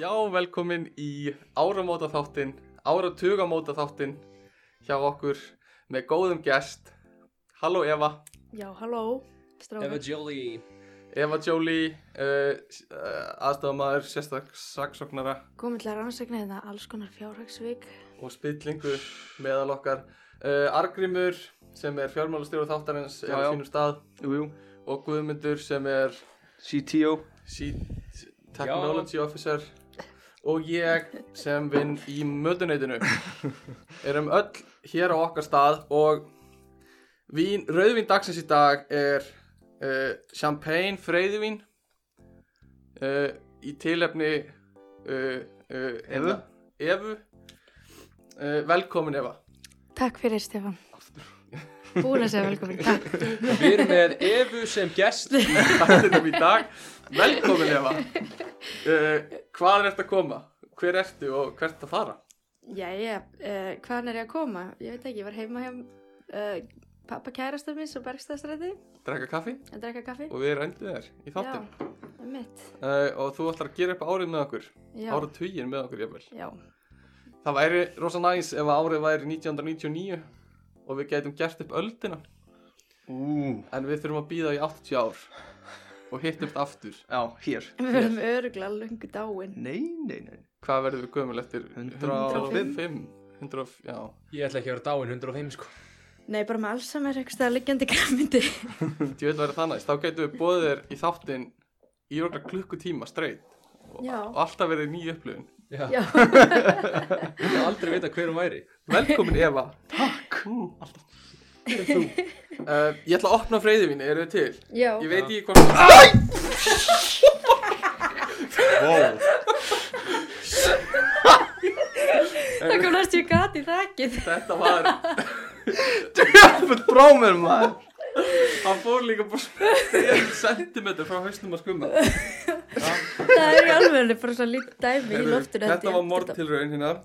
Já, velkomin í áramóta þáttinn, áratugamóta þáttinn hjá okkur með góðum gest. Halló Eva, Já, halló, Eva strákar. Jolie Eva Jolie, uh, aðstofamæður, sérstak saksóknara Komið til að rannsakna hérna alls konar fjárhagsvík. og spillingu meðal okkar. Uh, Argrimur sem er fjármálastjóru þáttarins er Já, á já. sínum stað Jú, jú, og Guðmundur sem er CTO Chief Technology Officer og ég sem vinn í mötuneytinu erum öll hér á okkar stað og vín, rauðvín dagsins í dag er uh, champagne freyðvín uh, í tilefni uh, uh, Evu? Evu uh, velkomin Eva Takk fyrir, Stefan. Búin að segja velkomin, takk. Við erum með Evu sem gest þættinum í dag velkomin Eva uh, hvaðan ertu að koma? hver ertu og hvert að fara? Jæja, uh, hvaðan er ég að koma? Ég veit ekki, ég var heima hjá uh, pappa kærastar minns og bergstæðstræði drekka kaffi að drekka kaffi. og við rændum þér í þáttum Já, það er mitt. uh, og þú ætlar að gera upp árið með okkur Já, áratugin með okkur jafnvel já, það væri rosa næs ef að árið væri 1999 og við gætum gert upp öldina Ú, en við þurfum að býða í 80 ár og hittumst aftur já, hér við verðum öruglega lungu dáin. Nei, nei, nei hvað verðum við gömul eftir 105? 105 100, já, Ég ætla ekki að vera dáin 105 sko Nei, bara með alls sem er eitthvað stæða liggjandi græmyndi. ég vil vera það næst þá gætum við bóðið þér í þáttin í okkar klukkutíma straight og, Já. og alltaf verið ný upplifun Já, Já, ég vil aldrei vita hver hún væri velkomin Eva takk Uh, ég ætla að opna freyðivín, eru þið til? já, Ég veit ekki hvort Æ! Wow, það kom næstu í gati þakkið. Þetta var djöfn brómur maður Hann fór líka bara Þegar sentimeter frá hausnum að skumma Það er í alveg bara svo lítið dæmi í loftinu. held ég. Þetta var mordtilraun hérna uh,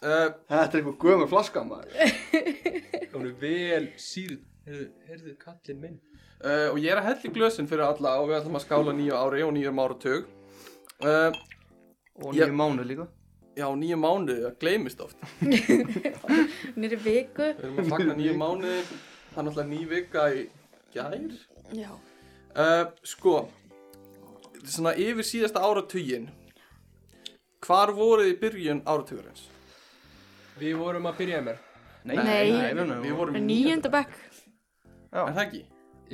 Þetta er eitthvað gömur flaska maður Hún er vel síð Heyrðu, heyrðu kallinn minn uh, Og ég er að hella í glösin fyrir alla Og við ætlum að skála nýju ári og nýjum áratug uh, Og Já. nýju mánu líka Já, nýju mánuði, það gleymist oft Nýri viku. Við erum að fagna nýju mánuði Það er náttúrulega ný vika í gær Já. uh, Sko Svona yfir síðasta áratugin Hvar voruð í byrjun áratugarins? Við vorum að byrja mér Nei. nei, nei, Við vorum í níunda Nýjönda bekk. Já, Er það ekki?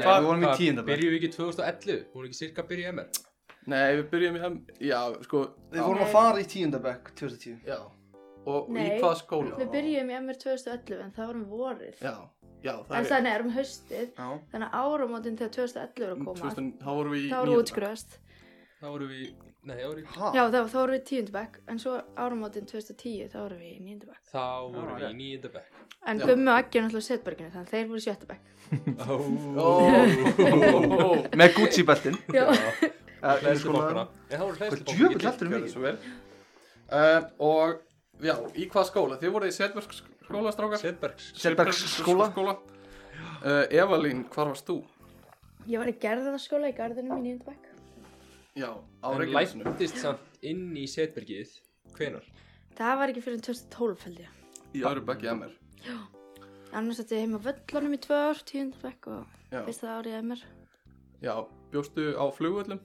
Nei, við vorum í tíunda bekk. Byrjuðu ekki 2011, hún er ekki cirka að byrja mér Nei, við byrjum í hem... Já, sko... Við vorum Nei. að fara í tíundabæk 2010 Já. Og og í Nei. hvaða skóla? Við byrjum í MR 2011 en það varum vorið. Já, já, það en er... þannig erum um haustið. Já Þannig að áramótin þegar 2011 er að koma. 2000, þá vorum við í... Þá vorum við útskrifast. Þá vorum við, nei þá vorum við Ha? Já, þá, þá vorum við tíundu bekk. En svo áramótin 2010 þá vorum við í nýjöndu bekk. Þá vorum Já, við í nýjunda bekk En Já. Gummi og Aggi er náttúrulega setberginu þannig að þeir voru í sjötta bekk. Ó, ó, ó, Með Gucci beltin Já. Hlæðslubokkana En þá voru Hvað hlæðslubokkana djöfn heldur gjörðu mikið svo vel. Uh, og, já, í hvaða skóla? Þið voruð í Setbergs skóla, strákar? Setbergs Selbergsskóla Skóla. Uh, Evalín, hvar varst þú? Ég var í gerðarskóla í garðinum í nýjöndu bekk. Já, á En Reykjanesinu. lættist samt inn í Setbergið Hvenar? Það var ekki fyrir 2012 held ég. Í öðru bekki að mér. Annars þetta ég heima á völlunum í tvö ár, tíundu bekk og Já, fyrsta árið MR. já, bjóstu á flugvöllum?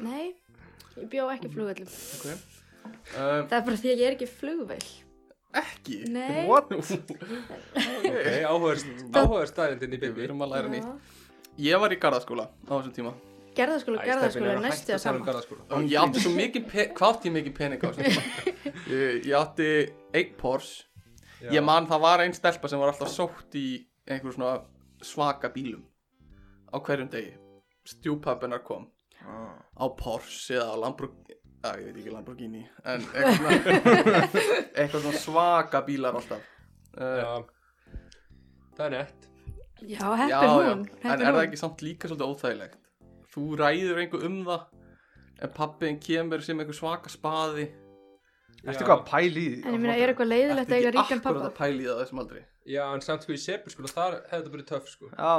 Nei, ég bjó ekki á flugvöllum. Ok. Uh, Það er bara því að ég er ekki flugvöll. ekki? Nei. What? Ok, áhugaðst, áhugaðst staðindin í Við byrju erum að læra nýtt. Já. Ég var í garðaskóla á þessum tíma. Gerðarskóla, gerðarskóla er sko, næstu að saman sama. Garðaskóla Og ég átti svo mikið, pe- hvað átti ég mikið pening á þessum tíma? Ég, ég átti einn Porsche. Ég man það var einn stelpa sem var alltaf sótt í einhver svona svaka bílum á hverjum degi. Stjúpappennar kom á Porsche eða á Lamborghini, að ég veit ekki Lamborghini, en eitthvað svona, eitthvað svona svaka bílar alltaf. Uh, Já. Það er nett Já, heppin hún. En heppin er það hún. ekki samt líka svolítið óþægilegt? Þú ræður einhver um það en pappiðin kemur sem einhver svaka spaði Ertu eitthvað að pæli í því? En ég meina, er eitthvað leiðilegt að eiga ríkan Akkurat pappa? að pæli það þessum aldrei Já, en samt sko í sepur sko, þar hefði þetta verið töff sko. Já,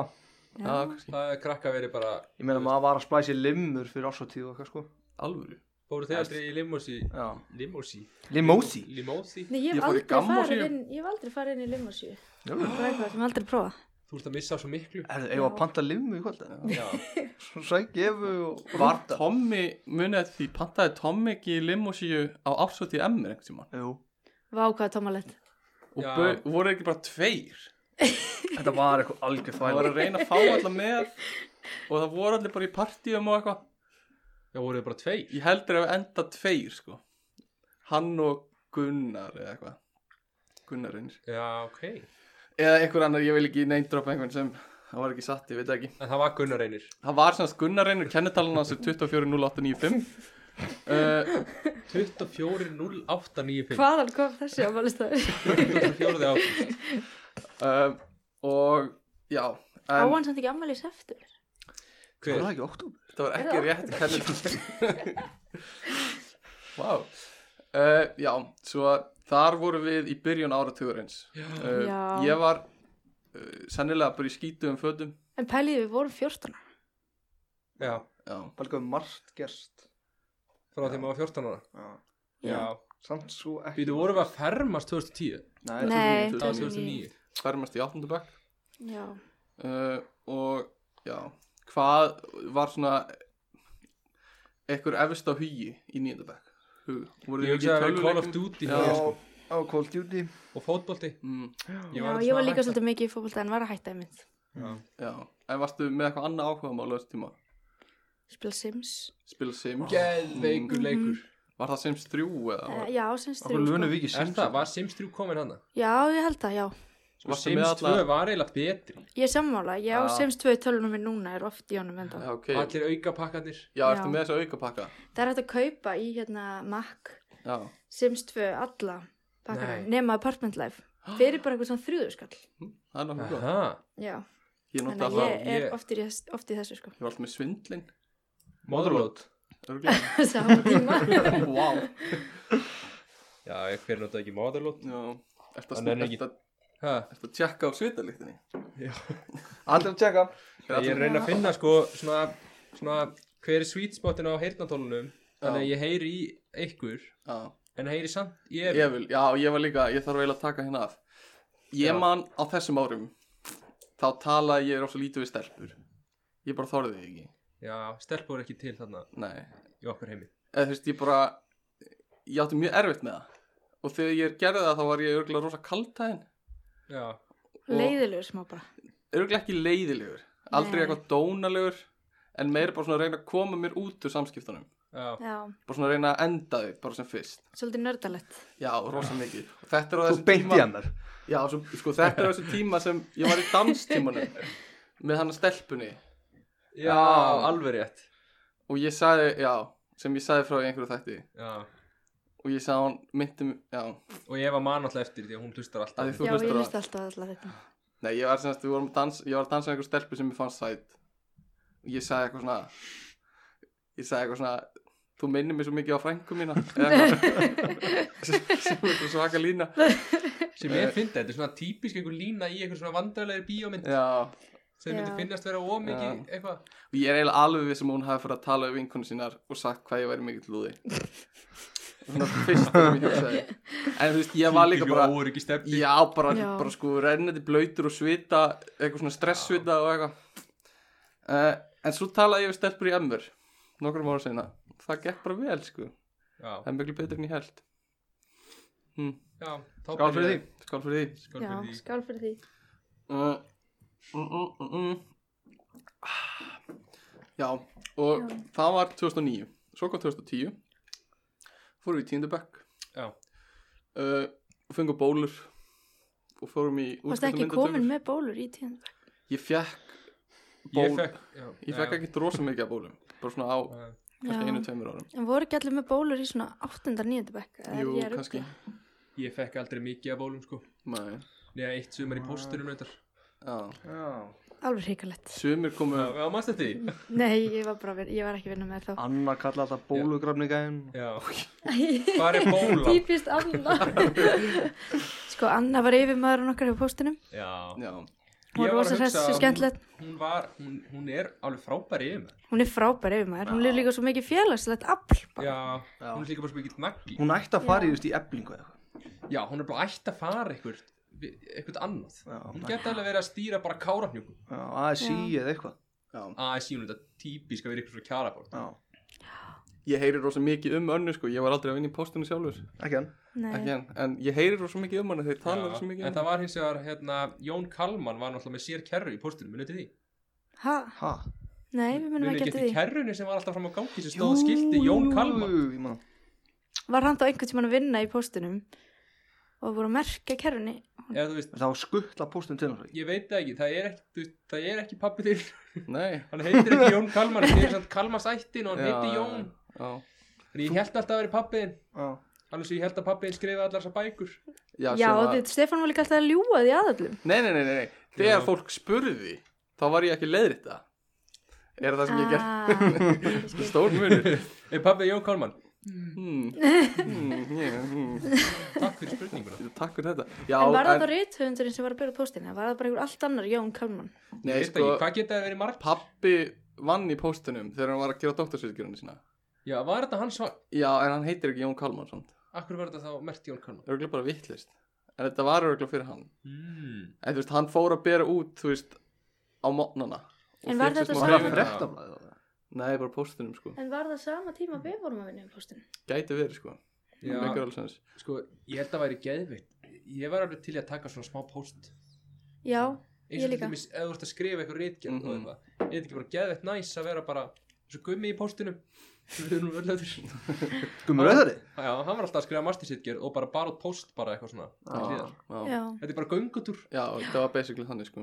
Já, Já, kannski Það er krakka verið bara, ég meina maður var að splæsi limur fyrir ársóttíð og eitthvað sko Alvöru fóru þeir aldrei í limósi, Já limósi, Limósi limósi. Nei, ég Ég hef fór í aldrei farið gammósíu. inn, ég hef aldrei farið inn í limosíu. Já. Það er eitthvað sem ég aldrei prófa. Þú ert að missa svo miklu. Erðu, eigum við að Já. panta limu í kvöld? eða? Já. Svo sækja efu og varta Tommy, munið eftir því, pantaði Tommy ekki limósíu á ársótið emmer einhvern tímann Jú, Vá, hvað tómalett. og Já. bau- voru ekki bara tveir þetta var eitthvað algjör það var þvæl að reyna að fá alla með og það voru allir bara í partíum og eitthvað Já, voru þið bara tveir. ég heldur að enda tveir sko hann og Gunnar eða eitthvað Gunnar reynir Já, ok. eða einhver annar, ég vil ekki neindropa einhvern sem hann var ekki satt, ég veit það ekki En það var Gunnar einir. hann var sem að Gunnar reynir, kennetalan hans er 240895 uh, 24.08.95. Hvaðan kom þessi ámálistafur? 24. ágúst. uh, og já Á en hann samt ekki afmælis eftir. Hver? Var það ekki oktober? þetta var ekki Er það? rétt kennetalan wow uh, já, svo að þar vorum við í byrjun áratugurins Já. uh, ég var uh, sennilega bara í skítuðum fötum En pæliði við vorum 14. Já, já, Bara eitthvað margt gerst frá þegar maður var 14 ára. Já Já. Samt svo ekki Býtu, vorum við að fermast 2010? Nei, Nei, Það var 2009. 2009. fermast í 8. bekk Já. uh, og já, hvað var svona ekkur efist á hugi í 9. bekk Hug- voruð Ég þið ekki hugsaði að við Call of tölvuleikjum? Duty Já. hefði, Já, sko. á Call of Duty og fótbolti. mm, Já, aðeins ég var svona líka að hætta. svolítið mikið í fókbalta en var að hætta einmitt. Já. já, en varstu með eitthvað annað áhugamál á þessu tíma, Spila Sims. spila Sims Geðveikur leikur. var það Sims 3 eða Eh, var, Já, Sims 3. Okkur lunum við ekki Er Sims það, var Sims 3 komin hana? Já, ég held það, já. Sko, Varstu með Sims 2 alla- var eiginlega betri. Ég er sammála. Ég á Já. Sims 2 í tölunum minn núna, er oft í honum enda. já, ok, Allir aukapakkarnir. já, ertu Já. með þessu aukapakka Það er hægt að kaupa í hérna Mac, já, Sims 2, alla pakkana, Nei. nema Apartment Life. Fyrir bara eitthvað svona þrjúðurskall. það er nokkuð gott Aha. Já, ég nota þannig að alltaf, ég er ég- oft í, þess- oft í þessu sko. ég var alltaf með svindlin Motherload. örgulega, Sama tíma. wow Já, ég hver notaði ekki Motherload. já, ertu að, Hann er sn- ekki- ertu að, Ha, ertu að tjekka á svitalíktinni Allir að tjekka ég er að reyna að finna sko svona, svona hver er sweet spotin á heyrnatólunum þannig að Já. ég heyri í ykkur já en heyri samt, ég Ég vil, já, ég var líka, ég þarf eiginlega að taka hérna af Ég Já. man á þessum árum Þá talaði ég rosa lítið við stelpur Ég bara þorði því ekki Já, stelpur er ekki til þarna Nei, í okkar heimi eða þú veist, ég bara Ég átti mjög erfitt með það Og þegar ég gerði það þá var ég örgulega rosa kaltæðin Já, Leiðilegur smá bara. Örgulega ekki leiðilegur Aldrei Nei. eitthvað dónalegur En meira bara svona að reyna að koma mér út úr samskiptunum já, Já, Bara svona að reyna að enda þau, bara sem fyrst svolítið nördalett. Já, rosa mikið Og þetta er á Þú þessum beint tíma í hennar Já, svo, sko þetta er á þessu tíma sem ég var í danstímanum með hann að stelpunni já, alveg rétt og ég sagði, já, sem ég sagði frá í einhverju þætti Já, og ég sagði hún myndi, mig- já, og ég var mann alltaf eftir því að hún hlustar alltaf að því á þú Já, ég hlustar á listi það alltaf alltaf þetta. Nei, ég var semast, við vorum að dans, ég var að dansa einhverju stelpu sem ég fannst sætt og ég sagði eitthvað svona ég sagði eitthvað svona þú minnir mig svo mikið á frængu mína eða eitthvað sem er svo svaka lína mig. sem ég fyndi, þetta er svona típisk einhver lína í einhver svona vandrarlegri bíómynd Já, sem myndi Já. finnast vera ómikið eitthvað og ég er eiginlega alveg við sem hún hafi fyrir að tala við vinkonu sínar og sagt hvað ég væri mikið lúði Svona fyrst sem ég hugsaði En þú veist, ég var líka bara óryggi stefni Já, bara, Já. bara sko rennandi blöytur og svita eitthvað svona stresssvita og eitthvað uh, En svo talaði ég við stelpur í emmer nokkrum ára seinna Það gekk bara vel, sko Það Já, er miklu betur en ég held hm. já, þá Skál fyrir því Skál fyrir því Skál Já, fyrir því skál fyrir því. uh, mm, mm, mm, mm. Ah. Já, og það var 2009 Svo kom 2010 Fórum við í tíndabökk Já, uh, Fengum bólur Og fórum í Varst ekki úrslitamyndatökur. komin með bólur í tíðan? Ég fekk ég ból- fekk já, Ég fekk ekki drosa mikið af bólum Bara svona á Já. kannski einu, Já. tveimur árum En voru ekki allir með bólur í svona 8. 9. bekk? Eða er Jú, Eh, ég að rugla? kannski Ég fekk aldrei mikið af bólum sko Nei, Nei, eitt sumar í póstunum reyndar já Já alveg hrikalegt. Sumir komu Já, já, mannstu því? Nei, ég var, bara, að vinna- ég var ekki að vinna með þá. Anna kalla alltaf bólugrafningaðinn Já, hvað er bóla? Típist Anna. sko, Anna var yfirmaðurinn okkar hjá postinum. Já, Já, Hún Ég var var að rosa hress hugsa um- og að- skemmtilegt. hún var, hún, hún er alveg frábæri yfir með Hún er frábær yfirmaður. Hún er líka svo mikið félagslegt afl. bara. Já, hún er líka bara svo mikill nagli Hún ætti að fara í, þú veist, í eblingu eða Já, hún er bara ætti að fara eitthvað eitthvað annað Já, Hún geti alveg verið að stýra bara kárafnjúkum eitthvað ASI eða eitthvað já. að ég síðan þetta típisk að vera eitthvað svona kjarabort Já, Ég heyri rosa mikið um önnu sko, ég var aldrei að vinna í póstunni sjálfur ekki hann Ekki Nei, en, en ég heyri rosa mikið um hana, þeir tala rosa mikið en um það var hins vegar hérna, Jón Kalman var náttúrulega með sér kerru í póstunum, munið til því ha? Ha? Nei, við munum munið ekki ekki eftir því. kerrunni sem var alltaf fram á gangi sem stóð skildi Jón Kalman Jú, ég man það. Var hann þá einhvern tímann að vinna í postinum og voru að merka kerrunni? eða þú veist, Það var skuttla póstum til hans ég veit það ekki, það er ekki, þú- það er ekki pappi þinn það Nei, hann heitir ekki Jón Kalman, það er samt Kalmas ættin og hann Já, heitir já, Jón já en ég held alltaf að vera pappi þinn Já, alveg svo ég held að pappi þinn skrifa allar þessar bækur Já, Já, sem að- þið, Stefán var líka alltaf að ljúa því aðallum. Nei, nei, nei, nei, nei. Þegar Já. fólk spurði, þá var ég ekki leiðrið það Er það sem ég gerði Ah, stór munur er pappi Jón Kalman, hmm. Hmm, yeah, hmm. takk fyrir spurninguna Takk fyrir þetta Já, en var það þá rithöfundurinn sem var að byrja postinni? Var það bara einhver allt annar Jón Kalman? Nei, Ég veit sko, ekki, hvað geta það verið marg pappi vann í póstunum þegar hann var að gera dóttarsvíðgjörunni sína já, var þetta hans svar, Já, en hann heitir ekki Jón Kalman svona akkur var þetta þá mert Jón Kalman Örgulega bara vittlist En þetta var örgulega fyrir hann mm. En þú veist, hann fór að bera út, þú veist, á mótnana En var þetta það Sama- var frettablaðið á það Nei, bara póstunum, sko En var það sama tíma við vorum að vinna í postinum? Gæti verið, sko Já. Mekar alveg sens Sko, ég held að væri geðveitt Ég var alveg til í að taka svona smá post Já, Eins Ég og til líka. dæmis, ef þú ert að skrifa eitthvað reitgerð Mhm. og eitthvað Er þetta ekki bara geðveitt næs að vera bara Svo gummi í postinum Sem við erum öll öður Gummur auðari Já, hann var alltaf að skrifa mastersitgerð og bara bara út post bara eitthvað svona til Ah. hliðar. Já, já. Þetta er bara göngutúr Já, það var basically þannig, sko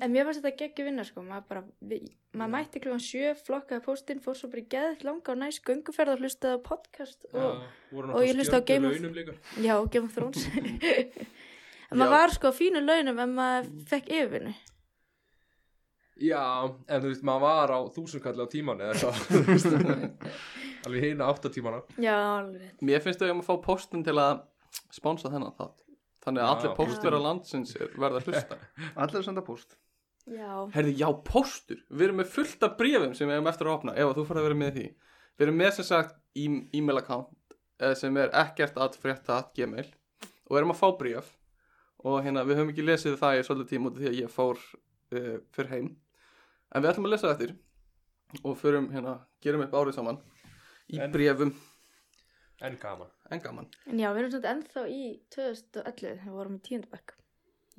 En mér fannst þetta geggju vinna sko, maður bara, við, maður mætti klukkan sjö, flokkaði postin, fór svo bara í geðið langa og næst gönguferð og hlustaði á podcast og, og ég hlusta á Game of- Thrones já, Game of Thrones. en Já. maður var sko á fínu launum en maður fekk yfirvinni. Já, en þú veist, maður var á þúsundkalli á tíman eða eitthvað þú veist. Alveg hina áttatímana Já, alveg. Mér finnst þau um að fá póstun til að sponsa þennan þátt Þannig að Já. allir póstverðar landsins er- verða að hlusta Allir að senda póst Já, Herði, já, póstur Við erum með fullt af bréfum sem við hefum eftir að opna Ef að þú fyrir að vera með því Við erum með sem sagt e- e-mail account eh, sem er ekkert að frétta að gmail og erum að fá bréf og hérna, við höfum ekki lesið það í svolítið tíma út af því að ég fór uh, fyrr heim en við ætlum að lesa það eftir og förum hérna, gerum upp árið saman í En- bréfum En gaman en gaman en já, við erum svolítið ennþá í 2011 þegar við vorum í tíundabökk.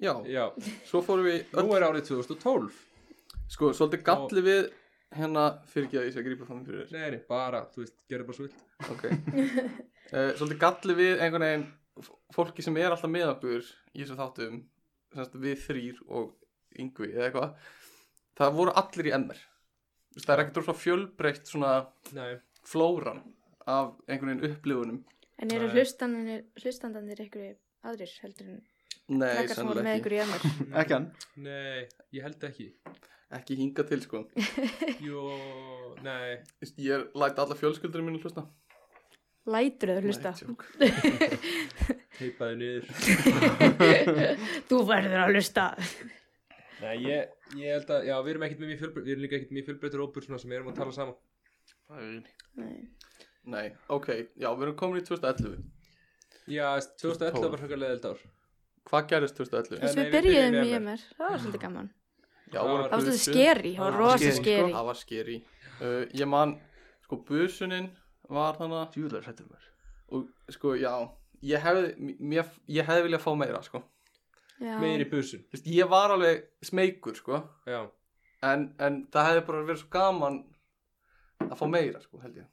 Já, Já, svo fórum við nú öll, er árið 2012 sko, svolítið galli við hérna, fyrir ekki að ég sé að grípa fram fyrir þér Nei, nei, bara, þú veist, gerðu bara svo vilt Ok uh, Svolítið galli við einhvern veginn f- fólki sem er alltaf með okkur í þessu þáttum semst, við þrýr og yngvi eða eitthvað það voru allir í MR Þú veist, það er ekkert rosalega fjölbreytt svona Nei flóran af einhvern veginn upplifunum En eru Nei. hlustandanir, hlustandanir ykkur aðrir heldur en Nei, krakkar sem voru með sennilega ekki ykkur í emmer? Ekki hann Nei, ég held ekki ekki hinga til sko Þú Jó, nei veist, ég læti alla fjölskyldurinn mínu hlusta Lætur þau hlusta? Nei, tjók. Teipaði niður Þú verður að hlusta. Nei, ég, ég held að, já, við erum ekkert með mjög fjölbreytur Við erum líka ekkert mjög fjölbreytur ópur svona sem erum að tala saman Nei. Nei, ok, já, við erum komin í 2011 Já, 2011 var 2012. hrökkarlega eldar Hvað gerðist 2011? Þess við Nei, við byrjuðum byrjuðum í í MR. MR, það var svolítið gaman. Já, Það voru Það var- var svolítið busu. skeri, það var rosa skeri, sko. skeri. Það var skeri uh, Ég man, sko, busunin var þannig Júlar hrættur mér og sko, já ég hefði, mér, ég hefði viljað fá meira, sko Já. Meiri busun, Vist, ég var alveg smeykur, sko já en, en það hefði bara verið svo gaman að fá meira, sko, held ég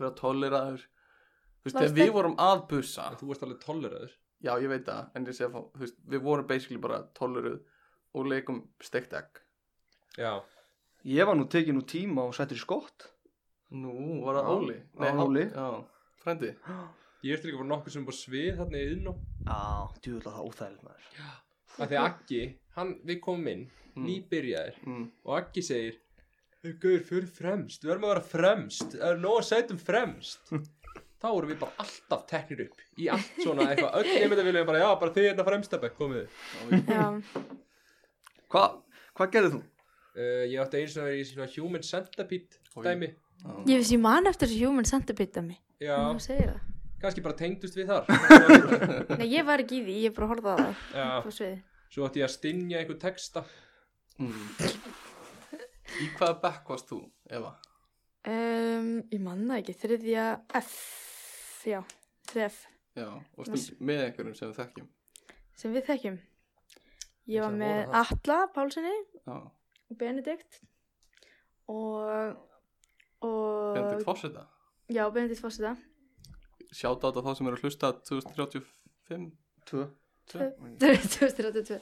vera toleraður Þú veist, Varst þegar við það- vorum að busa En þú varst alveg tolleraður Já, ég veit það, en ég segi að fá þú veist, við vorum basically bara toleruð og leikum steikt egg Já, Ég var nú tekin úr tíma og settur í skott Nú, var það Já, Óli? það var Óli. Já, frendi ég veist líka bara nokkur sem er bara svið þarna í inn og Já, djúlar það óþægilegt maður Þegar Akki, hann, við komum inn Mm. nýbyrjaðir mm. og Aggi segir "Hey, Gaur, fyrir fremst, við verðum að vera fremst Það er nóg að sætum fremst Þá erum við bara alltaf teknir upp Í allt svona eitthvað, öll nefnda viljum bara Já, bara þið hérna fremstabæk, komið uh, já, Hvað hva gerðið þú? Eh, Ég átti einu svona að vera í svona human centipede Oj. dæmi ég veist ég man eftir þessu human centipede mig Já, þú segir það kannski bara tengdust við þar Nei, ég var ekki í því, ég bara horfði á það Já, á sviði svo átti ég að stinja einhver texta Mm. Í hvaða bekk varst þú, Eva? um, Ég man það ekki, þriðja F Já, þriðja F Já, og stund með einhverjum sem við þekkjum sem við þekkjum Ég var Það með voru það. Atla Pálssoni Já, og Benedikt og, og Benedikt Fosseta Já, Benedikt Fossita Sjáta á þá sem eru að hlusta 2035 Tvö Tvö. 2032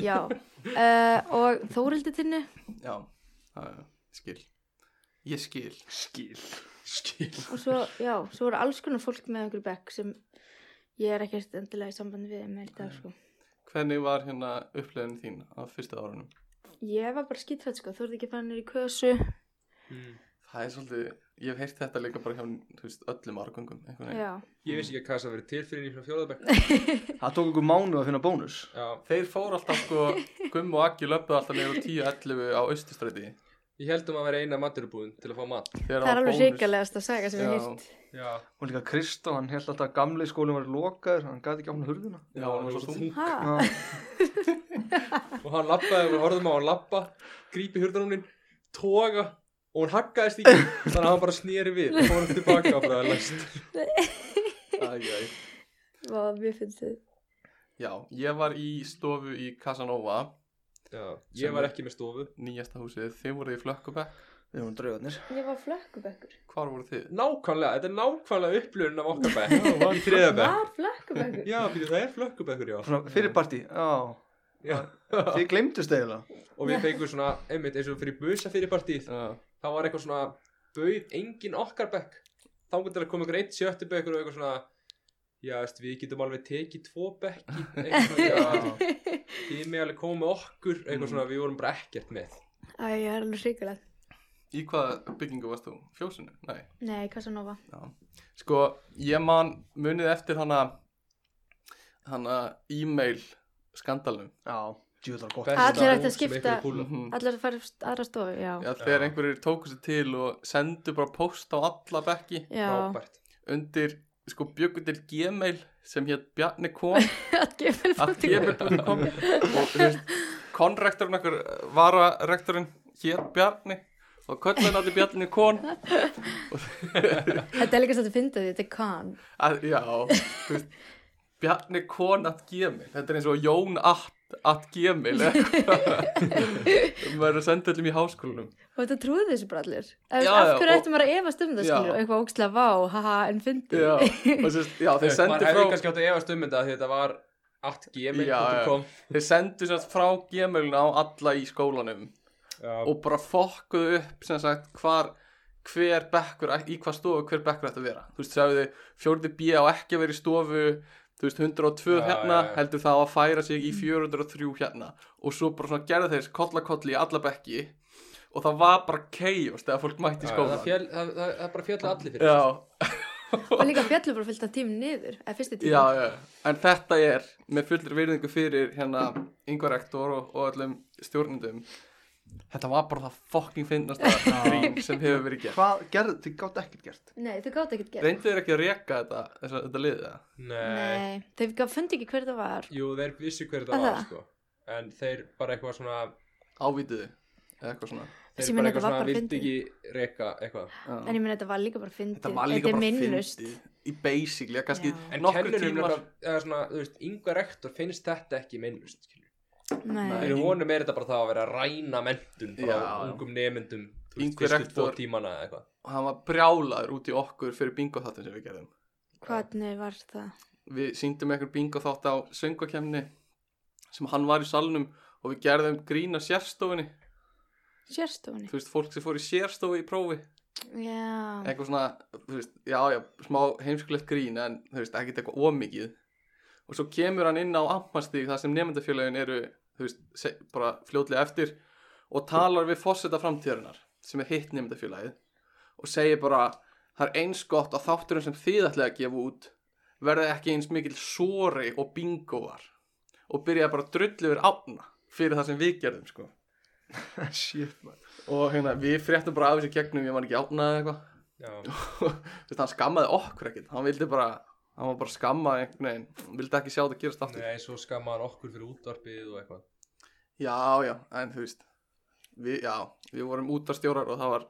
Já, uh, og Þórildi tinnu Já, það er skil Ég skil Skil Skil og svo, já, svo voru alls konar fólk með einhverju bekk sem ég er ekkert endilega í sambandi við með í dag, sko Hvernig var hérna upplegin þín af fyrsta árunum? Ég var bara skítrætt, sko, þú voru ekki að fara nýri kösu Það er svolítið, ég hef heyrt þetta líka bara hjá þú veist, öllum árgöngum einhvern veginn. Já, Ég vissi ekki að hvað það verið til fyrir nýjum fjóðabæk Það tók okkur mánu að finna bónus Já, Þeir fóru alltaf sko, Gumm og Aggi löpuð alltaf niður á 10-11 á austustræti ég heldum að vera eina maturubúðin til að fá mat Þegar það er var alveg bónus. hrikalegast að saga sem ég Já. hýrt Já, Og líka Kristó, hann held alltaf að gamli skólinn var lokaður Hann gæti ekki áfna hurðina Já, hún var svo þung Ha, Já, og hann lappaði og við horfðum á hann lappa grípi hurðanúnin, toga og hún haggaðist í þannig að hann bara snýri við og fór hann tilbaka og bara læst Æ, æ. hvað mér finnst þið Já, ég var í stofu í Casanova já, ég var ekki með stofu nýjasta húsið, þið voruð í flökkubekk við erum draugarnir Ég var flökkubekkur Hvar voruð þið? nákvæmlega, þetta er nákvæmlega upplöðun af okkar bekk í þriða bekk Var flökkubekkur? já, býtu, það er flökkubekkur, já. Svona fyrir partí, já já Þið glemdust eiginlega og við fengum svona, einmitt eins og fyrir busa fyrir partíð Já, það var eitthvað svona bauð engin okkar bekk þá getur að koma ykkur eitt sjötti bekkur og eitthvað svona já, veist, við getum alveg tekið tvo bekki eitthvað svona, já, þið með alveg koma með okkur eitthvað svona, við vorum bara ekkert með Æ, ég er alveg hrikalegt Í hvaða byggingu varst þú? Fjósinu? Nei Nei, Casanova Sko, ég man munið eftir hana hana e-mail skandalum Já, djúðar gott Besta Allir ættu að hús sem skipta- einhverju púla. Mhm. Allar að fara í aðra stofu, já Já, þegar einhverjir tóku sér til og sendu bara post á alla bekki Já, frábært undir, sko, bjöggu til gmail sem hétt Bjarni kom að gefa að gmail.com og þú veist, konrektorinn okkur vararektorinn hétt Bjarni og köllin átti Bjarni kon Þetta er líka svolítið að finna því, þetta er kan að, já, þú veist Bjarni kon at gmail þetta er eins og Jón at at gmail eða eitthvað. maður er að senda öllum í háskólanum Og þetta trúði þessu bara allir Ef- Já, Af já, hverju og- ættum maður að efast um það Já. skilur Og eitthvað ókslega vá, haha, en fyndi já, og þú veist, já, þeir maður sendu hefði frá kannski átt að efast um þetta því þetta var atgmail.com þeir sendu sem sagt frá gmailinu á alla í skólanum og bara fokkuðu upp sem sagt hvar hver bekkur, í hvað stofu hver bekkur ætti að vera þú veist, sagði fjórði B á ekki að vera í stofu þú veist, 102 Já, hérna já, já. heldur það á að færa sig í 403 hérna og svo bara svona gerðu þeir kolla kolli í alla bekki og það var bara chaos þegar fólk mætti í það, skólan fjall, það, það, það bara fjalla allir fyrir já, Og líka fjallu bara fyllt af tímum niður Eða fyrsti tímum já, já, en þetta er með fullri virðingu fyrir hérna yngvar rektor og, og öllum stjórnendum þetta var bara það fucking finnasta grín sem hefur verið gert Hvað gerðu, þið gátt ekkert gert Nei, þau gátt ekkert gert reyndu þér ekki að reka þetta, þessa, þetta liðið það Nei. Nei, þau gaf- fundi ekki hver það var jú, þeir vissu hverju Að það var það? sko. en þeir bara eitthvað svona ávitiðu eða eitthvað svona þeir Ég meina, þetta bara eitthvað var svona bara vildi fyndið. ekki reka eitthvað En ég meina þetta var líka bara fyndið þetta var líka er bara meinlaust. fyndið í basically, að kannski Já. En nokkur kennurum tímar nefnilega- eða svona, þú veist, yngva rektor finnst þetta ekki minnust Nei. Nei, Fyrir honum er þetta bara það að vera að ræna mentun bara Já. á ungum nemyndum þú veist, Yngvi fyrstu tvo rektor- tímana eða eitthvað og hann var brjálaður út í okkur fyrir bingo þáttin sem við gerðum hvernig var það? við síndum einhver bingo þátt á söngvakefni sem hann var í salnum og við gerðum grín á sérstofunni Sérstofunni þú veist, fólk sem fór í sérstofu í prófi Já, eitthvað svona, þú veist, já, já, smá heimskulegt grín en þú veist, ekkert eitthvað ómikið og svo kemur hann inn á ammastík þar sem nefndafélagin eru þú veist, se- bara fljótlega eftir og talar við fórseta framtíðarinnar sem er hitt nefndafélagið og segir bara það er eins gott að þátturinn sem þið ætlaði að gefa út verði ekki eins mikil sori og bingoar og byrja bara að drullu yfir ána fyrir það sem við gerðum sko. Shit, man. og hérna, við fréttum bara af þessu gegnum ég man ekki ána eða eitthvað já, Þú veist, hann skammaði okkur ekkert hann vildi bara, hann var bara skammað einhvern veginn, hann vildi ekki sjá þetta gerast aftur nei, svo skammaðan okkur fyrir útvarpið og eitthvað já, já, en þú veist við, já, við vorum útastjórar og það var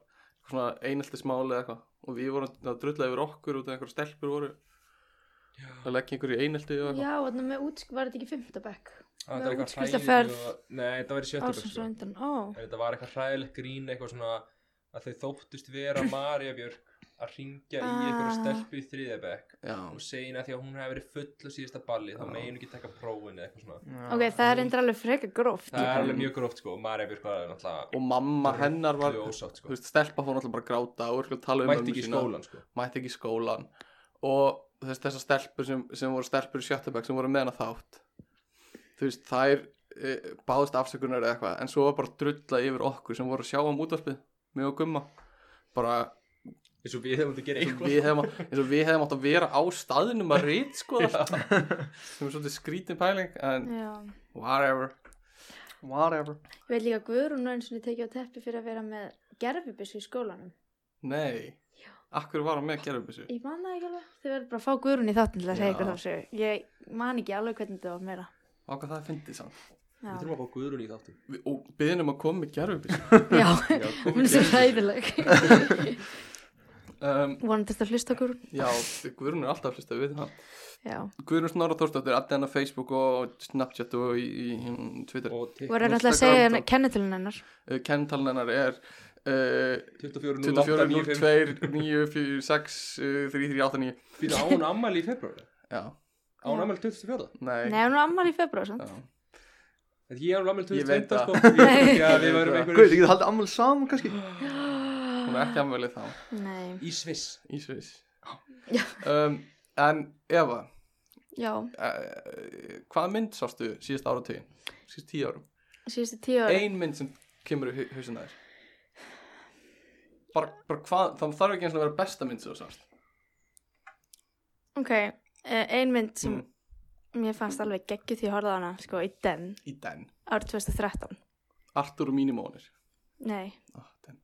svona eineltismáli eða eitthvað og við vorum það drullaði yfir okkur út af einhverja stelpur voru Já. að leggja einhverju í einelti og eitthvað Já, þarna með útsk var þetta ekki fymta bekk Ah, Með þetta er eitthvað útskriftarferð. hræðilegt og- Nei, þetta var í sjötta bekk, Ársins sko. á undan, ó En Þetta var eitthvað hræðilegt grín eitthvað svona að þau þóttust vera Marja Björk að ringja í einhverju Ah. stelpu í þriðja bekk já, og segina því að hún hefði verið full á síðasta balli þá Já. meginu ekki taka prófin eða eitthvað svona Já. Ok, það er endur alveg freka gróft Það er alveg mjög gróft sko, Marja Björk var náttúrulega og mamma hennar var drullu þú ósátt sko veist, stelpa fór náttúrulega bara að gráta og sko, tala um Mætti mömmu ekki í sína. skólan sko mætti ekki í skólan og þess, þessar stelpur sem, sem voru stelpur í Sjötabæk sem voru með hana þátt þú veist, þær e, báðist afsökunar eða eitthvað en svo var bara drulla yfir okkur sem voru að sjá um útvarpið mig og gumma bara Eins og við hefum þetta að gera eins og eitthvað við hefum, eins og við hefum átt að vera á staðinum að rít sko allt sem er svolítið skrítin pæling en Já whatever Whatever. Ég veit líka að Guðrún var eins og tekið á teppi fyrir að vera með gerfibissu í skólanum. nei, akkur var hann með gerðubissu Ég man það ekki alveg. Þið verður bara að fá Guðrún í þáttin til að segja Já. ykkur þá séu. Ég man ekki alveg hvernig þetta var meira. á hvað það fyndið samt Já, Við þurfum að fá Guðrún í þáttum Við- og byðinum að koma með gerðubissu já. Já, komum hún er svo við. ræðileg. um, Vonandi þetta hlusta á Guðrún. já, Guðrún er alltaf hlustað við það Já. Guðrún Snorra Þórsdóttir, alltaf hennar Facebook og Snapchat og í, í, í Twitter. Og tek- Voru náttúrulega að Instagram segja þá. henni kennitölu hennar. Uh, Kennetalin hennar er uh, 24 24, 095 02, 9, 4, 6, uh, 3, 3, 8, 9. Býta á hún ammæli í februari Já, Á hún ammæli 24 nei. Nei, hún er ammar í februar, sant? Já. Þetta ég er alveg Ég veit 22 það. sko Ég- Já, Ég veit við varum það. Guð, ég einhverjum geti haldið ammali saman kannski. Hún er ekki ammælið þá, Nei. Í Sviss í Sviss. Já. Um, en Eva, Já, uh, hvað mynd sástu síðast áratugin? Síðast tíu árum? síðustu tíu ára. Ein mynd sem kemur í hausina þér. Bara, bara hvað, það þarf ekki eins og að vera besta mynd sem þú sást. Ok, eh, ein mynd sem Mm. mér fannst alveg geggju því að horfa á hana, sko, í den Í den. árið 2013. Artur og mínimónir. Nei, Oh, den.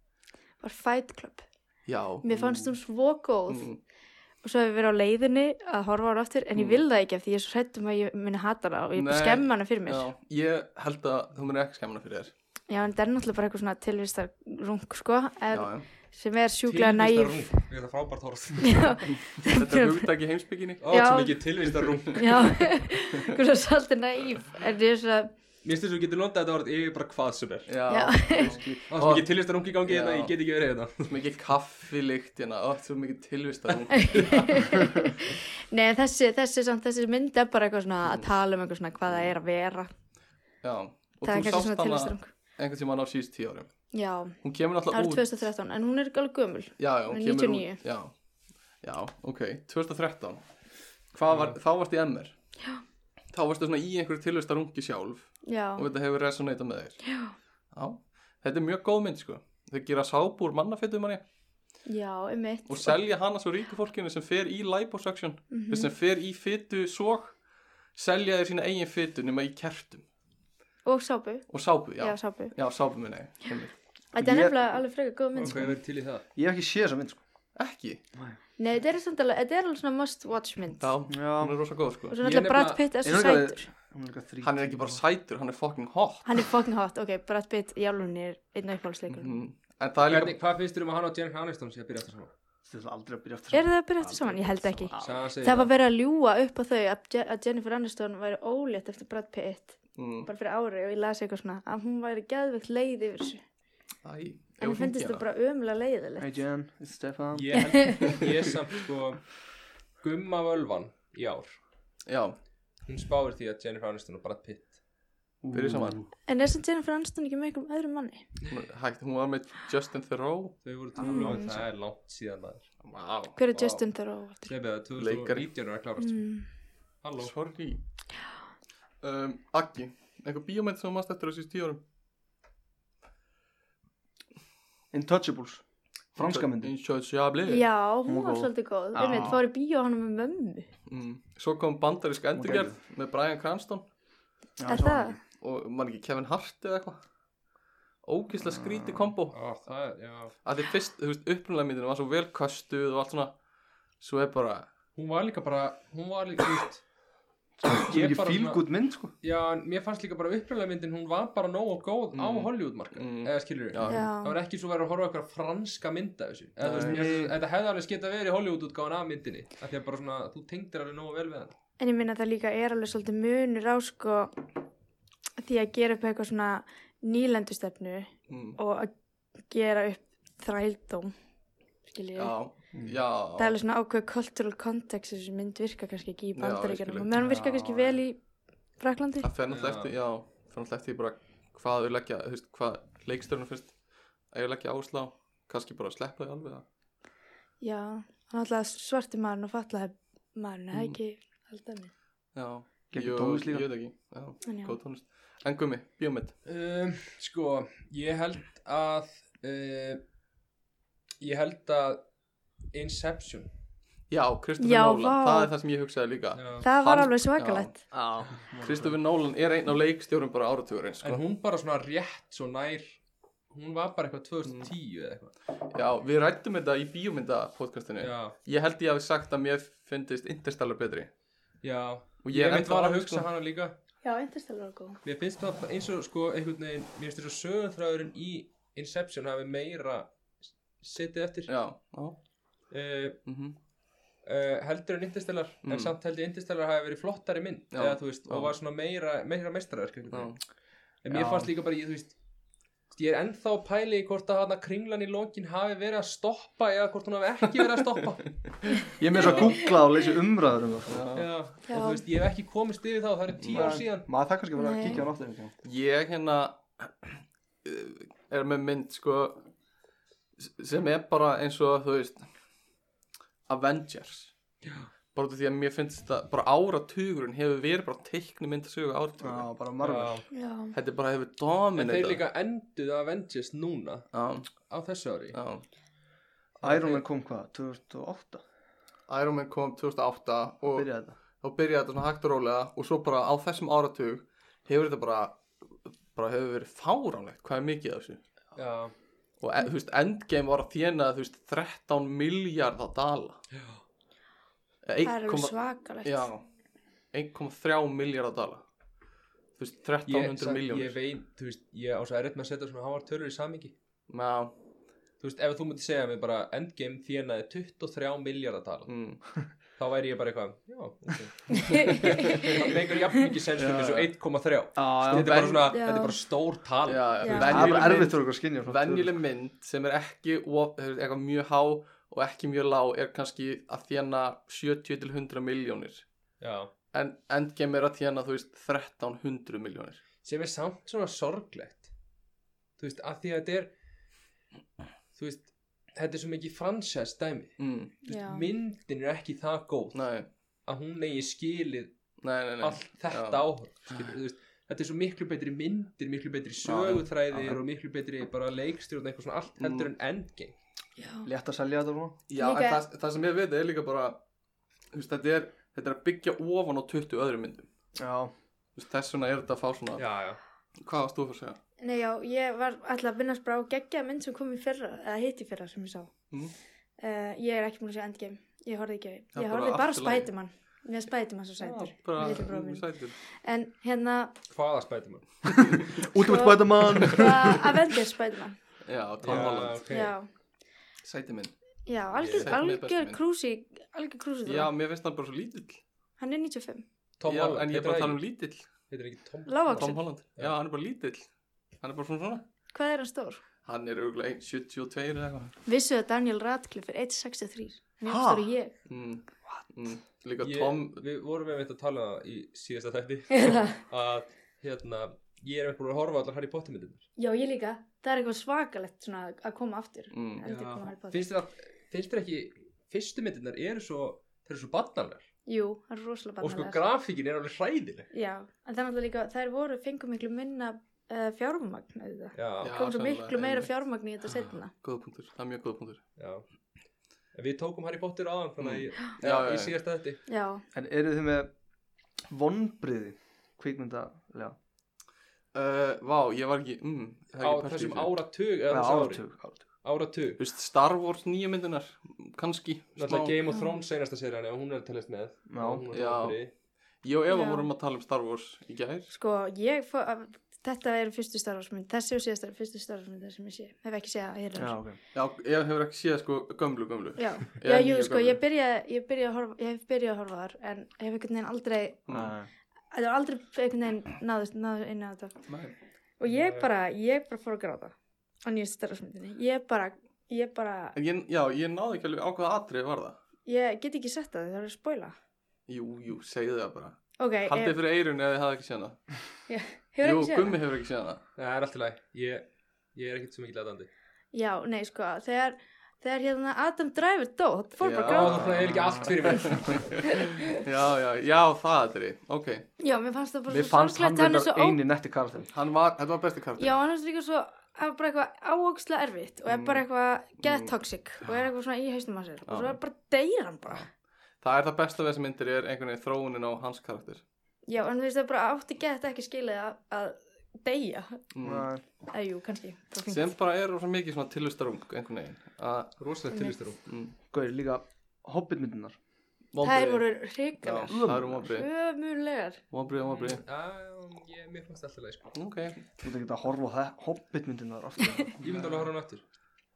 var Fight Club. Já. Mér fannst hún svo góð. Mm. og svo hef ég verið á leiðinni að horfa á hana aftur en ég Mm. vil það ekki af því ég er svo hrætt um að ég muni hata hana og ég Nei. skemma hana fyrir mér já, Já, ég held að þú munir ekki skemmina fyrir þér en þetta er náttúrulega bara eitthvað svona tilvistar rung sko, Já, er, já. sem er sjúklega næf Tilvistarrung. Mér er það frábært orð Þetta er hugtæk í heimsbygginni Ó, svo Já. mikið tilvistarrung já, hvað svo svolítið næf en ég er svo, Mér finnst þess að þú getur notað þetta orð yfir bara hvað sem er Já, Já. Ó, svo mikið já. tilvistarrung í gangi Já. þetta, ég get ekki verið hérna. þetta Svo mikið kaffilikt hérna Ó, Svo mikið tilvistar nei en þessi, þessi, samt, þessi mynd er bara eitthvað svona Mm. að tala um eitthvað svona hvað það er að vera Já, og það er þú kannski sást svona hana tilvistar rung einhvern tímann á síðust tíu árum já, Hún kemur árið náttúrulega út 2013 en hún er ekki alveg gömul Já, já, hún Hún er kemur 99. út Já, já ok, 2013 Hvað var, þá varst í MR Já Þá varstu svona í einhverju tilvistar sjálf já, og þetta hefur resonata með þér Já Þetta er mjög góð mynd sko Þau gera sábúr mannafettum manni já, um mitt og selja hana svo ríku fólkinu sem fer í liposuction mm sem fer í fytu sóg selja þér sína eigin fytu nema í kertum og sápu, og sápu, já, já, já, sápu sápu minni einmitt. þetta er Ég- nefnilega alveg frekar góð mynd Og sko. hvað er til í það? Ég hef ekki séð þessa mynd, sko. ekki, Nei, þetta er samt alveg, þetta er alveg svona must watch mynd já, Já. hún er rosa góð sko Og svo Ég náttúrulega nefna- Brad Pitt er Ég svo nefna alveg- sætur Hún er líka þrítug. hann er ekki bara sætur, hann er fucking hot Hann er fucking hot, ok, Brad Pitt í alvunni er einn uppáhaldsleikur mm. mm. en það er líka Hvernig, hvað finnst þér um að hann og Jennifer Aniston sé að byrja þetta saman? Þetta er aldrei að byrja aftur Er það að byrja eftir saman? Ég held ekki Sagan segir Það var verið að ljúa upp á þau að Je- að Jennifer Aniston væri ólétt eftir Brad Pitt mm. bara fyrir ári og ég las eitthvað svona að hún væri geðveikt leið yfir þessu Æ, ef hún en ég finnst gera þetta bara ömulega Hey leiðilegt Jen, it's Stefan. Ég held, ég samt sko Gumma Völvan í ár já, Hún spáir því að Jennifer Aniston og Brad Pitt byrja saman En er sem Jennifer Aniston ekki með einhverjum öðrum manni? Hún er hægt, hún var með Justin Theroux Þau voru Mm. trúlega, það er langt síðan maður wow. Hver er Justin Theroux? aftur? Sleipið það, Leikari. 2019 er að klárast Mm. Halló sorry um, Aggi, Eitthvað bíómynd sem þú mást eftir á síst tíu árum Intouchables Franska myndin Intouchable Já, hún Hún var var góð. svolítið góð. Já. Við veit, fór í bíó hann með mömmu. mm. Svo kom bandarísk endurgerð með Brian Cranston Já, Er svo var það? hann. og mann ekki Kevin Hart eða eitthvað Ógislega Ah. skríti kombo Á, það er, já. að því fyrst, þú veist, upprunalega myndinu var svo vel köstuð og allt svona svo er bara, Hún var líka bara, hún var líka, þú veist, Svo Ég mikið bara svona- fílgút mynd sko já, en mér fannst líka bara upprænlega myndin, hún var bara nógu góð á Mm. Hollywood-marka, Mm. eða skilur Já. Það Já. var ekki svo verið að horfa á eitthvað franska mynd af þessu. Eða, þú veist, Nei. mér, finnst- þetta hefði alveg skeitt að vera í Hollywood-útgáðan af myndinni. Af því að bara svona, þú tengdir alveg nógu vel við hann. En ég minna það líka er alveg svolítið munur á sko því að gera upp eitthvað svona nýlendustefnu mm, og að gera upp þrældóm. Skiljið. já, Mm. já Það er alveg svona ákveð cultural context sem mynd virka kannski ekki í Já, ég skil. bandaríkjunum. og meðan hún virka Já, kannski já. vel í Fraklandi. það fer náttúrulega Já. eftir, já, fer náttúrulega eftir bara hvað þau leggja, þú veist, hvað leikstörnum fyrst að ég leggja áherslu á kannski bara að sleppa því alveg að Já, hann alltaf svarti maðurinn og fallaði maðurinn, það er Mm. ekki alltaf minn. já, Gekkið jú, tónlist ég líka veit ekki, já, En já, góð tónlist en gummi, bíómynd Um, sko, ég held að, uh, ég held að Inception. já, Kristoffer Já, Nolan, vá. það er það sem ég hugsaði líka Já. það var Hann- alveg svakalegt. já, Kristoffer Nolan er einn af leikstjórum bara áratugur eins, En sko. hún bara svona rétt svo nær, hún var bara eitthvað 2010 eða eitthvað. já, við rættum þetta í bíómynda podcastinu, Já, ég held ég hafi sagt að mér finnist Interstellar betri já. og Ég, ég, mitt var að enda- hugsa hana líka. Já, Interstellar var góð. Mér finnst það eins og sko einhvern veginn, mér finnst þess að sögurþráðurinn í Inception hafi meira s- setið eftir. já, já, Uh, mhm uh, heldur en Interstellar Mm. en samt held ég Interstellar hafi verið flottari mynd Já, eða, þú veist, já. og var svona meira, meira mestraverk já, en mér Já. fannst líka bara ég, þú veist ég er ennþá að pæla í hvort að hana kringlan í lokin hafi verið að stoppa eða hvort hún hafi ekki verið að stoppa Ég er með þess að googla og leysi umræður um það já. sko. Já. og þú veist ég hef ekki komist yfir þá það eru tíu ár síðan Maður það kannski verið að Nei. kíkja á náttúrulega ég hérna eh, er með mynd sko s- sem er bara eins og þú veist Avengers bara út af því að mér finnst þetta bara áratugurinn hefur verið bara teikni mynd að sögja Já, áratugurinn bara margur Já, þetta bara hefur en þeir dominata líka enduð Avengers núna já, á þessu ári já. Iron Man kom hvað, 2008 Iron Man kom 2008 og Byrjaði þetta þá byrjaði þetta svona hægt og rólega og svo bara á þessum áratug hefur þetta bara bara hefur verið fáránlegt hvað er mikið af þessu já, og e, þú veist, Endgame var að þjena þú veist, 13 miljard að dala Eða það er alveg 1,3 svakalegt. já, 1,3 miljard að dala þú veist, ég, 1300 sa- ég miljónir veit, þú veist ég á svo erfitt með að setja svona háar tölur í samingi já, þú veist, ef þú myndir segja mér bara Endgame þjónaði 23 miljardadala mm, þá væri ég bara eitthvað, já, ok það meikar jafn mikið sensum eins og 1,3 þetta Já, er já bara svona, Já. þetta er bara stór tal já, Já. Það er bara venjuleg erfitt mynd, fyrir okkur að skynja svona tölur. venjuleg mynd sem er ekki of, þú veist, eitthvað mjög há og ekki mjög lág er kannski að þjena 70 til 100 miljónir já. en Endgame er að þjena þú veist 1300 miljónir sem er samt svona sorglegt þú veist, af því að þetta er þú veist þetta er svo mikið fransæst dæmi mm, Þú veist, Já. myndin er ekki það góð nei, að hún eigi skilið nei, nei, nei. allt þetta Já. áhörn skilur, þú veist, þetta er svo miklu betri myndir miklu betri Já, Mm. já. Já, sögutræðir já. og miklu betri bara leikstjórn eitthvað svona allt heldur en endgame Já. Létt að selja þetta svona Já, Líka- en það, það sem ég veit er líka bara þú veist, þetta, er, þetta er að byggja ofan á 20 öðrum myndum Já, Þú veist, Þess vegna er þetta að fá svona já, já. Hvað varst þú að fara að segja? Nei, já, ég var alltaf að vinnast bara á geggja mynd sem kom í fyrra, eða hitt í fyrra sem ég sá. Mhm. Eh, ég er ekki múin að segja Endgame, ég horfði ekki á því. Það er Ég bara horfði bara á allt í lagi. Spiderman, mér Spiderman svo sætur. Bara, Litli bróðir minn. sætur En hérna, hvaða spætumann út um Spiderman hvað Avengers Spiderman, Já, Tom Holland okay. já. Sæti minn Já, algjör, Sætur með bestu algjör mynd. krúsi, algjör krúsi Já, það. mér finnst hann bara svo lítill Hann er 95, Tom já, Holland En ég er heitir bara að það tala um ekki? lítill heitir ekki Tom Tom lágvaxin. Holland Já, hann er bara lítill Hann er bara svona svona Hvað er hann stór? Hann er auðvitað 1.72 eða eitthvað Vissu að Daniel Radcliffe er 1,63. Mér Ha? stór ég. mm. mm. Líka ég, Tom við vorum við meitt að tala í síðasta þætti Eða. að hérna ég er eitthvað að horfa á allar Harry Potter myndir Já, ég líka. Það er eitthvað svakalegt svona að koma aftur. mm. Heldur koma Harry Potter. finnst þér að- finnst þér ekki fyrstu myndirnar eru svo þeir eru svo barnarlegar Jú, það er rosalega og sko barnalegar. grafíkin er alveg hræðileg Já, en það er náttúrulega líka, þær voru, fengu miklu minna uh, fjármagn auðvitað. já, Já, Kom svo sennilega, miklu meira einmitt. Ah. fjármagn í þetta setna. Góða punktur, það er mjög góða punktur já. En við tókum Harry Potter aðan þannig að ég, Já, já, ég já. síðast að þetta Já, En eru þið með vonbriði kvikmyndalega? uh, Vá, ég var ekki, mm, það er ekki á pælt í þessum þessu. áratug Já, eða þessu ári. áratug. áratug. áratug Þú veist, Star Wars nýju myndunar, kannski smá. Mm. Náttúrulega Game of Thrones seinasta serían og hún er að telast með Já. Og hún er Já. toppurinn. Ég og Eva Já. vorum að tala um Star Wars í gær sko, ég fó, að, þetta er fyrstu starfarsmynd, þessi og síðasta er fyrstu starfarsmynd þessi sem ég sé. Hef ekki séð að hér Já, er. ok. Já, Eva hefur ekki séð sko gömlu, gömlu Já, Ég já, er jú, mjög sko, gömul. ég byrja, ég byrja að horfa, ég hef byrjað að horfa þar, en hef einhvern veginn aldrei, Nei. þetta var aldrei einhvern veginn náðust, náður inn á þetta. Nei. Og ég Nei. bara, ég bara fór að gráta á nýjastu starfarsmyndinni. Ég bara, ég bara, En ég, já, ég náði ekki alveg ákveða atrið var það ég get ekki sett að það, það er að spoila. Jú, jú, segðu það bara Ok, eh, Haldið fyrir eirun eða þið hafði ekki séð hana hefur Jú, ekki séð Gummi hefur ekki séð hana Nei, það er alltaf læg ég, ég er ekkert svo mikið ladandi Já, nei, sko, þegar, þegar hérna Adam Driver dó, það fór bara Já. að Já, gráta. það er ekki allt fyrir mér Já, já, já, það atrið, ok Já, mér fannst það bara Mér svo fannst hann sorglegt, hann er verðar svo ó... eini netti karakter. Hann var, þetta var besti karakter Já, hann er svo líka svo, það er bara eitthvað áókslega erfitt og er bara eitthvað Mm. get Ah. toxic og er eitthvað svona í hausnum að sér Já. og svo er bara deyr hann bara. Það er það besta við þessum myndir er einhvern veginn þróunin á hans karakter Já, en þú veist það er bara átti get ekki skilið að, að deyja, mm. Nei. eða jú, kannski. bara fínt. Sem bara er rosa mikið svona tilvistarung einhvern veginn að, Róslega tilvistur hún mm, Gauðir líka hobbitmyndunar. Þær vonbrigði. voru Já, hrikalega, Það eru vonbrið, ömulegar. vonbrið, vonbrið Já, ég- mér fannst alltaf læg sko Ok, Þú veit ekki að horfa á hobbitmyndunar aftur. Ég myndi alveg að horfa hann aftur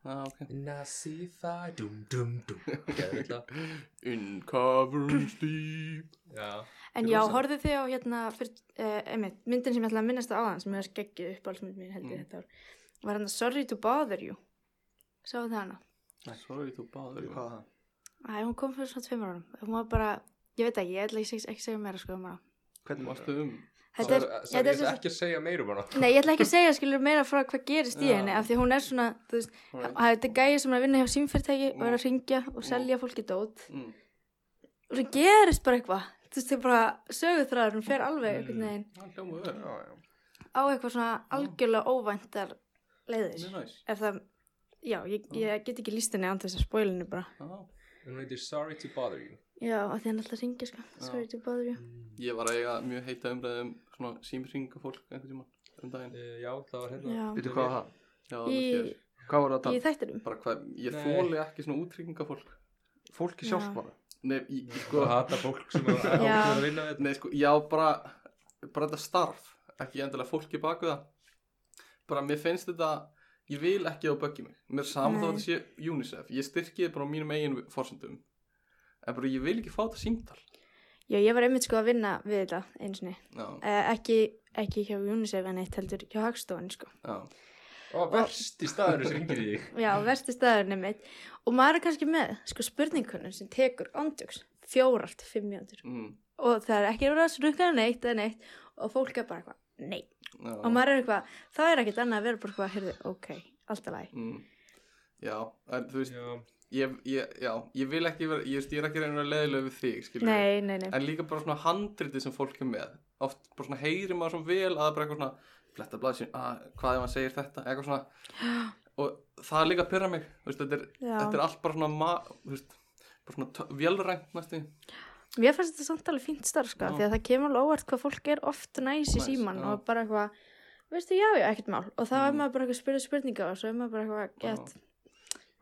já, ok Nasifa dum dum dum Ok, þetta Uncovering Steve Já, En Þetta já, er rosa. horfðu þið á hérna, fyrst, uh, einmitt, myndin sem ég ætla að minnast á aðan sem hefur skeggið upp alls mynd mín held ég Mm. þetta ár. Var hann Sorry to Bother You. Sáðu það hana? Sorry to bother you Hvað er það? Æ, hún kom fyrir svona tveimur árum. Hún var bara, ég veit ekki, ég ætla ekki, ekki að segja meira sko um hana. Hvernig varstu? Varstu um Þetta er, Sorry, þetta ég er svo, ætla ekki að segja meir um hana nei, ég ætla ekki að segja skilur meira frá hvað gerist í Já. henni af því hún er svona, þú veist, Alright. það er þetta gæja sem er að vinna hjá símfyrirtæki og er að ringja og Mm. selja fólki dót mm. og svo gerist bara eitthvað, þú veist, þau bara söguþræður, hún fer alveg einhvern veginn Það hljómaðu verið Já, já. á eitthvað svona algjörlega óvæntar leiðir. Mjög næs ef það, já, ég, ég get ekki líst henni án þess að spoilinu bara. Já. En hún heitir Sorry to bother you Já, af því hann alltaf ringir, sko. Sorry to bother you. Ég var að eiga mjög heita umræðum svona símringa fólk einhvern tímann um daginn Uh, Já, það var hérna Já. Veitu hvað var það? Já, það var Í, þér Hvað voru það að í tala? þættinum. Bara hvað, ég Nei. þóli ekki svona útrygginga fólk Fólki Já. sjálf bara. Nei, ég, Sko sko, að hata fólk sem er ákveður að vinna við þetta nei, sko, já, bara bara þetta starf, ekki endilega fólki baku það bara mér finnst þetta ég vil ekki að böggi mig mér er sama þá Nei. að þetta sé UNICEF ég styrki þetta bara á mínum eigin forsendum en bara ég vil ekki fá þetta símtal Já, ég var einmitt sko að vinna við þetta einu sinni. já, Eh, ekki, ekki hjá UNICEF en eitt heldur hjá Hagstofunni, sko. já, Ó, verst í staðinu sem ringir í þig Já, versti staðurinn er mitt. Og maður er kannski með, sko, spurningunum sem tekur ándjöks. Fjóralt, fimm mjöndur. mm, Og það er ekki verið að srukka neitt eða neitt. Og fólk er bara eitthvað, nei. já. Og maður er eitthvað, það er ekkert annað að vera bara eitthvað, heyrðu, ok, alltaf læg. mm, já, en þú veist Já, ég, ég, já, ég vil ekki vera ég, veist, ég er ekki reynir að leiðilega við þig skilur við. Nei, nei, nei. en líka bara svona handritið sem fólk er með oft bara svona heyri maður svona vel að það er bara eitthvað svona fletta blaðsyn, að hvað ef hann segir þetta eitthvað svona og það er líka að pyrra mig þú veist, þetta, er, Já. þetta er allt bara svona ma, þú veist, bara svona velrænt næstu Mér fannst þetta samt alveg fínt starf sko, Já. því að það kemur alveg óvart hvað fólk er oft næs í Næs, síman já. og bara eitthvað, veistu, já, já, ekkert mál. Og þá er Mm. maður bara eitthvað að spyrja spurninga og svo er maður bara eitthvað gett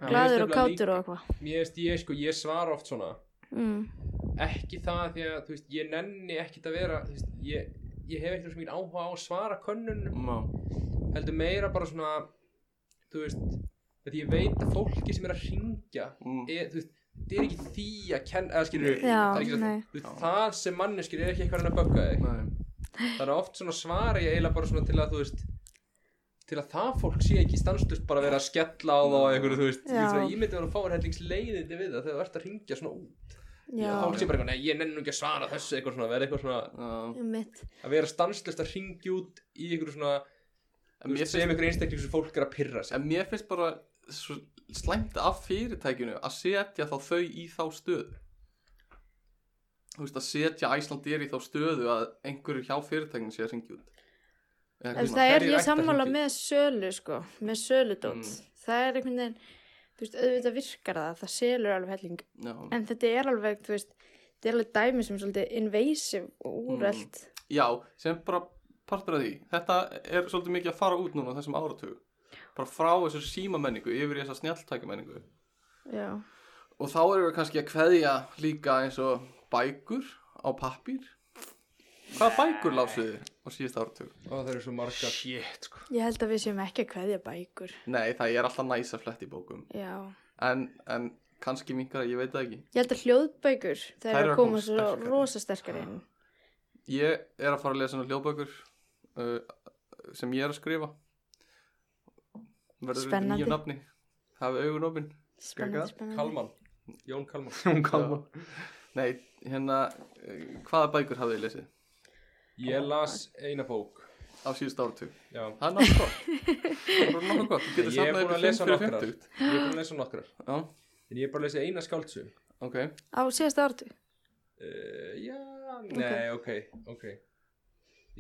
Já. glaður og Ég veist kátur nefnilega og eitthvað. mér veist ég sko, ég svara oft svona Mm. ekki það því að þú veist, ég nenni ekkit að vera þú veist, ég, ég hef ekkert svo mikið áhuga á að svara könnunum mm, heldur meira bara svona þú veist, að ég veit að fólki sem er að ringja mm, er, þú veist, það er ekki því að kenna eða skilur Nei. Já, það, er ekki, nei. þú veist, það sem manneskir er ekki eitthvað hann að bögga þig nei, þannig að oft svona svara ég eiginlega bara svona til að þú veist til að það fólk sé ekki stanslust bara að vera að skella á þá eða einhverju, þú veist, Já. ég veist, ég myndi vera að fá hellingsleiðindi við það þegar þú ert að ringja svona út Já, fólk sé bara eitthvað, nei, ég nenni nú ekki að svara þessu eitthvað svona, vera eitthvað svona uh, um mitt. að vera stanslust að ringja út í einhverju svona, en, mér þú veist, sem finnst, einhverju einstakling sem fólk er að pyrra sig en mér finnst bara svo slæmt af fyrirtækinu að setja þá þau í þá stöð þú veist að setja Æslandir í þá stöðu að einhverju hjá fyrirtækinu sé að syngja út Eða Ef hvernig það er hverjir ættu ég að sammála hringja? með sölu sko, með söludót Mm. það er einhvern veginn þú veist, auðvitað virkar það, það selur alveg helling maður- já. en þetta er alveg, þú veist þetta er alveg dæmi sem er svolítið invasive Mm. og úrelt já, sem bara partur af því þetta er svolítið mikið að fara út núna á þessum áratug bara frá þessu símamenningu yfir í þessa snjalltækjamenningu já, og þá erum við kannski að kveðja líka eins og bækur á pappír hvaða bækur lásuðu á síðust áratug? og það eru svo margar Shit, sko. ég held að við séum ekki að kveðja bækur Nei, það er alltaf næs að fletta í bókum já, en, en kannski mingar, ég veit það ekki ég held að hljóðbækur Þær það er eru að að koma koma svo sterkari. rosa sterkar inn Ég er að fara að lesa svona hljóðbækur uh, sem ég er að skrifa verður þetta Spennandi. nýju nafni hafi augun opinn spennandi, Geggjað. spennandi Kalman, Jón Kalman Jón Kalman. Nei, hérna, uh, hvaða bækur hafið þið lesið ég las eina bók á síðust áratug? já Það er náttúrulega gott Það er bara nokkuð gott, þú getur Ég safnað er búin að ykkur fimm lesa fyrir nokkrar. 50 ég er búin að lesa nokkrar Já, en ég er bara að lesa eina skáldsögu ok, á síðasta ártu uh, já, nei, ok, ok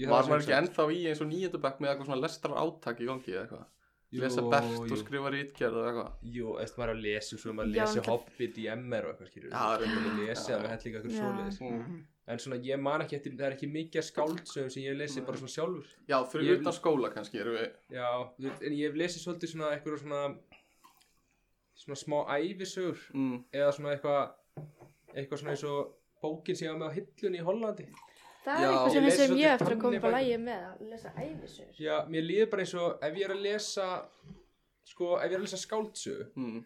Ég þarf var að maður hugsa. ekki ennþá í eins og nýjöndabæk með eitthvað svona lestrar átak í gangi eða eitthvað Jú, Lesa bert jú. og skrifa rítgerð og eitthvað Jú, eftir maður er að lesa um svo er maður að Já, lesa en- Hobbit í MR og eitthvað skilur Já, það er maður að undarlegt. lesa Já. það með hellinga eitthvað Já. svoleiðis Mm. en svona ég man ekki eftir, það er ekki mikið skáldsögum sem ég lesi bara svona sjálfur Já, fyrir Ég- utan skóla kannski erum við já, þú veist, en ég hef lesið svolítið svona eitthvað svona svona smá ævisögur mm. eða svona eitthvað eitthvað svona eins og bókin sem ég hafa með á hillunni í Hollandi það er Já, eitthvað ég sem, les sem ég svolítið eftir að koma þannig bara bækur. lægi með að lesa æfisur já, mér líður bara eins og ef ég er að lesa sko, ef ég er að lesa skáldsögu Mm.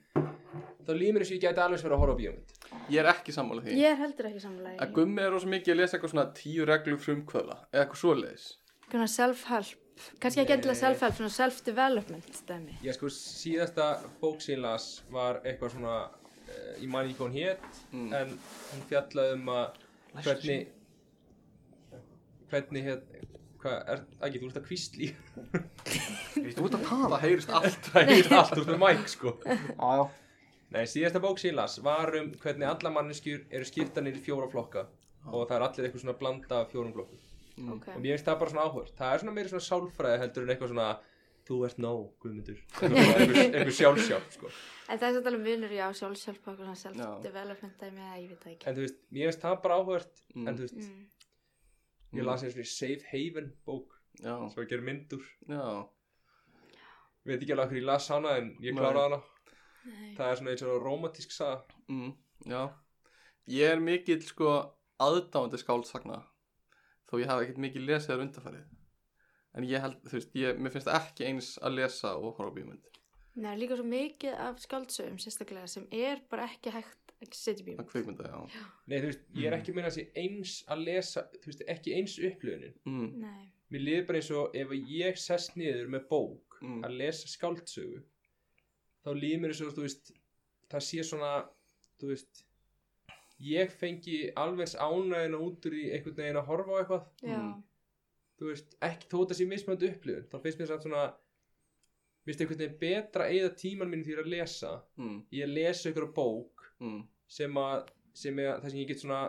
þá líður mér eins og ég gæti alveg verið að horfa á bíómynd Ég er ekki sammála því ég er heldur ekki samlega að gummi er rosa mikið að lesa eitthvað svona tíu reglur frumkvöla eða eitthvað svoleiðis Svona self-help, kannski ekki endilega self-help, svona self-development dæmi. Ég sko síðasta bók sem ég las var eitthvað svona uh, ég man ekki hvað hún hétt en hún fjallaði um að hvernig hvernig hétt hvað er, ekki þú ert að kvísli Þú ert að tala. það heyrist allt það er allt úr með mæk sko Já, já. Nei, síðasta bók sem ég las var um hvernig alla manneskjur eru skiptanir í fjóra flokka og það er allir eitthvað svona blanda af fjórum flokkum Mm. Ok. og mér finnst það bara svona áhört það er svona meiri svona sálfræði heldur en eitthvað svona þú ert nóg, Guðmundur eitthvað, eitthvað sjálfsjálf sko En það er svolítið alveg munur, já, sjálfsjálf og svona self-development dæmi, eða ég veit það ekki. en þú veist, mér finnst það bara áhört Mm. en þú veist, Mm. ég las eins og í Safe Haven bók já, sem að gera myndur já, veit ekki alveg okkur ég las hana en ég Nei. kláraði hana Nei. það er svona eins og romantísk saga mm, já ég er mikill sko aðdáandi skáldsagna þó ég hafi ekkert mikið lesið þar undarfærið en ég held, þú veist, ég, mér finnst ekki eins að lesa og horfa á bíómynd Nei, líka svo mikið af skáldsöfum sérstaklega sem er bara ekki hægt að setja í bíum. að kveikmynda, já Nei, þú veist, ég Mm. er ekki að meina að sé eins að lesa, þú veist, ekki eins upplöfunin mm, Nei. Mér liður bara eins og ef ég sest niður með bók Mm. að lesa skáldsögu þá liður mér eins og þú veist það sé svona þú veist ég fengi alveg ánægina út úr í einhvern veginn að horfa á eitthvað Já, Mm. þú veist ekki þó þetta sé mismönd upplifun þá finnst mér samt svona mér finnst einhvern veginn betra að eyða tíman minn fyrir að lesa mm, ég lesa ykkur bók mm, sem að sem er það sem ég get svona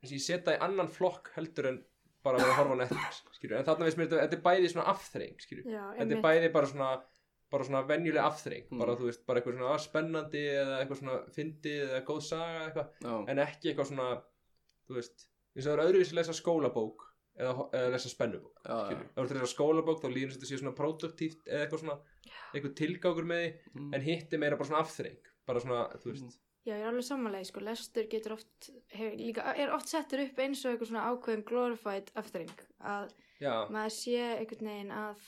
þess að ég setja í annan flokk heldur en bara að vera að horfa á Netflix skilur. en þarna veist mér þetta, þetta er bæði svona afþreng skilur. já, þetta er einmitt. bæði bara svona bara svona venjuleg afþreng Mm. bara þú veist, bara eitthvað svona ah, spennandi eða eitthvað svona fyndið eða góð saga eða eitthvað já, en ekki eitthvað svona þú veist, eins og það er öðruvísi að lesa skólabók eða, eða lesa spennubók já, já, skilur. ef þú ert að lesa skólabók þá líður eins og þetta sé svona produktíft eða eitthvað svona, eitthvað tilgákur með því mm, en hitt er meira bara svona afþreng bara svona, þú veist, Já, ég er alveg samanlega, sko, lestur getur oft, hefur, líka, er oft settur upp eins og einhver svona ákveðin glorified afturring. Að já, maður sé einhvern veginn að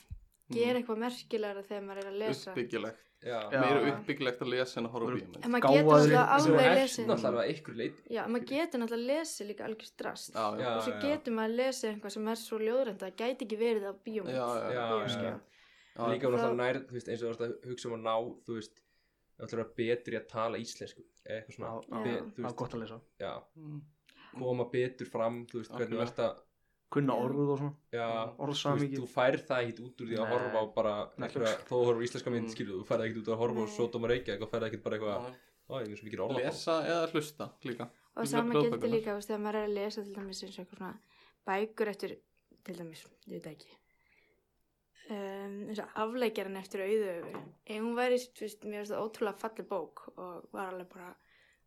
Mm. gera eitthvað merkilegra þegar maður er að lesa. uppbyggilegt já, Já. meira uppbyggilegt að lesa en að horfa á Þú- bíómynd En maður getur Gáfaðri- náttúrulega Þú alveg ert lesið. náttúrulega að ykkur leiti Já, maður getur náttúrulega lesið líka algjör drast. já, já, og svo getur maður að lesa eitthvað sem er svo ljóðrænt að það gæti ekki verið á bíómynd Já, já, já, Bíóskjá. já. já, Það- Líka hún alltaf nær, þú veist, eins og þú ert að hugsa um að ná, þú veist, þú ætlar að vera betri að tala íslensku, eða eitthvað svona, Já, já. be, þú Það er veist, gott að lesa. já, Mm, koma betur fram, þú veist, hvernig Algjörlega. þú ert að, Kunna Já. orðuð og svona. já, þú veist, Orðsamíki. þú færð það ekkit út úr því að Mm. Nei. horfa á bara, Nei. einhverja, þó að horfa á íslenska mynd, Mm. skilur, þú færð það ekkit út að horfa á Nei. Sodom og Reykjavík og færð ekkit bara eitthvað, já. á, ég er svo mikið orða lesa eða hlusta líka og Blö- sama blóðbökurnar. gildi líka þú veist, þegar maður er að lesa til dæmis eins og eitthvað svona bækur eftir til dæmis, ég veit það ekki um, eins og afleikjaran eftir auðu ef hún væri, þú veist, mér finnst það ótrúlega falli bók og var alveg bara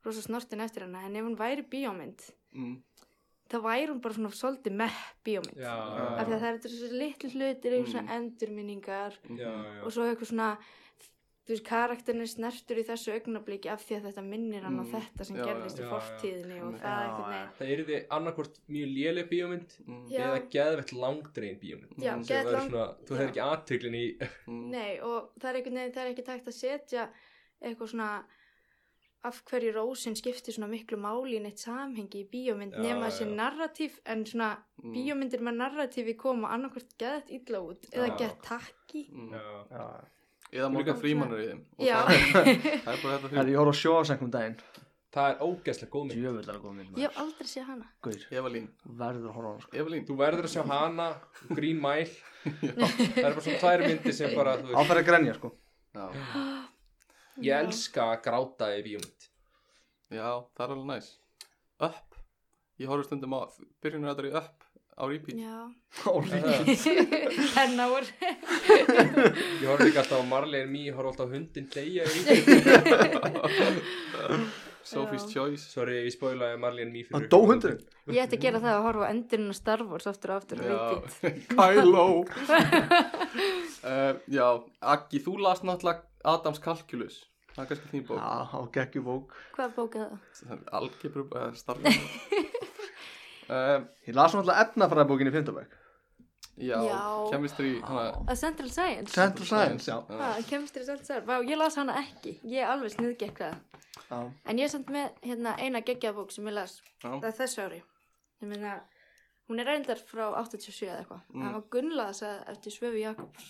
rosa snortin eftir hana, en ef hún væri bíómynd mm. þá væri hún bara svona svolítið með bíómynd já, af því að já, það eru þessi litlu hlutir eitthvað svona Mm. endurminningar já, og svo eitthvað svona þú veist, karakterin er snertur í þessu augnablíki af því að þetta minnir hann á Mm. þetta sem Já, gerðist já. í Já, já. fortíðinni og Já, það já. eitthvað neginn það er þið annarkvort mjög léleg bíómynd Mm. Já. eða geðvett langdrein bíómynd Já, Mm. sem geðveikt væri lang- svona, þú hefur já. ekki aðtöklin í Mm. Nei, og það er einhvern veginn, það er ekki tækt að setja eitthvað svona af hverju rósin skiptir svona miklu máli í neitt samhengi í bíómynd Já, nema já. þessi narratíf, en svona Mm. bíómyndir með narratífi koma annarkvort geðt illa út eða Já. gett takki Mm. já, Já. eða Líka- Morgan Freeman er í þeim Og Já, það, það er bara þetta Herri, þrjú ég horf á sjóasengum daginn. það er ógeðslega góð mynd Djöfullar góð mynd. ég maður. hef aldrei séð hana Gaur, Evalín, verður að horfa á hana, sko. Evalín þú verður að sjá hana, Green Mile það er bara svona tvær myndir sem bara þú veist, Áfæri að grenja, sko. já. ég elska að gráta í bíómynd já, það er alveg næs Up, ég horfði stundum á byrjunum þetta í Up á repeat Já, Óli. hennáur ég horf líka alltaf á Marley and Me ég horf alltaf á hundin deyja í Sophie's Já. Choice sorry, ég spólaði Marley and Me fyrir Hann dó hundurinn. Ég ætti að gera það að horfa á endurinn og Star Wars aftur og aftur og Já, repeat Kylo uh, Já, Aggi, þú las náttúrulega Adams Calculus Það er kannski þín Já, bók á geggjubók. Hvað bókið það? Algebru, uh, starfa uh, Ég las náttúrulega efnafræðabókinni í fimmtabæk. Já, Já. chemistry hana, A Central Science? Central Science, já. já. Ah. Ha, Chemistry Central Science, vá, ég las hana ekki Ég alveg sniðgekk það já. En ég er samt með hérna, eina geggjabók sem ég las Já. það er þessu ári ég meina, hún er reyndar frá 87 eða eitthvað, Mm. það var Gunnlaðarsaga eftir Svöfu Jakobs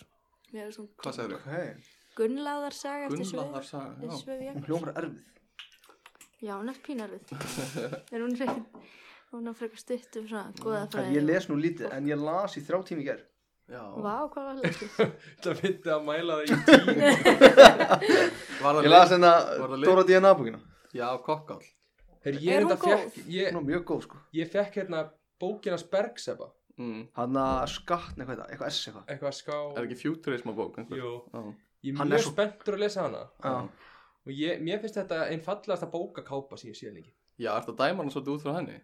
Mér er svona Hvað segirðu? Ok. Gunnlaðarsaga eftir Gunnlaðar Svöfu saga eftir já. Svöfu Hún Jakobs hljómar erfið. Já, hún er pínar við en hún er frekar hún er frekar stutt um svona góða Herri, fræði Ég les nú lítið, en ég las í þrjá tími í gerð. Já. Vá, hvað var lesið? það myndi að mæla það í tíu Var það Ég las lit- hérna Var það lit? Dóra DNA bókina. Já, kokkáll Her, Er ég, hún er góð? fekk, ég, Hún var mjög góð, sko. ég fekk hérna bókinas Bergsefa mm. Hann að skatt, eitthvað, þetta, eitthvað S eitthvað. eitthvað ská Er ekki futurism á bók einhver? Jú, Já. ég er Hann er mjög svo- spenntur að lesa hana Já. og ég, mér finnst þetta einn fallegasta bókakápa sem ég sé lengi Já, ertu að dæma hana svolítið út frá henni?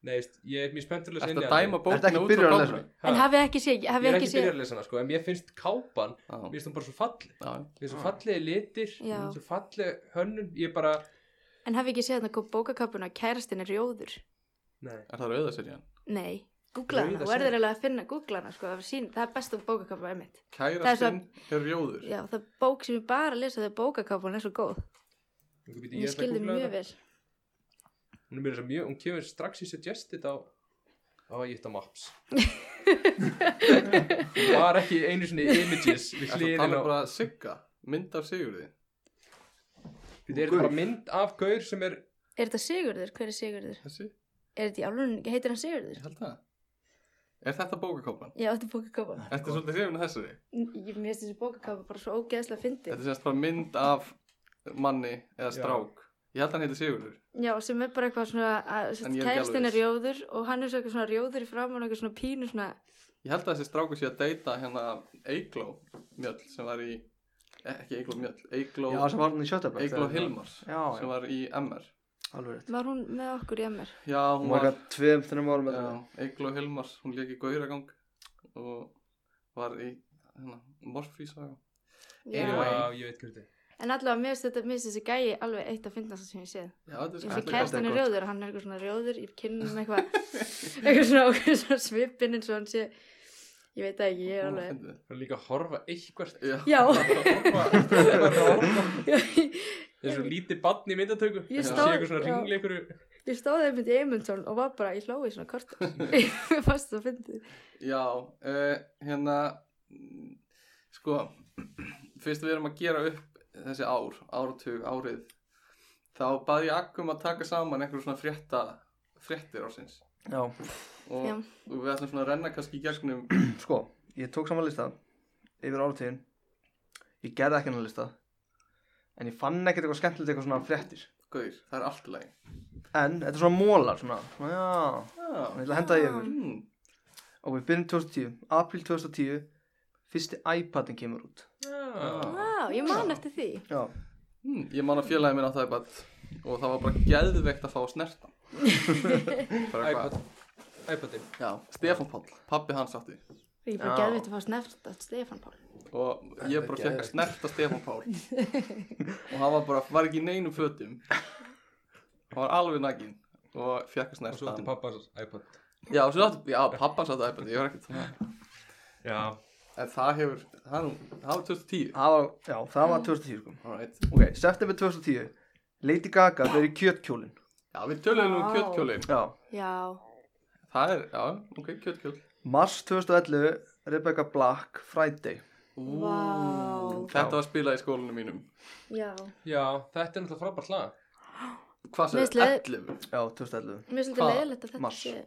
Nei, veist, ég er mjög spenntur að lesa Ertu inn í að hana. dæma Ertu bókina ekki út frá byrjar að kápunni? lesa? En Ha, hafið ekki séð, Ég hafið er ekki ekki séð byrjar að lesa hana sko, en mér finnst kápan Já, mér finnst hún bara svo falleg já, mér finnst svo falleg litir, Já. svo falleg hönnun ég bara, En hafið ekki séð þannig bókakapun að kærastin er rjóður nei, er það rauðaserjan? Nei, googla hana, Rauða þú verður serið. eiginlega að finna googla hana, sko, það, var sín, það er besta bókakápa einmitt. Kærastinn er rjóður Já, það er bók sem ég bara lesa þegar bókakápan er svo góð. ég, Ég, ég skilði mjög vel. hún, er meira svo mjög, hún kemur strax í suggested á á ég hitt á Maps hún var ekki einu sinni í images við Ertu að hliðin tala á um bara sigga? Mynd af Sigurði? þetta er bara mynd af gaur sem er Er þetta Sigurður? Hver er Sigurður? Þessi? Er þetta í álun, heitir hann Ég Sigurður? held það Er þetta bókakápan? Já, þetta er bókakápan. Sko- Ertu svolítið hrifin að þessari? Ég mér finnst þessi bókakápa bara svo ógeðslega fyndið. Þetta er semst bara mynd af manni eða Já. strák Ég held að hann heiti Sigurður Já, sem er bara eitthvað svona, að- sem En ég er ekki kærastin alveg er rjóður og hann er svo eitthvað svona rjóður í framann og eitthvað svona pínu svona, Ég held að þessi stráku sé að deyta hérna Eigló Mjöll sem var í eh, ekki Eigló Mjöll, Eigló Já, sem var hann í sjötabæk. Eigló Hilmars Já, já. sem var í MR Alveg rétt. var hún með okkur í MR? Já, hún Hún var var eitthvað tveim, þreim árum með já, Eigló Hilmars, hún leik í Gauragang og var í hérna, Morfísaga Já. Anyway. já, ég veit hvernig En allavega, mér finnst þetta, mér finnst þessi gæi alveg eitt að finna sem ég séð. Já, þetta er Ég Þetta finnst er- að skemmtilegt. kærastan- kærstin þetta er er gott. rjóður, hann er eitthvað svona rjóður, ég kynna um eitthvað, eitthvað svona, eitthvað svona svipinn eins og hann sé, ég veit það ekki, ég er Hún var alveg, fyndið. það er líka að horfa eitthvert Já. já, það ég, er svo lítið bann í myndatöku Ég sé stóð- eitthvað svona já. ringli einhverju ég stóði einmitt í Eymundsson og var bara, ég hlói svona kort, ég fannst það að fyndi, Já, uh, hérna mm, sko fyrst við erum að gera upp þessi ár, áratug, árið þá bað ég Akkum að taka saman einhverjum svona frétta fréttir ársins Já. og, Já. og við ætlum svona að renna kannski í gegnum Sko, ég tók saman lista yfir áratíðin Ég gerði ekki hennar lista en ég fann ekkert eitthvað skemmtilegt eitthvað svona fréttir Gauður, það er allt í lagi en þetta er svona mólar svona, svona já, ég Já, ætla að henda því yfir mm, og við byrjum 2010, april 2010 fyrsti iPadin kemur út Já. Vá, ég man eftir því. já, mm, Ég man að félagi minn á það iPad og það var bara geðveikt að fá að snerta Bara iPad eitthvað iPadin Já, Stefán Páll, pappi hans átti Ég er bara Já. geðvitt að fá sneft að Stefán Pál. og ég bara Þetta er fekk að geðveikt. snerta Stefán Pál og hann var bara, var ekki í neinum fötum hann var alveg nakin og fekk að og svo snerta átti hann pappas iPad Já, og svo átti, já, pappan satt að iPad, ég var ekkert svona Já En það hefur, það er nú, það var 2010 það var, já, það var 2010 sko. Alright. ok, september 2010 Lady Gaga fyrir kjötkjólin Já, við tölum nú um Vá. kjötkjólin já, Já, Það er, já, ok, kjötkjól mars 2011 Rebecca Black, Friday Ú, Vá. Þetta var spilað í skólanum mínum já. Já, þetta er náttúrulega frábært lag Hvað Mér sagði, slið- 11 já, 2011 Mér er svolítið Hvað? leiðilegt að þetta Mars. sé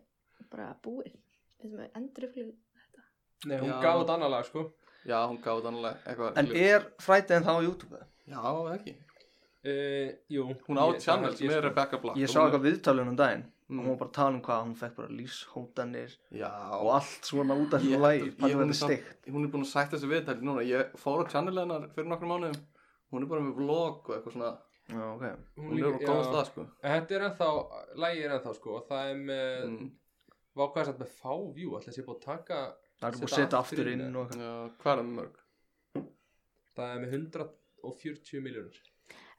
bara búið. Þetta með endurflug. Nei, hún Já. gaf út annað lag sko Já, hún gaf þetta annarlega eitthvað en er Friday en þá á YouTube eða? Já, eða ekki uh, Jú Hún á Ég- það channels held ég, með sko. Rebecca Black ég og hún sá er- eitthvað viðtalunum daginn Mm. og hún var bara að tala um hvað hún fekk bara lífshótanir og Já, allt svona út af Ég- þessu lagi ég- Pallur hún þetta er stygg hún er búin að sætta þessi viðtæli núna Ég fór á channel hennar fyrir nokkrum mánuðum Hún er bara með vlog og eitthvað svona já, ok Hún er bara líka- góð já. stað, sko En Þetta er ennþá, lagið er ennþá sko og það er með, mm. Mm, vákvæðis að með fá view alltaf sé búið að taka, það er búin að Setja setja aftur aftur inn, inn og eitthvað. Já, hvað er það mörg? það er með 140 miljónur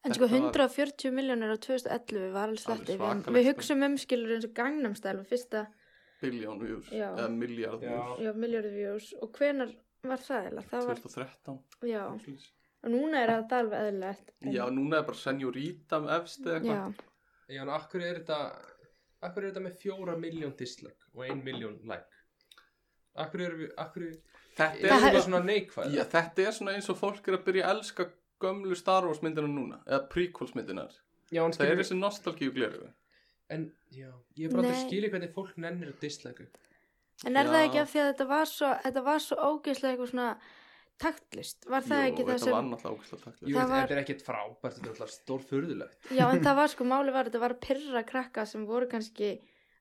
En sko Þetta var- 140 miljónir á 2011 var alveg Alveg sletti. Við, svakalegt, við sko. hugsum um skilur eins og gangnamstæl og fyrsta Biljón views Já. Eða miljard views já, miljóðu views og hvenar var það eða? Það var, 2013 já, eitthvað. og núna er það alveg eðlilegt. en- Já, núna er bara senjúríta efst eða já, eitthvað Já, en akkur er þetta akkur er þetta með 4 miljón dislike og 1 miljón like Akkur er við, akkur er Þetta Það þetta hef- svona neikvæð Já, þetta er svona eins og fólk er að byrja að elska gömlu Star Wars myndina núna eða prequels myndina já en það er skilur þessi nostalgíu gleru en, já, ég er bara aldrei Nei. að skilja hvernig fólk nennir að dislike En er það Já. ekki af því að þetta var svo, þetta var svo ógeðslega eitthvað svona taktlist? Var það ekki það þetta sem, var náttúrulega ógæslega Jú, taktlega Það þetta var- þetta er ekkert frábært, þetta er alltaf stórfurðulegt já en það var sko máli var, þetta var að pyrra krakka sem voru kannski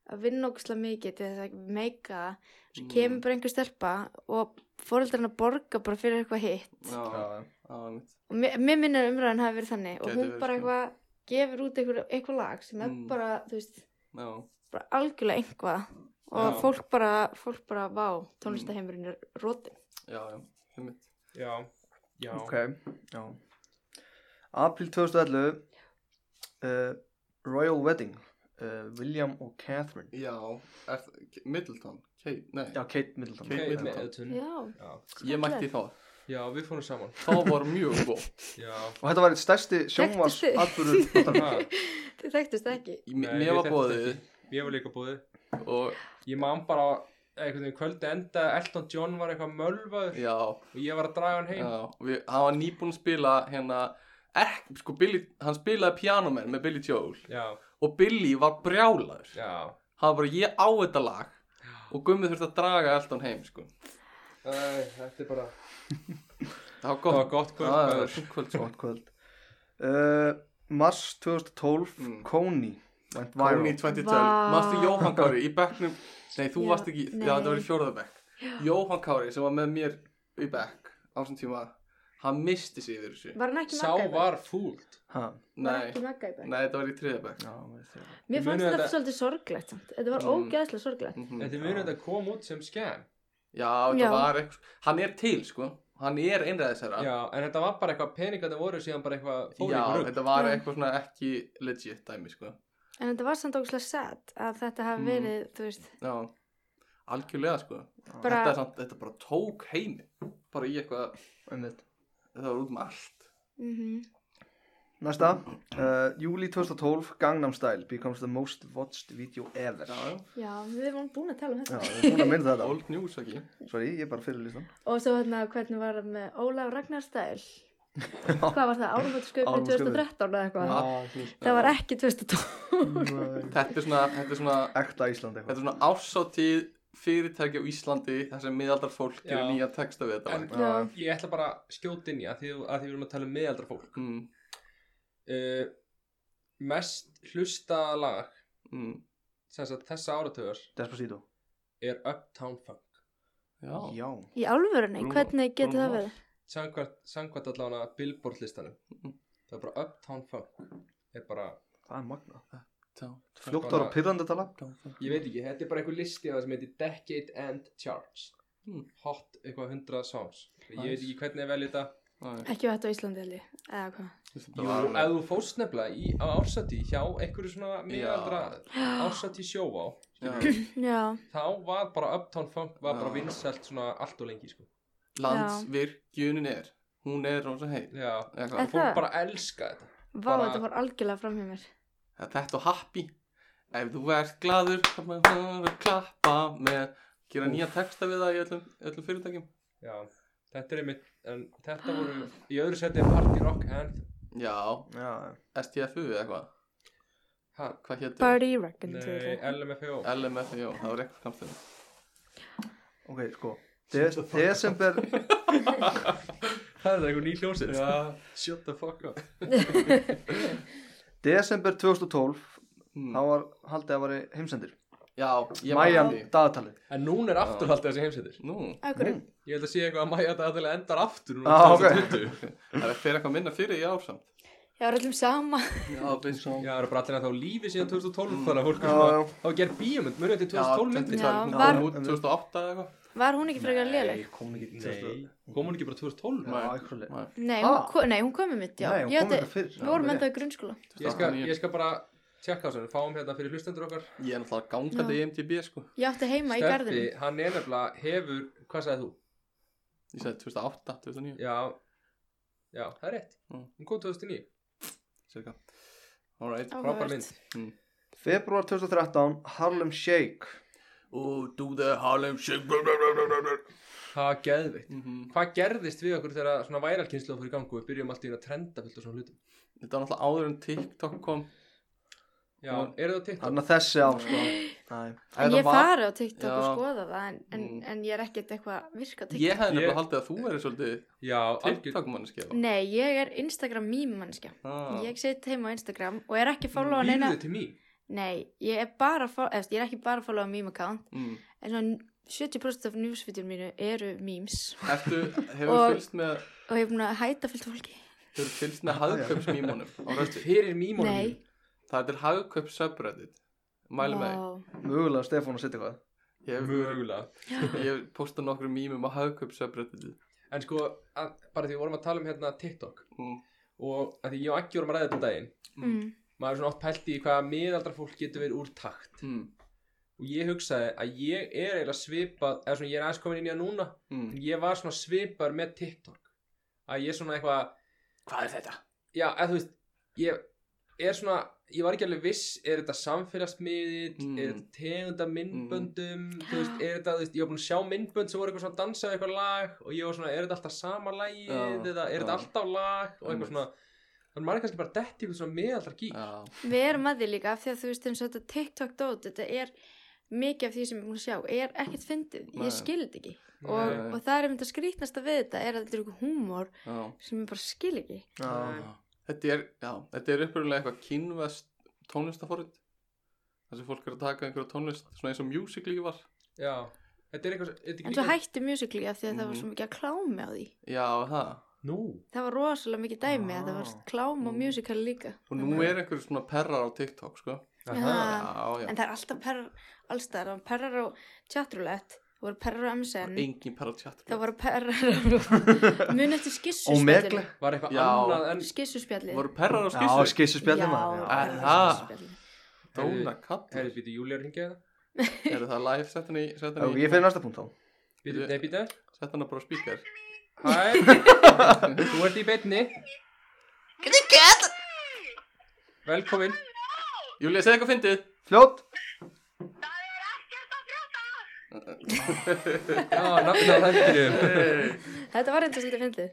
að vinna ógeðslega mikið til þess að meika það. Svo Mm. kemur bara einhver stelpa og fóreldrarna borga bara fyrir eitthvað hitt. já, Já, já, einmitt. Og mér, mér minnir að umræðan hafi verið þannig og Gæti hún verið, bara sko. eitthvað gefur út eitthvað, eitthvað lag sem er Mm. bara, þú veist, já, bara algjörlega einhvað og Já. fólk bara, fólk bara, vá, tónlistaheimurinn er rótin. já, já, einmitt. Já, já ok já. april 2011 uh, Royal Wedding uh, William og Catherine já er, K- Middleton, Kate, nei já, Kate Middleton Kate Kate Middleton. Middleton. Já, Já. ég mætti þá, já, við fórum saman þá var mjög góð Já, og þetta var eitt stærsti sjónvars þið? atbyrður það, þið þekktust það ekki. Í- Nei, mér ég var þekktist bóðið ég var líka búið og Ég man bara einhvern veginn kvöldi enda Elton John var eitthvað mölvaður já, og ég var að draga hann heim já við, hann var nýbúin að spila hérna ekki, sko Billy, hann spilaði pianomenn með Billy Joel Já, og Billy var brjálaður já það var bara ég á þetta lag og Gummi þurfti að draga Elton heim sko. Æ, Þetta er bara það var Það gott var gott kvöld það var maður. fínt kvöld sko. gott kvöld uh, mars 2012 Mm. Kony went viral Kóni 2012, Vá. maður Jóhann Kári í bekknum nei þú Já, varst ekki, nei. já þetta var í fjórða bekk Jóhann Kári sem var með mér í bekk á þessum tíma hann misti sig yfir þessu Var hann ekki Sá magga í bekk? var fúlt ha, Var nei, ekki magga í bekk? nei þetta var í þriða bekk já, maður þegar. Mér Ég fannst muni þetta þetta- svolítið sorglegt samt. Þetta var Mm. ógeðslega sorglegt. Mhm. Þetta munið þetta kom út sem skem já þetta Já. var eitthvað hann er til sko, hann er einræðisera Já, en þetta var bara eitthvað peningarnir voru síðan bara eitthvað fór já ykkur upp þetta var Já. eitthvað svona ekki legit dæmi sko En þetta var samt ógeðslega sad að þetta hafi Mm. verið, þú veist, já, algjörlega sko bara, þetta, er samt, þetta bara tók heimi bara í eitthvað, Einmitt. þetta var út með allt mhm, næsta uh, júli 2012 Gangnam Style becomes the most watched video ever já, já, já, við vorum búin að tala um Já, þetta. ég er búin að mynda þetta old news ekki Sorry, ég er bara fyrir listan Og svo hérna, hvernig var það með Ólaf Ragnarstæl? Hvað var það? Árumvöldsköpun Áramótaskaupið. 2013 eða eitthvað? Já. Það var ekki 2012. þetta er svona, þetta er svona, Ekta Ísland þetta eitthvað er svona ásáttíð fyrirtæki á Íslandi þar sem miðaldar fólk gerir Já. nýja texta við þetta En lag. Já. ég ætla bara að skjóta inn í að því að því við erum að tala um meðaldra fólk mm, uh, mest hlustaða lag mm. sem sagt þessa áratugur Despacito er Uptown Funk Já, Já Í alvörunni, Bruno- hvernig getur Bruno það verið? samkvæmt, samkvæmt allavega Billboard listanum Mhm. það er bara Uptown Funk er bara, Það er magna þá Fljótt ára bara- pyrrandi tala ég veit ekki, þetta er bara einhver listi að það sem heitir Decade End Charts Mm. hot eitthvað 100 songs ég Nice. veit ekki hvernig ég velja þetta Ekki hægt á Íslandi held ég, eða hvað? Jú, ef þú fórst nefnilega í á ársati hjá einhverju svona miðaldra ársati sjóvá Já, þá var bara Uptown Funk var bara Já. vinsælt svona allt og lengi sko. Landsvirkjunin er Hún er rosa heil já, Eða Er hvað? fólk það? bara elska þetta vá, Bara- þetta fór algjörlega fram hjá mér. Þetta og happy Ef þú ert gladur þá má þú fara að klappa með gera nýja texta við það í öllum, öllum fyrirtækjum já, þetta er einmitt en þetta voru í öðru seti er Party Rock Anthem Já, Já STFU eða hvað ha, Hvað hétu? Party Reckon, nei, LMFAO LMFAO, E það var eitthvað kampstæðin Ok, sko Des Desember það er eitthvað ný hljómsið Já. shut the fuck up Desember 2012 Hmm. Þá var haldið að veri heimsendir Já, ég var Mæjan að því dagatalið en núna er afturhaldið þessi heimsetir Nú, Akkur, Mm. ég held að sé eitthvað að mæja þetta aðeins endar aftur núna Ah, ok. 2020 það er fyrir eitthvað minna fyrir í ár samt ég var öllum sama. Já, beinst já, það eru bara allir að þá lífi síðan 2012 þannig að fólk Mm. Já, er svona já. þá gerð bíómynd, mörgum þetta er 2012 myndin Já, Hún var- kom út 2008 eða eitthvað Var hún ekki frekar léleg? kom ekki Nei, kom hún ekki bara 2012? Já, eitthvað leið Nei. Nei, Ha? hún, ko- nei, hún komið mitt, já. Nei, hún Ég kom átti- eitthvað fyrr Við vorum Já, enda í grunnskóla. Ég skal, 2009. ég skal bara tjekka þessu, við fáum hérna fyrir hlustendur okkar Ég er náttúrulega gangandi í MTB sko Ég átti heima í garðinu. hann er nefnilega hefur, hvað sagði þú? Ég segi 2008, 2009 Já, já, það er rétt Mm. Hún kom 2009, cirka Alright frábær Áhugavert. mynd Februar 2013 Harlem Shake Oh, do the Harlem Shake blah, blah, blah, blah, blah. Það er geðveikt Mhm. Hvað gerðist við okkur þegar svona væralkynslu fyrir gangu og við byrjum alltaf í að trenda fullt og svona hlutum Þetta var náttúrulega áður en TikTok kom Já, Mm. er það TikTok? Þannig að þessi ár sko Nei En Þetta ég var- fari á TikTok og Já. skoða það, en, en, Mm. en ég er ekkert eitthvað að virka á TikTok. Ég hefði Ég- nefnilega haldið að þú verið svolítið Já, algjör TikTok manneskja Nei, ég er Instagram meme mannskja. Mm, Ah. Ég set heima á Instagram og er ekki að followa neina. Lýðu til mín Nei, ég er bara að followa, ég er ekki bara að followa meme account. mm. En svona 70% af newsfeedjum mínu eru memes Ertu, hefur Og- fylgst með og ég er búin að hæta fyllt fólki. Hefur fylgst með hagkaupsmímónum á röstu Fyrir mímónum Nei. Það er hagkaups subreddit Mæli með því. Vá. Mögulega Stefán að setja eitthvað Ég hef- Mögulega Ég posta nokkru mýmum á hagkaups subreddit En sko, að, bara því við vorum að tala um hérna TikTok Mm. og að því ég og Akki vorum að ræða þetta um daginn Mm. maður er svona oft pælt í hvað miðaldra fólk getur verið úr takt mm. og ég hugsaði að ég er eiginlega svipað eða svona ég er aðeins komin inn í að núna en Mm. ég var svona svipar með TikTok að ég svona eitthvað Hvað er þetta? já, eða þú veist ég er svona ég var ekki alveg viss er þetta samfélagsmiðill Mm. er þetta tegunda myndböndum þú veist, er þetta, þú veist, ég var búin að sjá myndbönd sem voru eitthvað svona að dansa við eitthvað lag og ég var svona, er þetta alltaf sama lagið Já, eða er þetta já. alltaf lag og Einmitt. eitthvað svona þannig maður er kannski bara detti ykkur svona miðaldra gík Já, Við erum að því líka af því að þú veist eins og þetta TikTok dót, þetta er mikið af því sem ég er búin að sjá, er ekkert fyndið, Nei. ég skildi ekki og, Nei. og það er einmitt að skrýtnasta við þetta er að þetta er eitthvað húmor já sem ég bara skil ekki Já, Þetta er, já, þetta er upprunalega eitthvað kynvest tónlistaforrið þar sem fólk er að taka einhverja tónlist svona eins og Musical.ly var já, þetta er eitthvað þetta er en svo líka- hætti musically af því að það var Mhm. svo mikið að klámi á því Já, það nú, það var rosalega mikið dæmi að það var Ah. klám á Mm. musical líka Og nú er einhverju svona perrar á TikTok, sko Aha. Já, já en það er alltaf perrar allstaðar, það var perrar á chatrulett, það voru perrar á MSN Engin perrar á sko. tjátt það voru perrar á mun eftir Omegle. skissuspjallinu var eitthvað Já. annað en skissuspjallinu Voru perrar á já skissu? skissuspjallið maður já. Aha. Dóna Herri, kallar býtu, Júlia ringið það Eru það live? Sett hann í, sett Já, hann í Ég fyrir næsta punkt þá Býtu, nei, býtu Sett hann bara á speaker Hæ Þú ert í beinni Velkomin Júlia, segðu eitthvað fyndið Fljótt Já, nafna þættirum þetta var eitthvað svolítið fyndið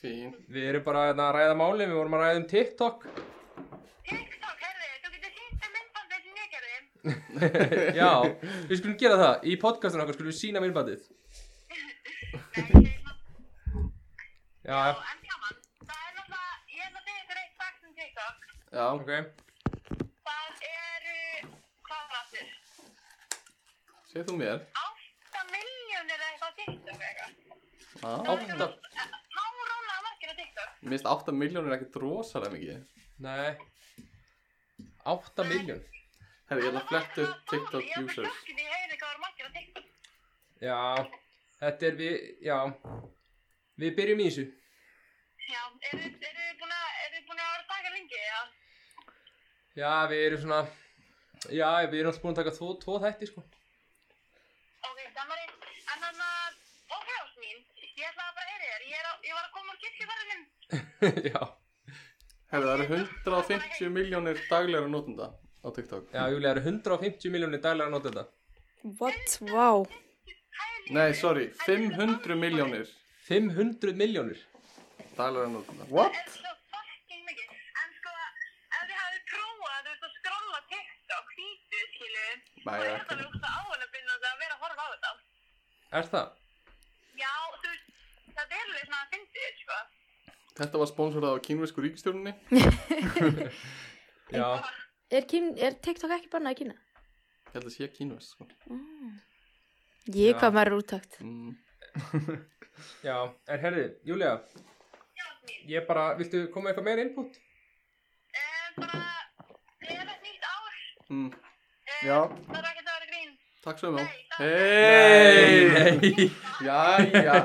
Fín Við erum bara hérna, að ræða málin Við vorum að ræða um TikTok Já, við skulum gera það Í podcastinu okkar skulum við sína myndbandið Já, Já, Ok, Það eru, hvað var aftur? segð þú mér 8 miljónir eða eitthvað á TikTok eða eitthvað. Já, átta Má rólega margir á TikTok. mér finnst 8 miljónir ekkert rosalega mikið Nei Átta miljón Herri, ég ætla að flettu upp Það var TikTok bara svona, users Ég var sjokkið, ég heyrði hvað var margir á TikTok. Já, þetta er við, já Við byrjum í þessu Já, eru eru þið búin að, eru þið búin að vera að taka lengi eða? Já, við erum svona Já, við erum alltaf búin að taka tvo, tvo þætti sko Ok, samari, en þannig að, ok ás mín, ég ætlaði bara að heyri þér, ég, er á- ég var að koma úr kirkjuferðinum. Já, Herri, það eru 150 miljónir daglegur notenda á TikTok já, Júli, það eru 150 miljónir daglega að nota þetta What? Wow. Nei, sorry, 500 miljónir 500 miljónir daglegur notenda Það What? er svo fucking mikið, en sko, ef þið hafið prófað, þú veist, að skrolla TikTok, hvítu, skilu, Nei, og ég er ekki. þetta alveg ógeðslega áhugavert að vera að horfa á þetta. Er það? Já, þú veist, það er alveg svona að fyndi þér, sko. Þetta var sponsorað á kínvesku ríkistjórnunni Já, Er, kín, er TikTok ekki bannað í Kína? Ég held að sé kínves sko. Ég Já. hvað maður er úttakt. mm. já, en herri, Júlia Ég bara, viltu koma með eitthvað meira input? Eh, bara, ég er þetta nýtt ár. Mm. Eh, Já. Það er ekkert að vera grín. Takk svo mjög Nei, Hei nei Jæja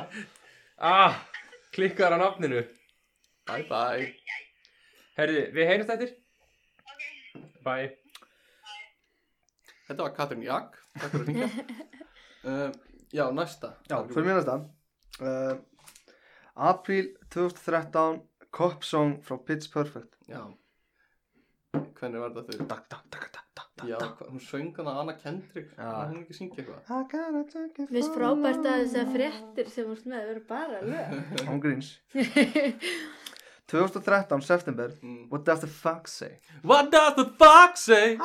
Ah, klikkaðar á nafninu Bye bye Herri, við heyrjumst eftir Ok, Bye Þetta var Katrin Jakk Takk fyrir að hringa uh, Já, næsta Já, fyrir mér næsta uh, Apríl 2013 Cop song frá Pitch Perfect Já Hvernig var þetta þau? Dag, dag, dag, dag, dag, dag Já, hva- hún söng hana Anna Kendrick Já. Var Hún ekki að syngja eitthvað I gotta take it Mér finnst for frábært að love. þess að fréttir sem úrst með verður bara lög. Án gríns 2013, september mm. What does the fuck say? What does the fox say?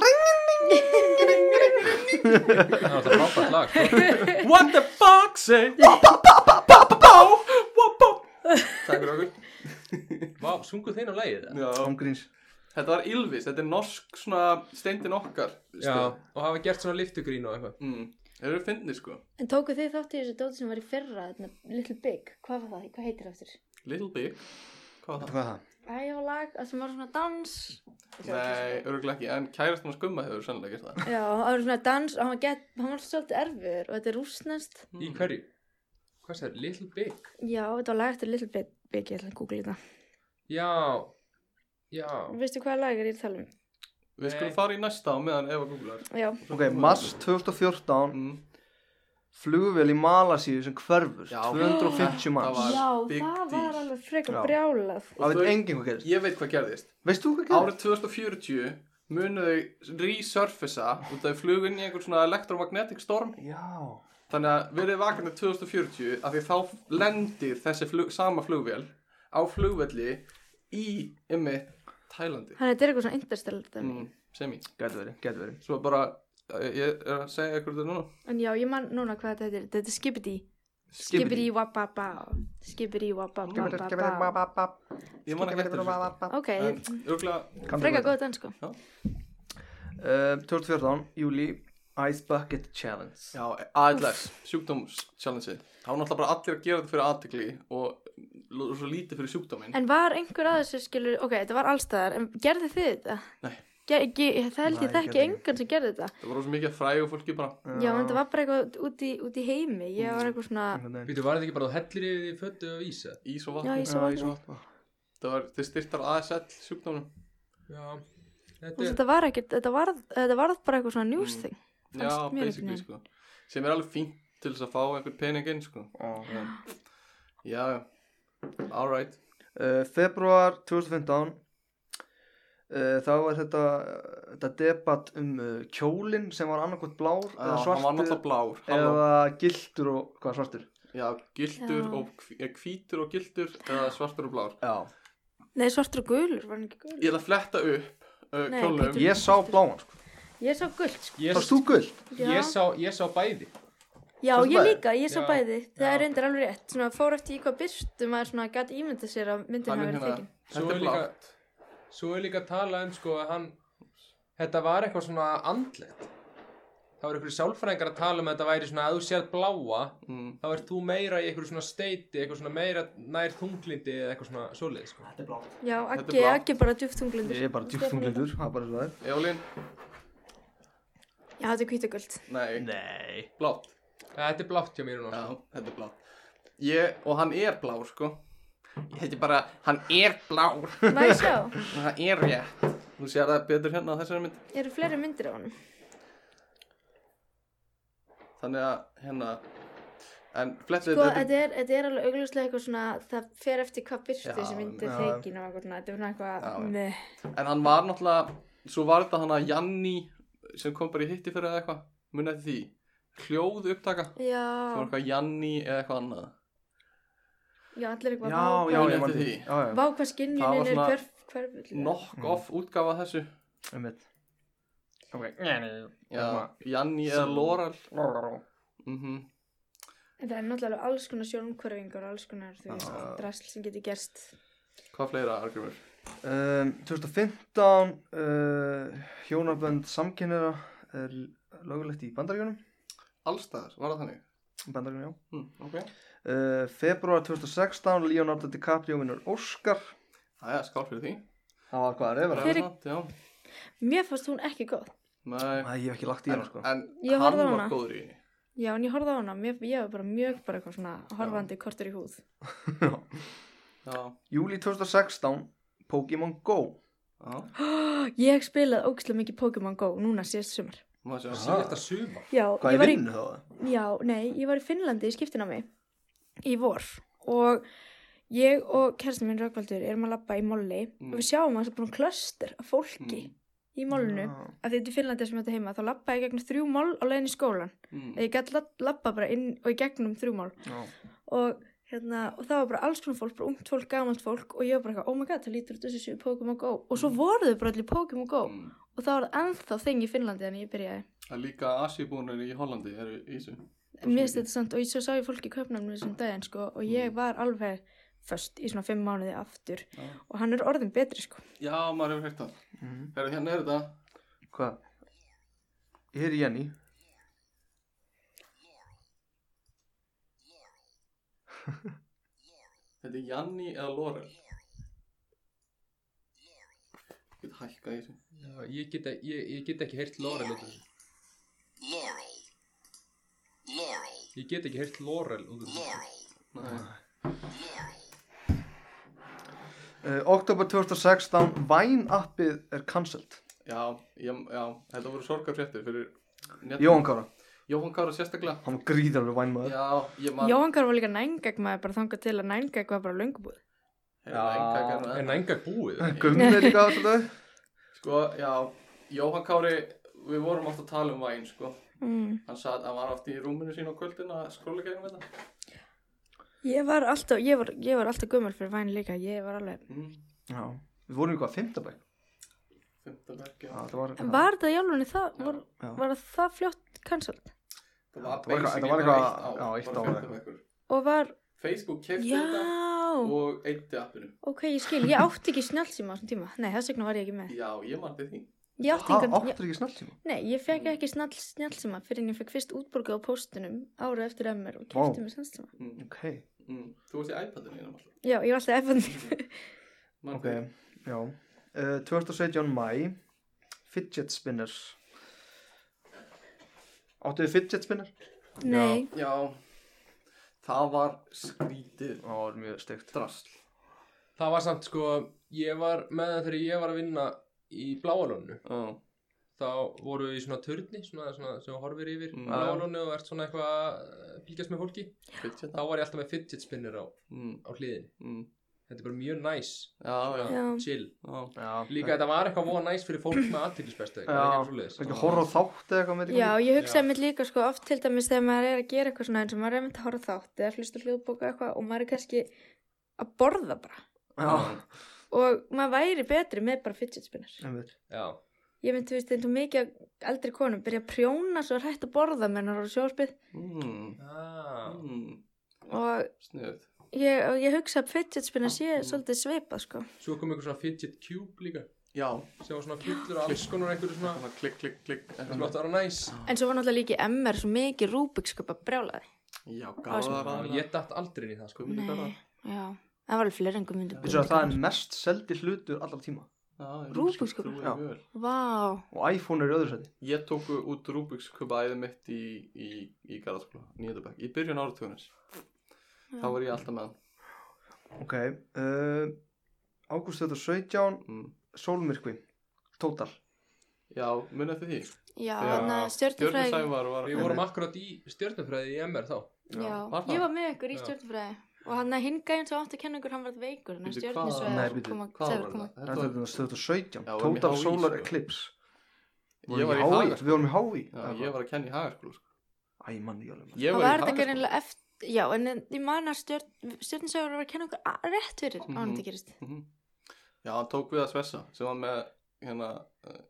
Það var það frábært lag sko. What the fox say? Bá, bá, bá, bá, bá, bá, bá Bá, bá Takk fyrir okkur Vá, sungu þeirn á lagið það? Já Án gríns Þetta var Ylvis, þetta er norsk svona steindin okkar sko. Já, og hafa gert svona liftugrín og eitthvað mm. Þeir eru fyndni sko En tóku þið þátt í þessu dóti sem var í fyrra, þarna, Little Big, hvað var það? Hvað heitir það aftur? Little Big Hvað var það? Hvað er það? Æ, og lag, að sem var svona dans. Nei, örgulega ekki, en kærast hann skumma hefur sannlega gert það Já, það var svona dans og hann var, gett, hann var svolítið erfiður og þetta er rúsnest. Í Hmm. hverju? Hvað sér, Little Big? Já, þetta var lag eftir Little Big, Big ég ætla að googla hérna. þetta. Já, já Veistu hvaða lag er ég að tala um? Við skulum Nei. fara í næsta á meðan Eva googlar Já, Ok, mars 2014 mm. Flugvél í Malasíu sem hverfur Já. 250 Það var- manns já Big það Deal. var alveg frekar Já. brjálað. Það Og veit þau- enginn hvað gerist Ég veit hvað gerðist Veist þú hvað gerist? Árið 2040 munu þau resurfacea og þau flugu inn í einhvern svona elektromagnetic storm Já Þannig að verið vakandi 2040 af því þá lendir þessi flug, sama flugvél á flugvelli í ymmið Tælandi Þannig að þetta er eitthvað svona interstellar dæmi. mm, Semi Gæti verið, gæti verið Svo bara, eh, ég er að segja ykkur þetta núna En já, ég man núna hvað þetta heitir. Þetta er Skibidi. Skibidi. Skibidi wababa. Skibidi wababa. wababa. Ég man ekki eftir þessu sko. Ok, En örgulega frekar góð dans sko. Uh, 2014, júli Ice Bucket Challenge Já, ALS, sjúkdómschallenge þá er náttúrulega bara allir að gera þetta fyrir aðtekli og l- svo lítið fyrir sjúkdómin En var einhver að þessu skilur, ok, þetta var allstæðar, en gerði þið þetta? Nei. Ger, ge, það held Nei, ég þekki gerði engan sem gerði þetta. það var svo mikið að fræðu fólki bara Eh, Já, en þetta var bara eitthvað út í, út í heimi. Ég var eitthvað svona, var Býtu, var þetta ekki bara að þú hellir yfir því föttu og ísa? ís og Já, vatn ís. svo vatn. það var, þið styrtar ASL sjúkdómum Já, þú veist, þetta er þetta var ekkert, þetta var, þetta var bara eitthvað svona news thing. já, Fannst mér basically einhvern sko sem er alveg fínt til þess að fá einhvern pening inn sko en, já, alright uh, Februar 2015 uh, þá er þetta þetta debatt um uh, kjólin sem var annarkot blár já, eða hann var svartur náttúrulega blár halló. eða gildur og hvað svartur já, gildur Já. og hví- eh, hvítur og gildur eða svartur og blár Já. Nei, svartur og gulur, var hann ekki gulur? ég ætla að fletta upp uh, Nei, kjólum hvítur. ég sá bláan sko. Ég sá gult sko. Ég, Sást þú gull? Já, ég, sá, ég sá bæði já sástu ég bæði? líka, ég sá Já, bæði. Það já. er reyndar alveg rétt. Svona fór eftir í hvað byrstu maður svona gæti ímynda sér að myndin Hann hafa er verið hérna- tekin. þetta er Svo er líka- blátt Svo er líka að tala um sko að hann Þetta var eitthvað svona andlet Það var einhverju sálfræðingar að tala um að þetta væri svona að þú sér bláa mm. þá ert þú meira í einhverju svona steiti eitthvað svona meira nær þunglindi eða eitthvað svona svoleið sko. Þetta er blátt. Já, er Aggi, blátt. Aggi er bara djúftunglindur. Ég er bara djúptunglindur, það er bara svo það er. Jólín? Já, þetta er kvítagöld. Nei, Nei. blátt Ja, Þetta er blátt hjá mér núna Já, þetta er blátt ég, Og hann er blár sko Þetta er bara, hann er blár Má ég sjá? Það er rétt Þú sér það betur hérna á þessari mynd Eru fleiri myndir af honum? Þannig að hérna En flettu Sko, þetta er, þetta er alveg augljóslega eitthvað svona, það fer eftir hvað byrstu Já, þessi myndir já. þeikin og eitthvað svona, þetta er svona Já, eitthvað, já. með, En hann var náttúrulega, svo var þetta hann að Janni sem kom bara í hitti fyrir eða eitthvað, munið eftir því, hljóð upptaka, Ah. það var já, eitthvað Janni eða eitthvað annað. já, allir Já, eitthvað, vá, já, hvað- Munið ég man eftir því. því. Já, já, vá, hvað Það var skinnjunin er svona hverf, hverf, Knock off útgafa þessu, um mitt. Ok. já, Hérna. Janni eða Loral. Mm þetta er náttúrulega alveg alls konar sjónumhverfingar og alls konar, þú veist, Já. drasl sem getur gerst. Hvað fleira, Argrymur? Um, 2015, uh, hjónabönd samkynniða er lögulegt í bandaríkunum. Allstaðar, var það þannig? Bandaríkunum, já. Hm, ok. Uh, februar 2016, Leonardo DiCaprio vinnur Óskar. Það er skál fyrir því. Það var hvað að reyða. Fyrir- Revenant, Já, Mér fannst hún ekki góð. nei. Nei, ég hef ekki lagt í En, hana, sko. en Ég hann horfði á var hana. góður í henni. Já, en ég horfði á hana, mér, ég var bara mjög bara eitthvað svona horfandi kortur í húð. Já, Júli 2016, Pokémon GO. já, Ég spilaði ógislega mikið Pokémon GO núna síðast sumar. maður sé að Síðan þetta suma Já, Hvað ég er var í, vinnu þá? já, nei, ég var í Finnlandi í skiptinámi í vor og ég og kerstin minn Rökkvaldur erum að labba í molli Mm. og við sjáum að það er bara klöster af fólki Mm. í mollinu. Já. Af því þetta er Finnlandi sem þetta heima, þá labba ég gegnum þrjú moll á leiðin í skólan. Mm. Ég gæti labba bara inn og í gegnum þrjú moll. Já. og hérna, og það var bara alls konar fólk, bara ungt fólk, gamalt fólk og ég var bara eitthvað, oh my god, það lítur út þessu séu Pokémon Go og svo voru þau bara allir í Pokémon Go Mm. og það var ennþá þing í Finnlandi en ég byrjaði Það er líka Asibúnir í Hollandi eru í þessu. en mér finnst þetta samt, og ég svo sá ég fólk í köpnarnu þessum daginn, sko, og ég var alveg föst í svona fimm mánuði aftur Já. og hann er orðin betri, sko Já, maður hefur hægt það. Mhm. Herru, hérna er þetta. Hvað? Ég er Jenny. Þetta er Janni eða Laurel. Ég get hækkað í þessu. Já, ég, get, e, ég, ég get ekki heyrt Laurel út úr þessu Laurel. Laurel. Ég get ekki heyrt Laurel út úr þessu Nei. Uh, oktober 2016, Vine-appið er cancelled. Já, ég, já, þetta voru sorgarfréttir fyrir... Net... Jóhann Kára, Jóhann Kára sérstaklega. hann var gríðarlega Vine-maður. Já, ég man... Jóhangar var líka nængag maður bara þangað til að nængag var bara löngubúð Hérna, enga gerði En það. enga búið Gummi er líka alltaf. Sko, já, Jóhann Kári, við vorum alltaf að tala um væn, sko. mm. Hann sagði að hann var oft í rúminu sín á kvöldin að skróla gegnum þetta. Ég var alltaf, ég var, ég var alltaf gömul fyrir væn líka, ég var alveg Mm, Já, við vorum eitthvað að fymtabæk. fymta verk, já. Það var, En var það í alveg það, var, Já. var það fljótt cancelled? Það var þetta var eitthvað- basically þetta var bara eitthvað- já, eitt bara ár fimmta eitthvað. bekkur. og var, Facebook kefti já, þetta og eitti appinu. ok, ég skil, ég átti ekki snjálfsíma á þessum tíma, nei, þess vegna var ég ekki með, Já, ég man til því. ég átti Það engan, ég, áttur ekki snart síma. nei, ég fekk ekki snjálf, snjálfsíma fyrir en ég fekk fyrst útborgað á póstunum ára eftir emmer og Vá. kæfti mér snjálfsíma, Mm, Ok, mm. Þú varst í iPadinu einum alltaf. já, ég var alltaf eftir, Man ok, til því. já. Uh, 2017, mæ, fidget spinners. Áttu þið fidget spinner? nei, Já, það var skrítið Já, það er mjög steikt. drasl. Það var samt sko Ég var með það þegar ég var að vinna í bláalónu Já, Þá voru við í svona turni svona, svona, sem þú horfir yfir Mm. mm. bláalónu og ert svona eitthvað að fylgjast með fólki fylgja Þá var ég alltaf með fidget spinner á, á Mm, hliðin mm. Þetta er bara mjög næs Já, já, já, Chill já. Já. Líka þetta var eitthvað voða næs fyrir fólk með aðtýrlisbestu Já. Já, Ekki horra á þátt eða eitthvað með já, ég Já. hugsaði mér líka, sko, oft til dæmis þegar maður er að gera eitthvað svona eins og maður er einmitt að horfa á þátt eða hlusta á hljóðbóka eitthvað og maður er kannski að borða bara Já, og maður væri betri með bara fidget spinner einmitt. já ég myndi, þú veist, eins og mikið af eldri konum byrja að prjóna svo hrætt að borða mennar á sjóspið Mm, Ah. mm. og Snuð. Ég, og ég hugsa að fidget spinner sé svolítið svipað sko. Svo kom einhver svona fidget cube líka Já, sem var svona fullur af alls konar einhverju svona svona klikk, klikk, klikk sem átti að vera næs En svo var náttúrulega líka í MR svo mikið Rubik's kupa brjálaði. Já, svona- gáðar og ég datt aldrei inn í það sko Guðmundur Garðar. já. Það var alveg fleiri en guðmundur. Vissu að það er mest seldi hlutur allar tíma Já, Rúbiks Rúbiks kúb, kúb. þú Já. er vel. Vá. og iPhone er í öðru seti Ég tók út Rúbiks kuba æðið mitt í, í, í Garðarskóla, nýjöndabæk Í byrjun áratugunins Þá var ég alltaf með hann Ok uh, Ágúst 2017 mm. Sólmyrkvi Total Já, munið eftir því Já, Þegar þannig að Björn stjörnufræði. Sævar var Við vorum akkurat í stjörnufræði í MR þá Já, var það? ég var með ykkur í Já. stjörnufræði. Og hann að hingæðin sem átti að kenna ykkur, hann varð veikur. Þannig að Bíddu, hvað- Nei, stjörnufræði bíddu, kom að Hvað segja var kom það? að... Þetta er 2017 Já, við erum í Total HÍ, Solar sko. Eclipse Ég var í HÍ, Hagaskóla. Við vorum í HÍ Já, ég var að kenna í hagaskóla sko. Æ, manni, ég Ég var Það alveg í var þetta Hagaskóla. greinilega eftir... Já, en ég man að stjörn, stjörnusögur var að kenna okkur a- rétt fyrir mm Mhm. -hmm. ánum þetta gerist. Mhm. Já, hann tók við að Svessa sem var með hérna, uh,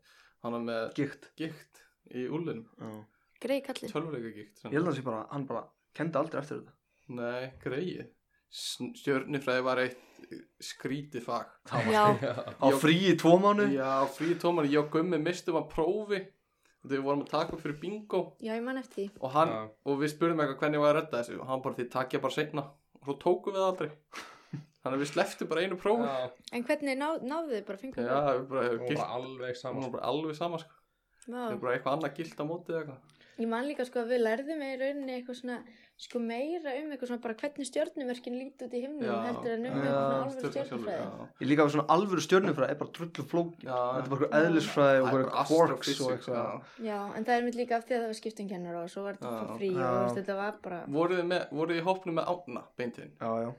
hann var með Gikt gikt í úlunum, Já. Grei kallið. tölvuleika gikt Ég held að það sé bara, hann bara kendi aldrei eftir þetta Nei, greið Stjörnifræði var eitt skrítið fag Já, Á fríi í tvo mánu Já, fríi tómar, ég og Gummi mistum að prófi þegar við vorum að taka upp fyrir bingo já, ég man eftir því. og, hann, Já. og við spurðum eitthvað hvernig var að redda þessu og hann bara því takja bara seinna og svo tókum við það aldrei þannig að við sleftum bara einu prófi Já, Já, En hvernig ná, náðu þið bara fingur? við bara hún hefur var gilt alveg hún saman var bara alveg sama sko Vá. það er bara eitthvað annað gilt á mótið eða eitthvað Ég man líka sko að við lærðum í rauninni eitthvað svona sko meira um eitthvað svona bara hvernig stjörnumörkin líti út í himnum Já. heldur en um Já, eitthvað svona Stjörnur alveg stjörnufræði. sjálfur, já. Ég líka á svona alvöru stjörnufræði er bara drullu flóki Já. Þetta er bara eitthvað eðlisfræði og Það er bara bara quarks og astrophysics, eitthvað Já, en það er mitt líka af því að það var skiptingkennar og svo var þetta Já. frá frí Já. og veist, þetta var bara voruð þið með- voruð þið í hópnum með Árna beintinn Já, já,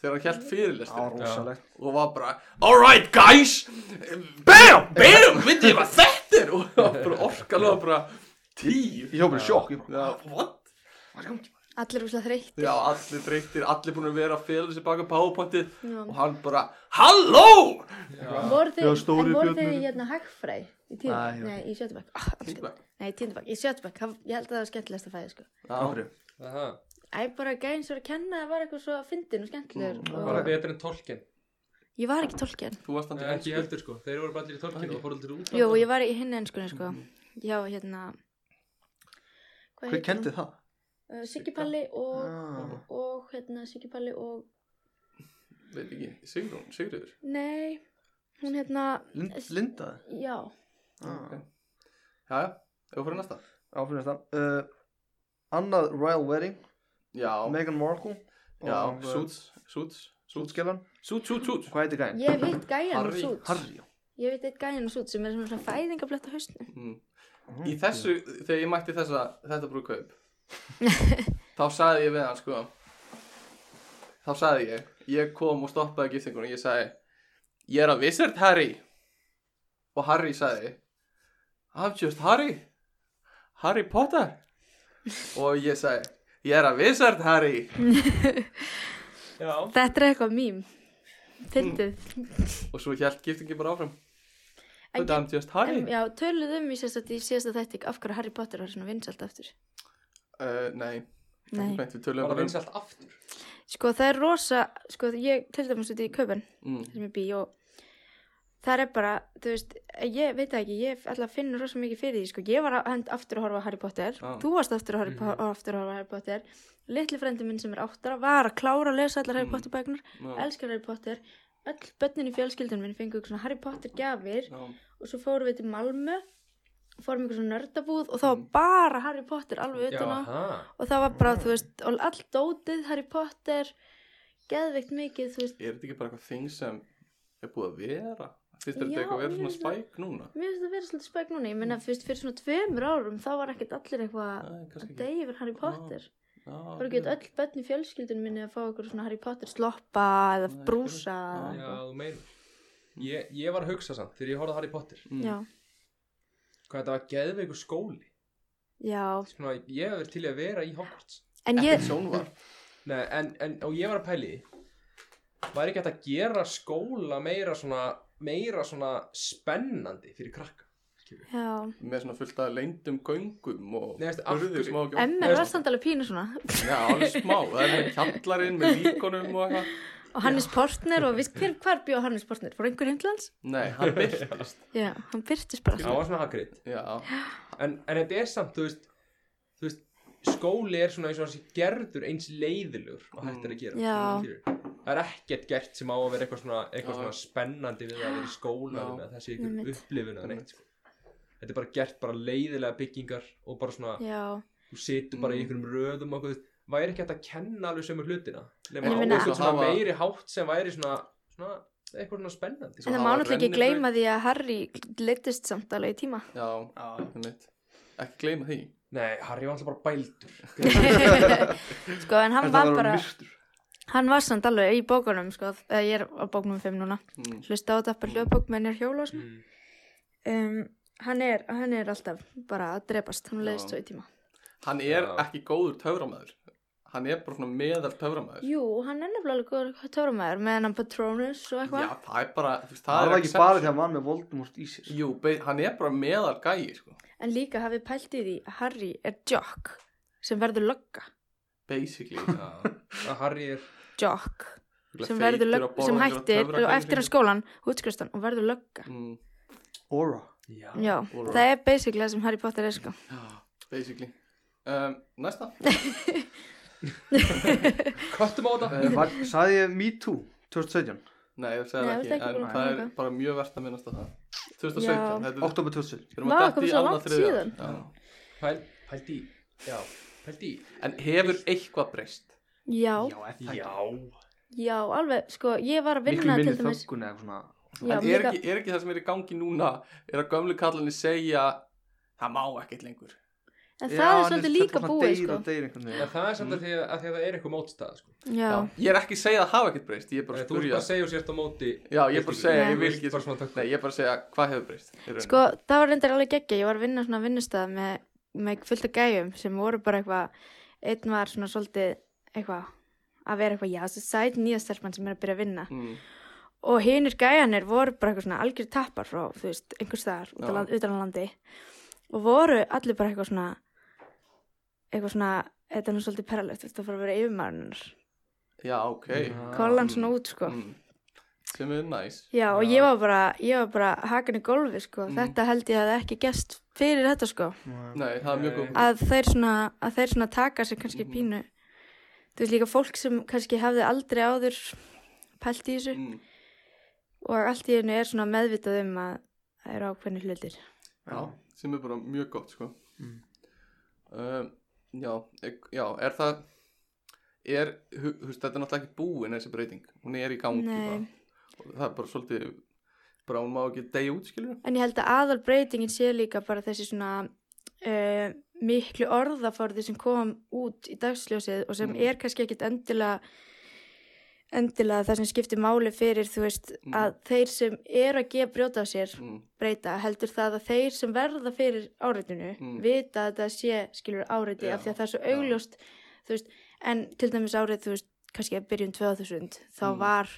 þegar hann held það var fyrirlestur rosalegt og var bara alright guys BAM BAM veit ég hvað þetta er og var bara orkalega bara tíu Ég hjá bara í sjokk, ég bara, Já, what? hvað er gangi? allir úslega þreytt. Já, allir dreytir, allir búin að vera að fela sér baka powerpointið Já. og hann bara HALLÓ! Voru þið, Já, stóri en voru þið björnurinn. í hérna hagfræði í tíðabæk? Nei, já. Nei, í sjötabæk. Oh, Tíðabæk. Nei, í tíðabæk. Í sjötabæk. Ég held að það var skemmtilegast að fæði sko. Já, Áhrif Aha, Æ, bara gæðin svo að kenna að var eitthvað svo fyndin og skemmtilegur. bara og... betur en tolkien Ég var ekki tólkinn. þú varst hann Nei, ekki heldur sko, þeir voru bara allir í tolkien og fóru allir út Jú, ég var í hinn ennskunni sko. Já, hérna hvað Hver heitir kendi hún? það? Uh, Siggi Palli og, Já. og hérna Siggi Palli og Veit ekki, Sigrún, Sigriður Nei, hún hérna Lind- Linda Já, Ah. Jæja, ef við fyrir næsta Áfyrir þetta uh, Annað Royal Wedding Já, Meghan Markle já, og, uh, Suits, Suits, Suits Útskellan Suits, Suits, Suits Hvað heitir gæðin? ég hef hitt gæjan úr Harry- sút Harry já. Ég hef hitt eitt gæjan úr sút sem er svona svona fæðingablett á hausnum Mm. Í þessu, þegar ég mætti þessa, þetta brúðkaup Þá sagði ég við hann, sko Þá sagði ég, ég kom og stoppaði giftingunum Ég sagði, ég er að wizard Harry Og Harry sagði I'm just Harry Harry Potter Og ég sagði, ég er að wizard Harry Já, Þetta er eitthvað mím Fyndið Og svo hélt giftingin bara áfram En But I'm just Harry En, já, töluðum í sérstætt í sérstætt þætti af hverju Harry Potter var svona vinsalt aftur uh, Nei, Nei, Beint, við tölum bara bara um vinsalt aftur sko það er rosa sko ég til dæmis út í köpun mm, sem ég bý og það er bara, þú veist, ég veit það ekki ég alltaf finn rosa mikið fyrir því, sko ég var að- hend aftur að horfa á Harry Potter Já. þú varst aftur að, Harry, mm aftur að horfa á Harry Potter litli frendi minn sem er áttara var að klára að lesa allar Harry Mm. Potter bækunar já, elskar Harry Potter öll börnin í fjölskyldunum minn fengu svona Harry Potter gjafir já, og svo fórum við til Malmö fórum ykkur svona nördabúð og þá var bara Harry Potter alveg Já, utan á aha og það var bara, þú veist, og allt dótið Harry Potter geðveikt mikið, þú veist Er þetta ekki bara eitthvað þing sem er búið að vera? Fyrst er Já, þetta eitthvað að vera svona ég veit spæk núna? Mér finnst það að vera svolítið spæk núna, ég menna fyrst fyrir svona tveimur árum þá var ekkert allir eitthvað Nei, að kannski ekki. degi yfir Harry Potter. Já, Það voru ekki öll börn í fjölskyldunum minni að fá okkur svona Harry Potter sloppa eða Nei, brúsa. ekki. Já, þú meinar Ég, ég var að hugsa samt þegar ég horfði á Harry Potter Mm. Já, hvað þetta var geðveikur skóli já, Svona, ég hef verið til í að vera í Hogwarts en Ekkert ég, sjónvarp. Nei, en, en, og ég var að pæli væri ekki hægt að gera skóla meira svona meira svona spennandi fyrir krakka Já, með svona fullt af leyndum göngum og Nei, veistu, af hurðum hverju- sem á að gjóka. emmi Nei, var sko. samt alveg pínu svona Já, alveg smá, það er með kjallarinn með líkonum og eitthvað og Hannes Portner og við, hver, hvar bjó Hannes Portner? Fór einhver heimlands? Nei, hann byrtist Já, hann byrtist bara það alltaf. var svona Hagrid Já, en, en þetta er samt, þú veist, þú veist skóli er svona eins og hans gerður eins leiðilegur og hægt er að gera Mm. Já. skilurðu. það er ekkert gert sem á að vera eitthvað svona, eitthvað Já. svona spennandi við að vera í skóla Já. eða að það sé Einmitt. ykkur upplifun eða neitt sko. þetta er bara gert bara leiðilega byggingar og bara svona, Já, þú situr bara í Mm. einhverjum röðum og eitthvað, væri ekki hægt að kenna alveg sömu hlutina nema Ég á meina- eitthvað svona Hafa- meiri hátt sem væri svona, svona eitthvað svona spennandi sko. Svo en það hafa má náttúrulega ekki rennibraut. gleyma því að Harry leittist samt alveg í tíma. já, einmitt Ekki gleyma því nei, Harry var alltaf bara bældur sko, en hann En var það bara, var myrtur hann var samt alveg í bókunum, sko, eða ég er á bókunum 5 núna. mm. Hlusta á þetta bara hljóðbók með nýr hjóla og svona. mm. Um, hann, er, hann er alltaf bara að drepast, hann Já. leiðist svo í tíma. Hann er Já. ekki góður töframæður Hann er bara svona meðal töframæður Jú, hann er nefnilega alveg góður töframæður með hann Patronus og Já, eitthvað. það er bara þú veist, Það er var ekki exception. bara því að hann var með Voldemort í sér Jú, be- hann er bara meðal gæi, sko En líka hafið pælt í því að Harry er jock sem verður lögga. Basically Já, að Harry er Jock Feitur sem, verður að lögg, borða sem einhverja hættir töfragæi og eftir sko- hann hringi. skólan, útskristan og verður lögga. Mm, Aura já, Já, Alright. það er basically það sem Harry Potter er sko. já, Basically um, Næsta köttum á þetta Eh, Var- Sagði ég Me Too 2017 Nei, ég segi það Nei, þú ert ekki, ekki búin en að það er ganga. bara mjög verðt að minnast á það 2017, þetta er Oktober 2017 Við erum Vá, að detta komið í svo annað langt þriðja. síðan. Já. pæl, pælt í já, pælt í En hefur eitthvað breyst? Já, já, Já, já, alveg, sko, ég var að Miklu vinna minni til dæmis. þöggun eða eitthvað svona Já, en er líka, ekki, er ekki það sem er í gangi núna er að gömlu kallinni segja það má ekkert lengur en Já, það er hann svolítið þetta líka svona búið deyr sko. og deyr einhvern en veginn. það er samt Mm. að því að, að því að það er eitthvað mótstað sko. Já, Já. Ég er ekki að segja að hafa ekkert breyst Ég er bara Eh, að þú ert bara spurja að segja og sért á móti Já, ég er bara að segja, Já. ég vil ekki Bara svona takk. Nei, ég er bara að segja hvað hefur breyst í rauninni. sko, það var reyndar alveg geggja. Ég var að vinna svona vinnustæð með, með fullt af gæjum sem voru bara eitthvað, einn var svona svolítið eitthvað að vera eitthvað, já, þessi sæt nýja stelpann sem er að byrja að vinna. mm, og hinnir gæjanir voru bara eitthvað svona algjör tappar frá, þú veist, einhvers staðar út á Já. land, utan á landi og voru allir bara eitthvað svona eitthvað svona, þetta er nú svolítið perralegt þetta fór að vera yfirmaðurinnar Já, ok Já. kolla hann svona út, sko mm. Sem er næs já, og Já. ég var bara, ég var bara hakan í gólfi, sko, Mm. þetta held ég að það ekki gest fyrir þetta, sko Nei, það er mjög góð að þeir svona, að þeir svona taka sér kannski Mhm. pínu þú veist líka fólk sem kannski hafði aldrei áður pælt í þessu mm. og allt í hennu er svona meðvitað um að það eru ákveðni hlutir Já, sem er bara mjög gott, sko Mm. um, Já, ek- já, er það er, hu, húst, þetta er náttúrulega ekki búin þessi breyting, hún er í gangi Nei. bara. og það er bara svolítið bara hún má ekki degja út, skilur En ég held að aðal breytingin sé líka bara þessi svona uh, miklu orðaforði sem kom út í dagsljósið og sem Mm. er kannski ekkit endilega endilega það sem skiptir máli fyrir þú veist Mm. að þeir sem eru að gefa brjóta á sér mm, breyta heldur það að þeir sem verða fyrir áreitinu Mm. vita að það sé skilur áreiti Já, af því að það er svo já. augljóst þú veist, en til dæmis áreit þú veist, kannski að byrjun 2000 þá Mm. var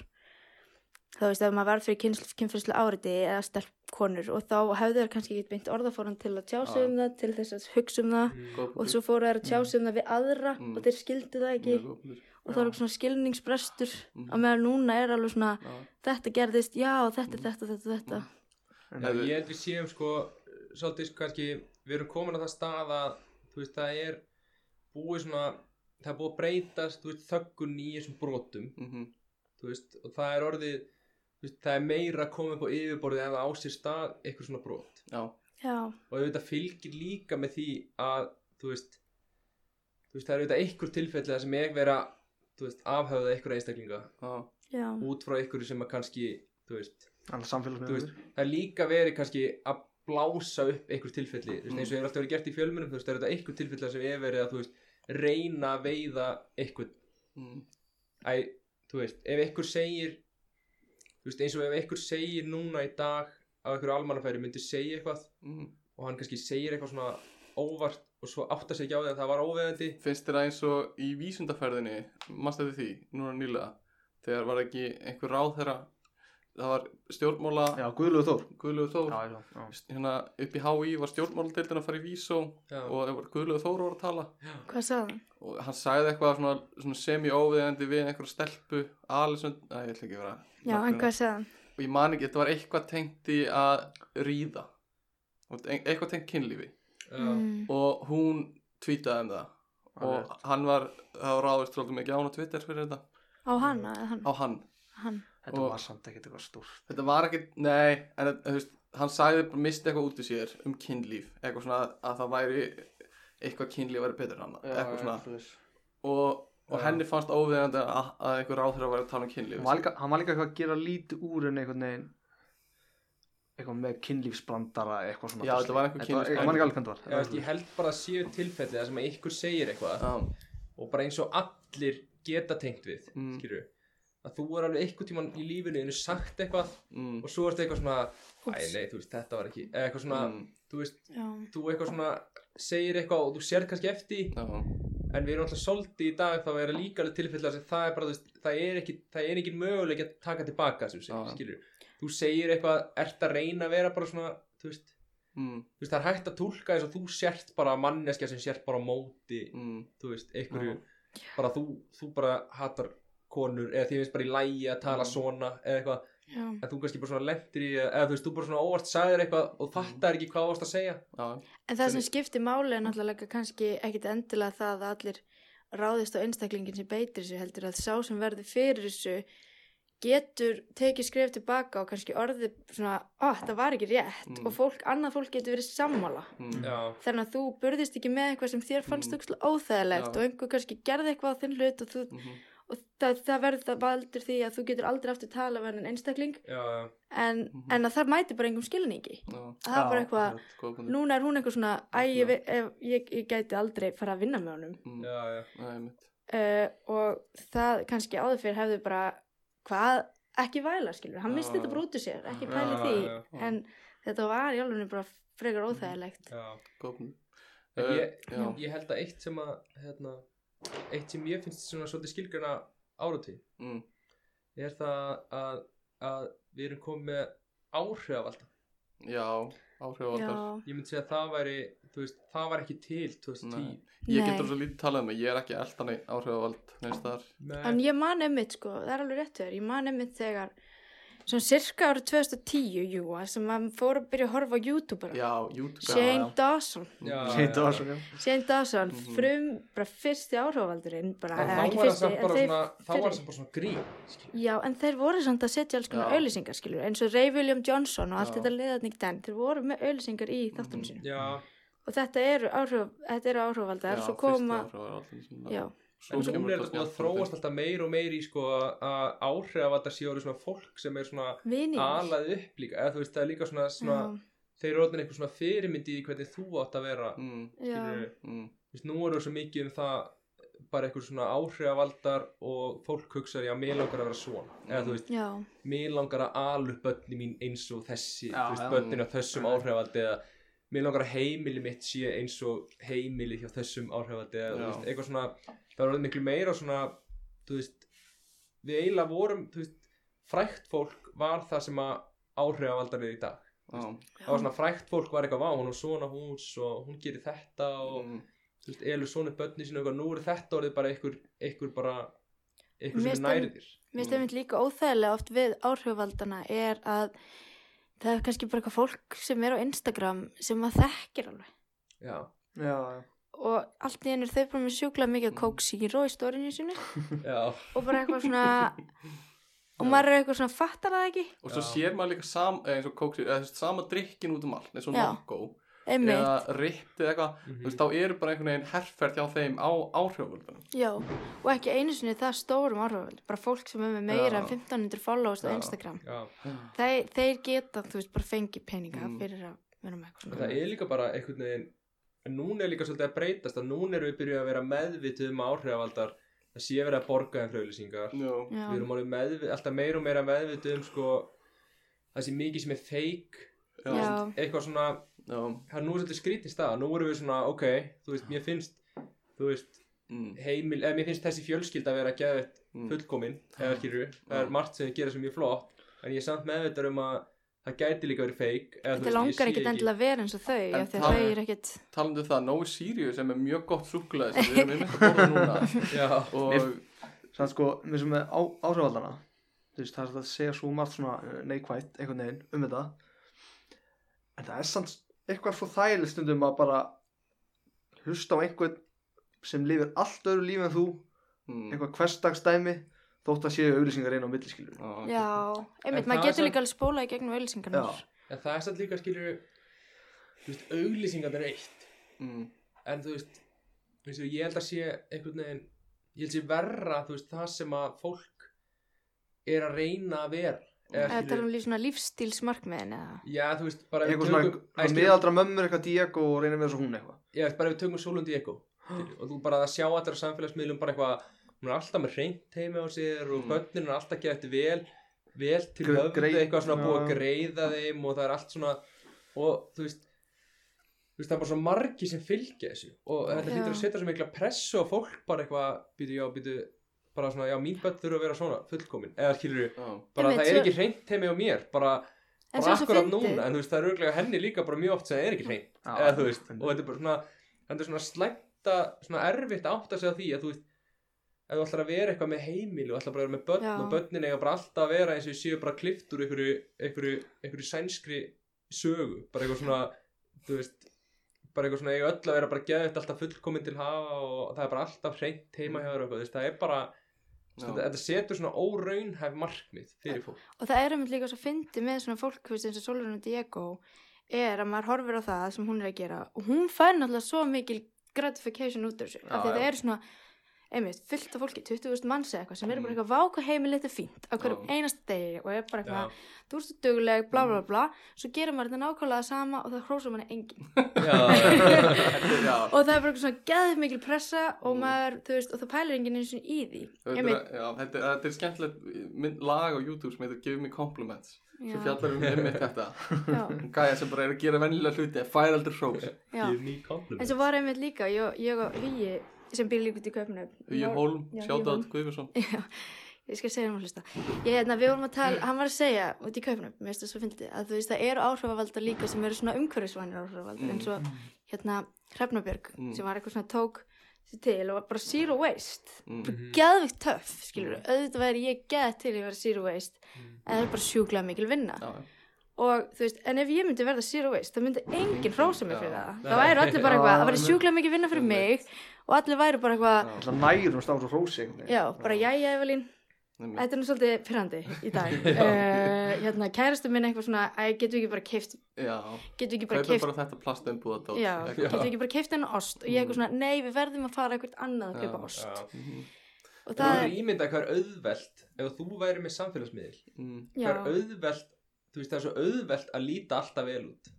þá veist, ef maður var fyrir kynfyrslu áreiti eða stelp konur og þá hefðu þeir kannski ekki beint orðaforan til að tjá sig Já. um það til þess að hugsa um það góð og svo fóru þeir að tjá sig um það við aðra Mm. og þeir skildu það ekki mjög góð punktur. og það var eitthvað svona skilningsbrestur Mm. á meðan núna er alveg svona Já. þetta gerðist, já, þetta, Mm. þetta, þetta, þetta En- Ef- ég held við séum sko svolítið kannski, við erum komin á það stað að þú veist, það er búið svona, það er búið að breytast þú veist, þöggun í þessum brotum Mhm, þú veist, og það er orðið þú veist, það er meira að koma upp á yfirborðið ef það á sér stað eitthvað svona brot Já, Já, og auðvitað fylgir líka með því að þú veist, þú veist það er auðvitað einhver tilfelli það sem er vera þú veist, afhauða einhverja einstaklinga já, já, út frá einhverju sem að kannski þú veist, Alla þú veist, samfélagsmiður það er líka verið kannski að blása upp einhver tilfelli þú veist, Mm. eins og hefur alltaf verið gert í fjölmunum þú veist, það er auðvitað einhver tilfelli þar sem er verið að þú veist, reyna að veiða einhvern mm, Æ, þú veist, ef einhver segir þú veist, eins og ef einhver segir núna í dag að einhverju almannafæri myndi segja eitthvað mm. og hann kannski segir eitthvað svona óvart og svo átta sig ekki á því að það var óveðandi Finnst þér að eins og í vísundaferðinni mannst eftir því, núna nýlega þegar var ekki einhver ráð þeirra það var stjórnmála Já, Guðlöðu Þór Guðlögu Þór Já, já, já. hérna upp í HÍ var stjórnmáladeildin að fara í Vísó Já. og það var Guðlögu Þór var að tala Hvað sagði hann? og hann sagði eitthvað svona, svona semi-óviðandi við einhverja stelpu Alisund, að ég ætla ekki að vera Já, en hvað sagði hann? og ég man ekki, þetta var eitthvað tengt í að ríða Og ein- eitthvað tengt kynlífi já, Mm. og hún tweetaði um það Alveg og hann var, það var ráðist tróldum ekki á hann á Twitter fyrir þetta, Á hana, eða hann? á hann Hann. Þetta Og- var samt ekkert eitthvað stórt þetta var ekki, nei, en þetta- þú veist, hann sagði bara misti eitthvað út í sér um kynlíf eitthvað svona að það væri eitthvað kynlíf væri betur hann eitthvað svona og, og Já. henni fannst óviðandi að, að einhver ráðherra væri að tala um Hann kynlíf var líka, hann var líka eitthvað að gera lítið úr en einhvern veginn eitthvað með kynlífsblandara eitthvað svona Já, þetta var einhver kynlífsblandara Ég man ekki alveg hvernig Já, veist, það ég var held bara að séu tilfelli þar sem að ykkur segir eitthvað Já, og bara eins og allir geta tengt við Mm. mm. að þú er alveg eitthvað tíman í lífinu einu sagt eitthvað mm, og svo ertu eitthvað svona æ nei þú veist þetta var ekki eða eitthvað svona mm, þú veist Já. þú eitthvað svona segir eitthvað og þú sér kannski eftir því, já, en við erum alltaf svolítið í dag þá er það líka alveg tilfell þar sem það er bara þú veist það er ekki það er ekki möguleik að taka tilbaka sem segir, Já. skilur þú segir eitthvað ert að reyna að vera bara svona þú veist mm, þú veist það er hægt að tólka þess að þú sért bara manneskja sem sért bara á móti mm, þú veist, einhverju bara þú, þú bara hatar konur eða því finnst bara í lægi að tala svona eða eitthvað, Já. en þú kannski bara svona lendir í eða þú veist, þú bara svona óvart sagðir eitthvað og fattar ekki hvað þú varst að segja já, En það sem skiptir máli er náttúrulega kannski ekkit endilega það að allir ráðist á einstaklingin sem beitir þessu heldur að sá sem verður fyrir þessu getur tekið skref tilbaka og kannski orðið svona, ó, það var ekki rétt Mm. og fólk, annað fólk getur verið sammála. mm, já, Þannig að þú burðist ekki með eitthvað sem þér fannst Mm. mm. óþægilegt Já. og einhver kannski gerði eitthvað á þinn hlut og, þú, mhm, og það, það verður það valdur því að þú getur aldrei aftur tala við hann einstakling já, já, en, Mhm. en að það mæti bara engum skilningi. já, Það er bara Já, eitthvað, rétt, góða punktur. Núna er hún eitthvað svona, æ, Já. ég, ve- ef- ég, ég gæti aldrei fara að vinna með honum Mm, já, já. nei, mitt. uh, og það kannski áður fyrir hefðu bara, hvað, ekki væla, skilur, hann Já, misti þetta já. bara út úr sér, ekki Já, pæli já, því, já, já. Mhm. en þetta var í alveg bara frekar óþægilegt. já. Góða punktur. En Eh, ég- já, ég held að eitt sem að hérna, eitt sem ég finnst svona svolítið skilgjörna áratí mm, er það að, að við erum komið með áhrifavald já, áhrifaldar Já, ég myndi segja að það væri þú veist, það var ekki til 2010 Nei. Ég Nei. getur svo lítið talað um það, ég er ekki eldan áhrifavald neins þar en ég man einmitt, sko, það er alveg rétt þér, ég man einmitt þegar, svona cirka árið 2010, jú, að sem maður fór að byrja að horfa á YouTube bara. Já, YouTube Shane Dawson, Já, Mm. já, Þetta var svo já. Shane Dawson, Mhm. frum, bara fyrsti áhrifavaldurinn, bara, En eða þá ekki var það fyrsti, samt bara þeir svona, þá var fyrri. það samt bara svona grín skilur. Já, en þeir voru samt að setja alls konar Já. auðlýsingar, skilur, eins og Ray William Johnson og allt Já. þetta liðatning den, þeir voru með auðlýsingar í þáttunum sínum. Já, Og þetta eru áhrif, þetta eru áhrifaldar, svo koma, já, en svo er þetta búin að þróast alltaf meir og meir í sko að áhrif að það sé orðið svona fólk sem er svona vinningar. alað upp líka eða þú veist það er líka svona, svona þeir eru orðin eitthvað svona fyrirmyndi í hvernig þú átt að vera mm, Já, já, skilurðu. mm, þú veist nú eru svo mikið um það bara eitthvað svona áhrifavaldar og fólk hugsaði já, mér langar að vera svona Mhm. eða þú veist, já, mér langar að ala upp börni mín eins og þessi Já, þú veist, já. börnin á þessum áhrifaldi eða mér langar að heimili mitt sé eins og heimili hjá þessum áhrifaldi eða þú Já. veist, eitthvað svona, það var orðið miklu meira svona, þú veist við eiginlega vorum, þú veist frækt fólk var það sem að áhrifavaldar er í dag, já, það var svona frækt fólk var eitthvað, vá, hún er svona hús og hún gerir þetta og, mm, þú veist, elur svona börni sín og eitthvað, nú er þetta orðið bara einhver, einhver bara, einhver Mér sem er stendur- nærðir mér finnst einmitt líka óþægilega oft við áhrifaldana er að það er kannski bara eitthvað fólk sem er á Instagram sem maður þekkir alveg. já, Já, já. Og allt í einu er þau bara með sjúkla Mm. mikið kóksýró í stórinu sinu. já, og bara eitthvað svona og maður er eitthvað svona fattar það ekki og svo Já. sér maður líka sam, eh, eins og kóksir, eða, þú veist, sama drikkin út um allt eins og Já. Margo einmitt, eða Ritt eða eitthvað Mhm. þú veist, þá eru bara einhvern veginn herrferð hjá þeim á áhrifavöldunum já og ekki einu sinni það stórum áhrifald bara fólk sem er með Já. meira en 1500 followers Já. á Instagram já þeir, þeir geta, þú veist, bara fengið peninga Mm. fyrir að vera með eitthvað En svona það er líka bara einhvern veginn en núna er líka svolítið að breytast að núna erum við byrjuð að vera meðvituð um áhrifavaldar það sé verið að borga þeim fröðlýsingar já, já, við erum orðið meðvituð, alltaf meira og meira meðvituð um sko það sé mikið sem er fake já, já, eitthvað svona, já, það er nú svolítið skrítið stað nú erum við svona, ok, þú veist, mér finnst þú veist, mm, heimil eða mér finnst þessi fjölskylda að vera að gefa Mm. Ah. fullkomin eða skilur, það Já. er margt sem þau gera sem mjög flott en ég er samt meðvitað um að það gæti líka verið feik eða, þú Þetta veist, ég sé langar ekkert endilega að vera eins og þau af því að það- þau eru ekkert Talandi um það, Nói Sirius sem er mjög gott súkulega sem við erum einmitt að borða núna Já, og Sann sko, mér sem er á, ásöfaldana Þú veist, það er satt að segja svo margt svona eh, neikvætt einhvern veginn um þetta En það er sann eitthvað svo þægileg stundum að bara hlusta á einhvern sem lifir allt öðru lífi en þú mm, eitthvað hversdagsdæmi þótt að séu auðlýsingar einu á milliskilur á, Já, einmitt, það er maður getur samt- líka alveg spólað í gegnum auðlýsingarnar Já. en það er samt líka skilur þú veist, auglýsingarnir er eitt mm, en þú veist, þú veist ég held að sé einhvern veginn ég held sé verra þú veist, það sem að fólk er að reyna að vera eða, Eða tala skilur, um líf svona lífstílsmarkmiðin eða já þú veist bara ef eitthvað við svona, tökum- Æ, svona skilur, miðaldra mömmur eitthvað Diego og reynir með þessu hún eitthvað ég veist bara ef við tökum Solundi Eko og þú bara að sjá allir á samfélagsmiðlum bara eitthvað hún er alltaf með hreint heimi á sér og Mm. börnin er alltaf gett vel vel til Gre- höfðu grei- eitthvað svona búið að Já. greiða þeim og það er allt svona og þú veist þú veist það er bara svo margi sem fylgja þessu og þetta Já. hlýtur að setja svo mikla pressu á fólk bara eitthvað býtu já býtu bara svona já mín börn þurfa að vera svona fullkomin eða skilur á, bara Einmitt, það er svo- ekki hreint heimi á mér bara En bara svo svo akkurat fyndið. núna en þú veist það er örglega henni líka bara mjög oft sem það er ekki hreint Já, eða þú veist fyndið. og þetta er bara svona þetta er svona slæmta svona erfitt að átta sig á því að þú veist ef þú ætlar að vera eitthvað með heimil og ætlar bara að vera með börn Já. og börnin eiga bara alltaf að vera eins og séu bara klift úr einhverju einhverju, einhverju sænskri sögu bara eitthvað svona þú veist bara eitthvað svona eiga öll að vera bara geðvægt alltaf fullkomin til hafa og það er bara alltaf hreint heima hjá þér og eitthvað þú veist það er bara já, þetta, þetta setur svona óraunhæf markmið fyrir fólk Og það er um líka svo fyndið með svona fólk þú veist, eins og Solon og Diego er að maður horfir á það sem hún er að gera og hún fær náttúrulega svo mikil gratification út af þessu, af því að já. það er svona einmitt, fullt af fólki, 20.000 manns eða eitthvað sem eru bara eitthvað váka heimilegt er fínt á hverjum Já. einasta degi og er bara já, eitthvað þú ert dugleg, bla bla bla svo gerir maður þetta nákvæmlega sama og það hrósar manni enginn já, já. já, og það er bara eitthvað svona gæðið mikil pressa og maður, þú veist, og það pælir enginn eins og í því Þetta einmitt, er, já, þetta, er- þetta er skemmtilegt mynd, lag á YouTube sem heitir Give Me Compliments já, sem fjallar um einmitt þetta já, gæja sem bara er að gera vennilega hluti fær aldrei hrós já. ný kompliment en svo var einmitt líka, ég, ég og Hugi sem býr líka út í köpnum Hugi Hólm, Já, Hugi sjátaðat Hólm. Guðbjörnsson ég skal segja um að hlusta ég, hérna, við vorum að tala, hann var að segja út í kaupnum, mér finnst það svo fyndið að þú veist það eru áhrifavaldar líka sem eru svona umhverfisvænir áhrifavaldar eins og hérna Hrefnabjörg Mm. sem var eitthvað svona tók sig til og var bara zero waste Mm. bara geðvikt töff, skilur auðvitað væri ég geð til að vera zero waste Mm. en það er bara sjúklega mikil vinna Já, já. og þú veist, en ef ég myndi verða zero waste þá myndi enginn hrósa mig fyrir Já. það þá væri allir bara eitthvað, Já, það væri sjúklega mikil vinna fyrir mig og allir væri bara eitthvað, það nærumst á svo hrósi einhvern veginn. já, bara jæja Evelín Einmitt. Þetta er nú svolítið pyrrandi í dag uh, hérna, Kærastu minn eitthvað svona Æ, getum við ekki bara keift já, Getum við ekki bara kaupið keift bara þetta plastumbúða dót Já, Eitthvað. getum við ekki bara keift hennar ost Og ég eitthvað svona, nei, við verðum að fara eitthvað annað að Já, kaupa ost Já. Og Það það er er, ímyndað hvað er auðvelt ef þú væri með samfélagsmiðil Mm. já, hvað er auðvelt þú veist það er svo auðvelt að líta alltaf vel út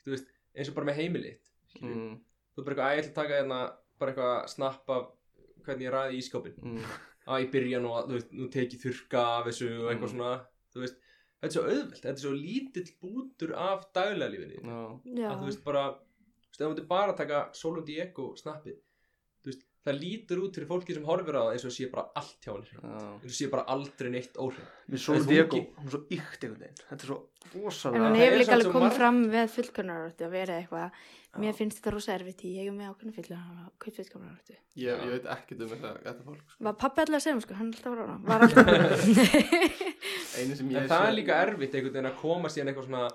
þú veist eins og bara með heimilitt mm. Mm. þú er bara eitthvað ætla að taka hérna bara eitthvað að snappa hvernig ég ræði í skápin Mm. að ég byrja nú að þú veist nú teki þurka af þessu og Mm. eitthvað svona þú veist þetta er svo auðvelt þetta er svo lítill bútur af daglega lífinni Já. já, að þú veist bara þú veist, ef þú myndir bara taka Solon Diego snappið þú veist, það lítur út fyrir fólki sem horfir á það eins og sé bara allt hjá henni hreint. Já. eins og sé bara aldrei neitt óhrein mér svo En þú Diego, ekki- hún er svo ykt einhvern veginn þetta er svo En hún rosalega það er hefur líka samt alveg svo komið margt- fram með fullkonarortu að vera eitthvað Mér finnst þetta rosa erfitt í, ég er með ákveðna fullkonarortu Ég, ég veit ekkert um þetta, þetta fólk sko. Var pappi alltaf að segja, mér, sko, hann er alltaf að rána Var alltaf einu sem ég en það er líka erfitt einhvern veginn að koma síðan eitthvað svona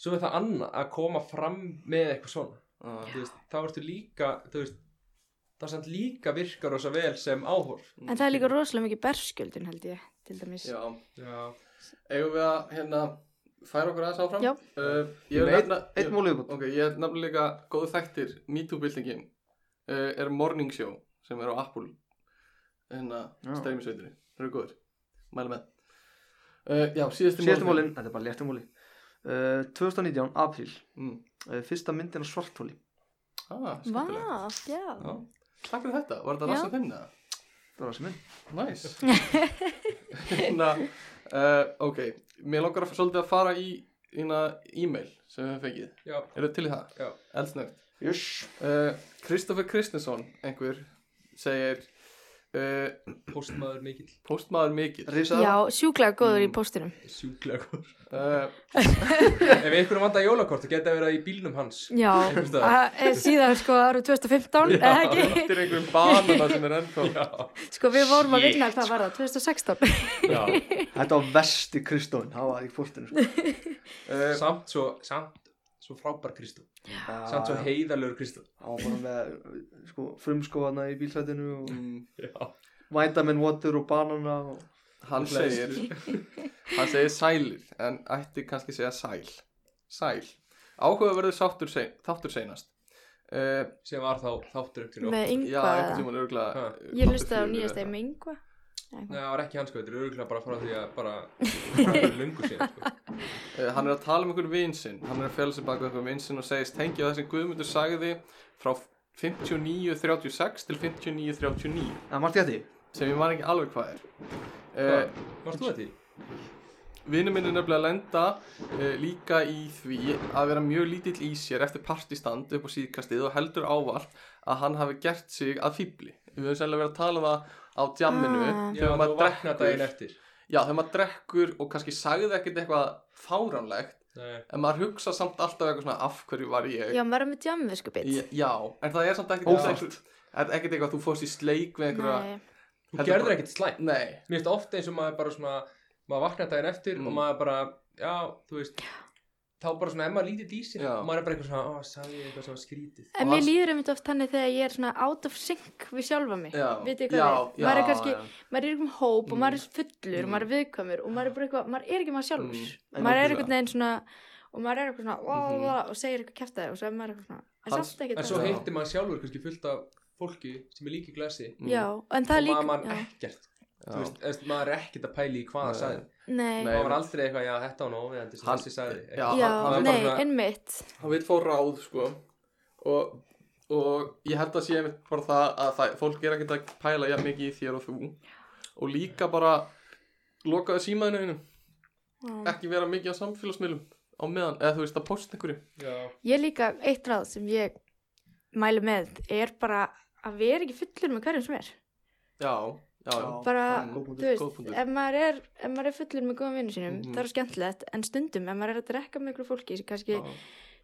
svo er það annað að koma fram með eitthvað svona Já. þú veist, þá ertu líka þú veist, það samt líka virkar rosa vel sem áhorf En það er líka rosalega mikið berskjöldun held ég, til dæmis já, já, eigum við að hérna færa okkur aðeins áfram Já. uh, ég Ég vil með einn nefna ein mól yfirbútt Ok, ég er nefnilega líka góðu þættir MeToo-byltingin uh, er Morning Show sem er á Apple hérna, Já. streymisveitinni Það eru góður, mæla með uh, Já, síðasti, síðastu málið. mólin, þetta er bara léttu móli uh, 2019, apríl mm. uh, fyrsta myndin á svartóli ah, Vá, skemmtilegt. já Já. Takk fyrir þetta, var þetta Já. rassin þinn eða? það var þessi mynd Næs Hérna, uh, ok Mér langar að svolítið að fara í hérna e-mail sem við höfum fengið já, Eru til í það? já, Eldsnögt yes. Eh, Kristoffer Kristnesson einhver segir uh, Postmaður mikill Postmaður mikill Rísa Já, sjúklega góður Mm. í póstinum. Sjúklega góður uh, Ef einhverjum vantar jólakort það geta verið í bílnum hans Já, Einhvers staðar. að- eh, síðan sko árið 2015, eða ekki? Eftir einhverjum banana sem er ennþá Já, Sko við vorum að vinna hvað var það, 2016? Já. Þetta var vesti Kristóin, það var í fórstinu sko. Uh, Samt svo, samt svo frábær Kristó Samt svo heiðalögur Kristó Það var bara með sko, frumskóðana í bílsætinu og mm, Já, vitamin water og banana og... Hann segir Hann segir sælir En ætti kannski segja sæl Sæl Áhuga verður sáttur sein, þáttur seinast uh, sem var þá þáttur upp til nótt Með Já, yngva einhvern eða? tímann Eh, örgulega Ha. Ég hlustaði á nýjast eða með yngva. Nei, það var ekki hans sko, þetta er örgulega bara frá því að bara það er lungu síðan sko. Eh, Hann er að tala um einhvern vinsinn Hann er að fjöla sig baka einhvern vinsinn og segist tengja það sem Guðmundur sagði frá 59.36 til 59.39 Það margt ég að því Uh, sem ég man ekki alveg hvað er Hvað? eh, Varst þú þetta í? Vinnu minn er nefnilega að lenda eh, líka í því að vera mjög lítill í sér eftir partistand upp á síðkastið og heldur ávart að hann hafi gert sig að fýbli Við höfum sérlega verið að tala um það á djamminu Ah. Já, þú vakna daginn eftir Já, þegar maður drekkur og kannski sagði ekkert eitthvað fáránlegt Nei, en maður hugsa samt alltaf eitthvað svona af hverju var ég Já, maður er með djammi sko bit. Í- Já, en það er samt ekkert Óþarft. eitthvað- Það er ekkert eitthvað að þú fórst í sleik við einhverja Nei, þú Heldur gerður bara- ekkert slæmt Nei, Mér finnst ofta eins og maður bara svona maður vakna daginn eftir Mm. og maður bara já, þú veist þá bara svona, ef maður lítið í sér Já. og maður er bara eitthvað svona, ó, sagði ég eitthvað sem var skrítið Og En mér hans- líður einmitt oft þannig þegar ég er svona out of sync við sjálfa mig. já Vitið þið já, hvað er? Maður er já, kannski, já. maður er í einhverjum hóp og maður er fullur og Mm. maður er viðkvæmur og maður er bara eitthvað, maður er ekki maður sjálfur. Mm. Maður En er algjörlega. einhvern veginn svona, og maður er eitthvað svona, wow, Mhm. og segir eitthvað kæftæði og svo er maður eitthvað svona, en Hans- samt ekkert en svo Já. þannig. heitir maður sjálfur kannski fullt af fólki sem er líka í glasi Mm, Já, en það er og líka, maður man já. ekkert já. þú veist, eða, maður er ekkert að pæli í hvaða Nei. sagði Nei, Nei. maður var aldrei eitthvað, já, þetta var nóviðandi sem Hann- þessi sagði já, Ekki. já, hann- hann- nei, bara- einmitt. hann vil fá ráð sko og, og ég held að sé einmitt bara það að það, fólk er ekkert að pæla jafn mikið í þér og þú og líka bara lokaðu símaðinu einu Já. ekki vera mikið á samfélagsmiðlum á meðan, eða þú veist að posta einhverju Já. Ég líka, eitt ráð sem ég mælu með er bara að vera ekki fullur með hverjum sem er. já, já, já, Bara, Mm. Góð þú punktur, góð veist, punktur. ef maður er, ef maður er fullur með góðum vinnum sínum, Mhm. það er skemmtilegt, en stundum, ef maður er að drekka með ykkur fólki sem kannski, já.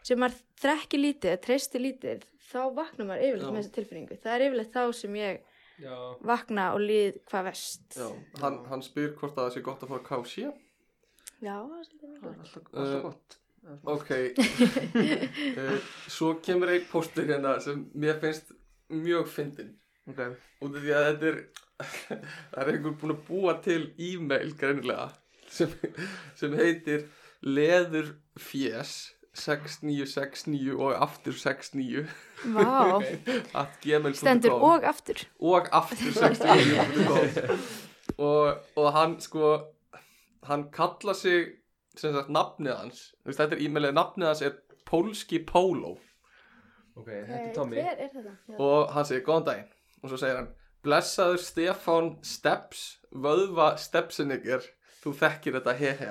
sem maður þrekki lítið, treysti lítið, þá vaknar maður yfirleitt Já. með þessa tilfinningu. Það er yfirleitt þá sem ég Já. vakna og líð hvað vest. já. Hann, hann spyr hvort að það sé gott að fara að kási Já, það er svolítið mikilvægt. Alltaf, Eh, alltaf gott Ok uh, Svo kemur einn póstur hérna sem mér finnst mjög fyndin Ok, út af því að þetta er það er einhver búin að búa til e-mail greinilega sem, sem heitir leður fjes 6969 og aftur 69 Vá, at gmail.com stendur og aftur. og aftur 69 og, og hann sko hann kalla sig sem sagt nafnið hans Þú veist, þetta er e-mailið, nafnið hans er Pólski Póló ok, þetta er Tommy Eh, Hver er þetta? Já. og hann segir góðan daginn og svo segir hann blessaður Stefán Steps vöðva Stepsiniger þú þekkir þetta he he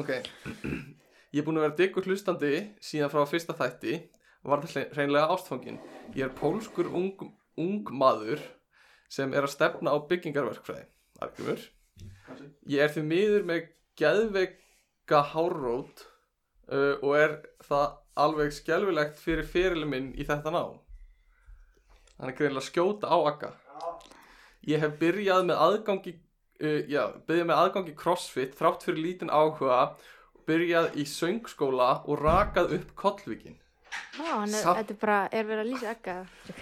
ok ég er búin að vera diggur hlustandi síðan frá fyrsta þætti og var það hreinlega ástfangin ég er pólskur ung, ung maður sem er að stefna á byggingarverkfræði argumur ég er því miður með geðveika hárót uh, og er það alveg skelfilegt fyrir fyrirli minn í þetta nám hann er greinlega að skjóta á akka ég hef byrjað með aðgangi uh, já, byrjað með aðgangi crossfit þrátt fyrir lítinn áhuga byrjað í söngskóla og rakað upp kollvikin Já, hann er, Samt- þetta er bara, er verið að lýsa ekka.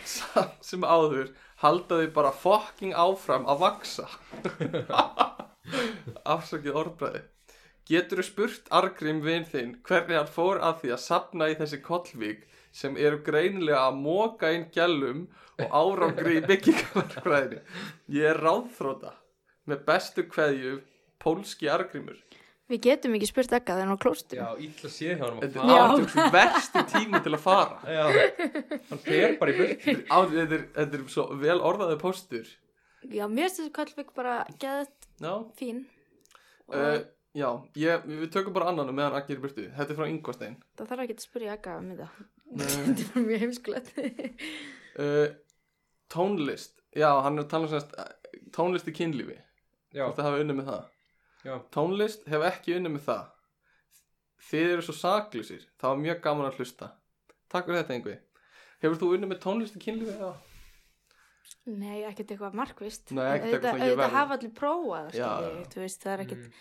samt sem áður halda þau bara fucking áfram að vaksa afsakið orðbræði geturðu spurt Argrim vin þinn hvernig hann fór að því að sapna í þessi kollvík sem eru greinilega að móka inn gælum og árangri í byggingamarkfræðinu ég er ráðþróta með bestu kveðju pólski Argrimur Við getum ekki spurt ekka þegar hann á klóstum. já, illa séð hjá hann þetta Já. er átjóks versti tími til að fara já, hann fer bara í burt á, þetta, er, þetta er svo vel orðaði póstur Já, mér finnst þessi kvöldbygg bara geðað já fín. Og Uh, já, ég, við tökum bara annan og meðan Aggi er í burtu. Þetta er frá Ingvarstein. það þarf ekki að spyrja ekka um þetta. þetta er bara mjög heimskulegt. Uh, tónlist. já, hann er að tala um semast tónlist í kynlífi já, Hvort það hafa unnið með það já, Tónlist hef ekki unnið með það Þið eru svo saklusir Það var mjög gaman að hlusta Takk fyrir þetta einhver Hefur þú unnið með tónlist í kynlífi? eða? Nei, ekkert eitthvað markvist Nei, ekkert eitthvað svona, ég Þetta verð. hafa allir prófað Já, skilji, já. Mm. þú veist, það er ekkert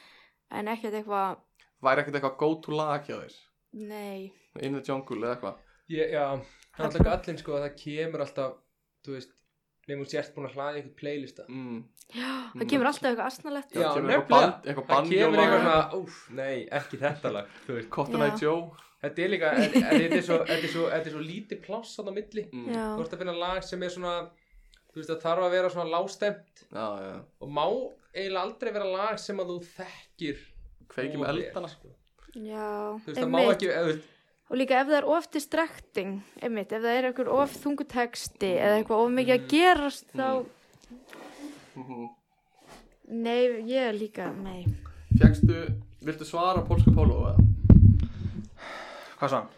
Mm. En ekkert eitthvað, Væri ekkert eitthvað go to lag hjá þér nei In the jungle eða eitthvað ég, já það er alltaf gallin sko að það kemur alltaf þú veist, nefnum sért búin að hlaða í einhvern playlista mm. Það kemur alltaf eitthvað asnalegt Já, Já, kemur nefnilega. eitthvað band- eitthvað það kemur banjólag. eitthvað svona, úf, nei, ekki þetta lag þú veist, Cotton Eye Já. Joe þetta er líka, en- en þetta er svo þetta er svo, þetta er svo lítið pláss á milli mm. Já, þú ert að finna lag sem er svona þú veist, það þarf að vera svona lástemt já, já. og má eiginlega aldrei vera lag sem að þú þekkir Kveikjum úr þér, eldana sko. já þú veist, það má ekki, eða, þú veist, Og líka ef það er of distracting einmitt, ef það er eitthvað of þunguteksti eða eitthvað of Mm. mikið að gerast þá Mhm. Nei, ég er líka, nei Fjækstu, viltu svara pólska póló eða? Hvað svo hann?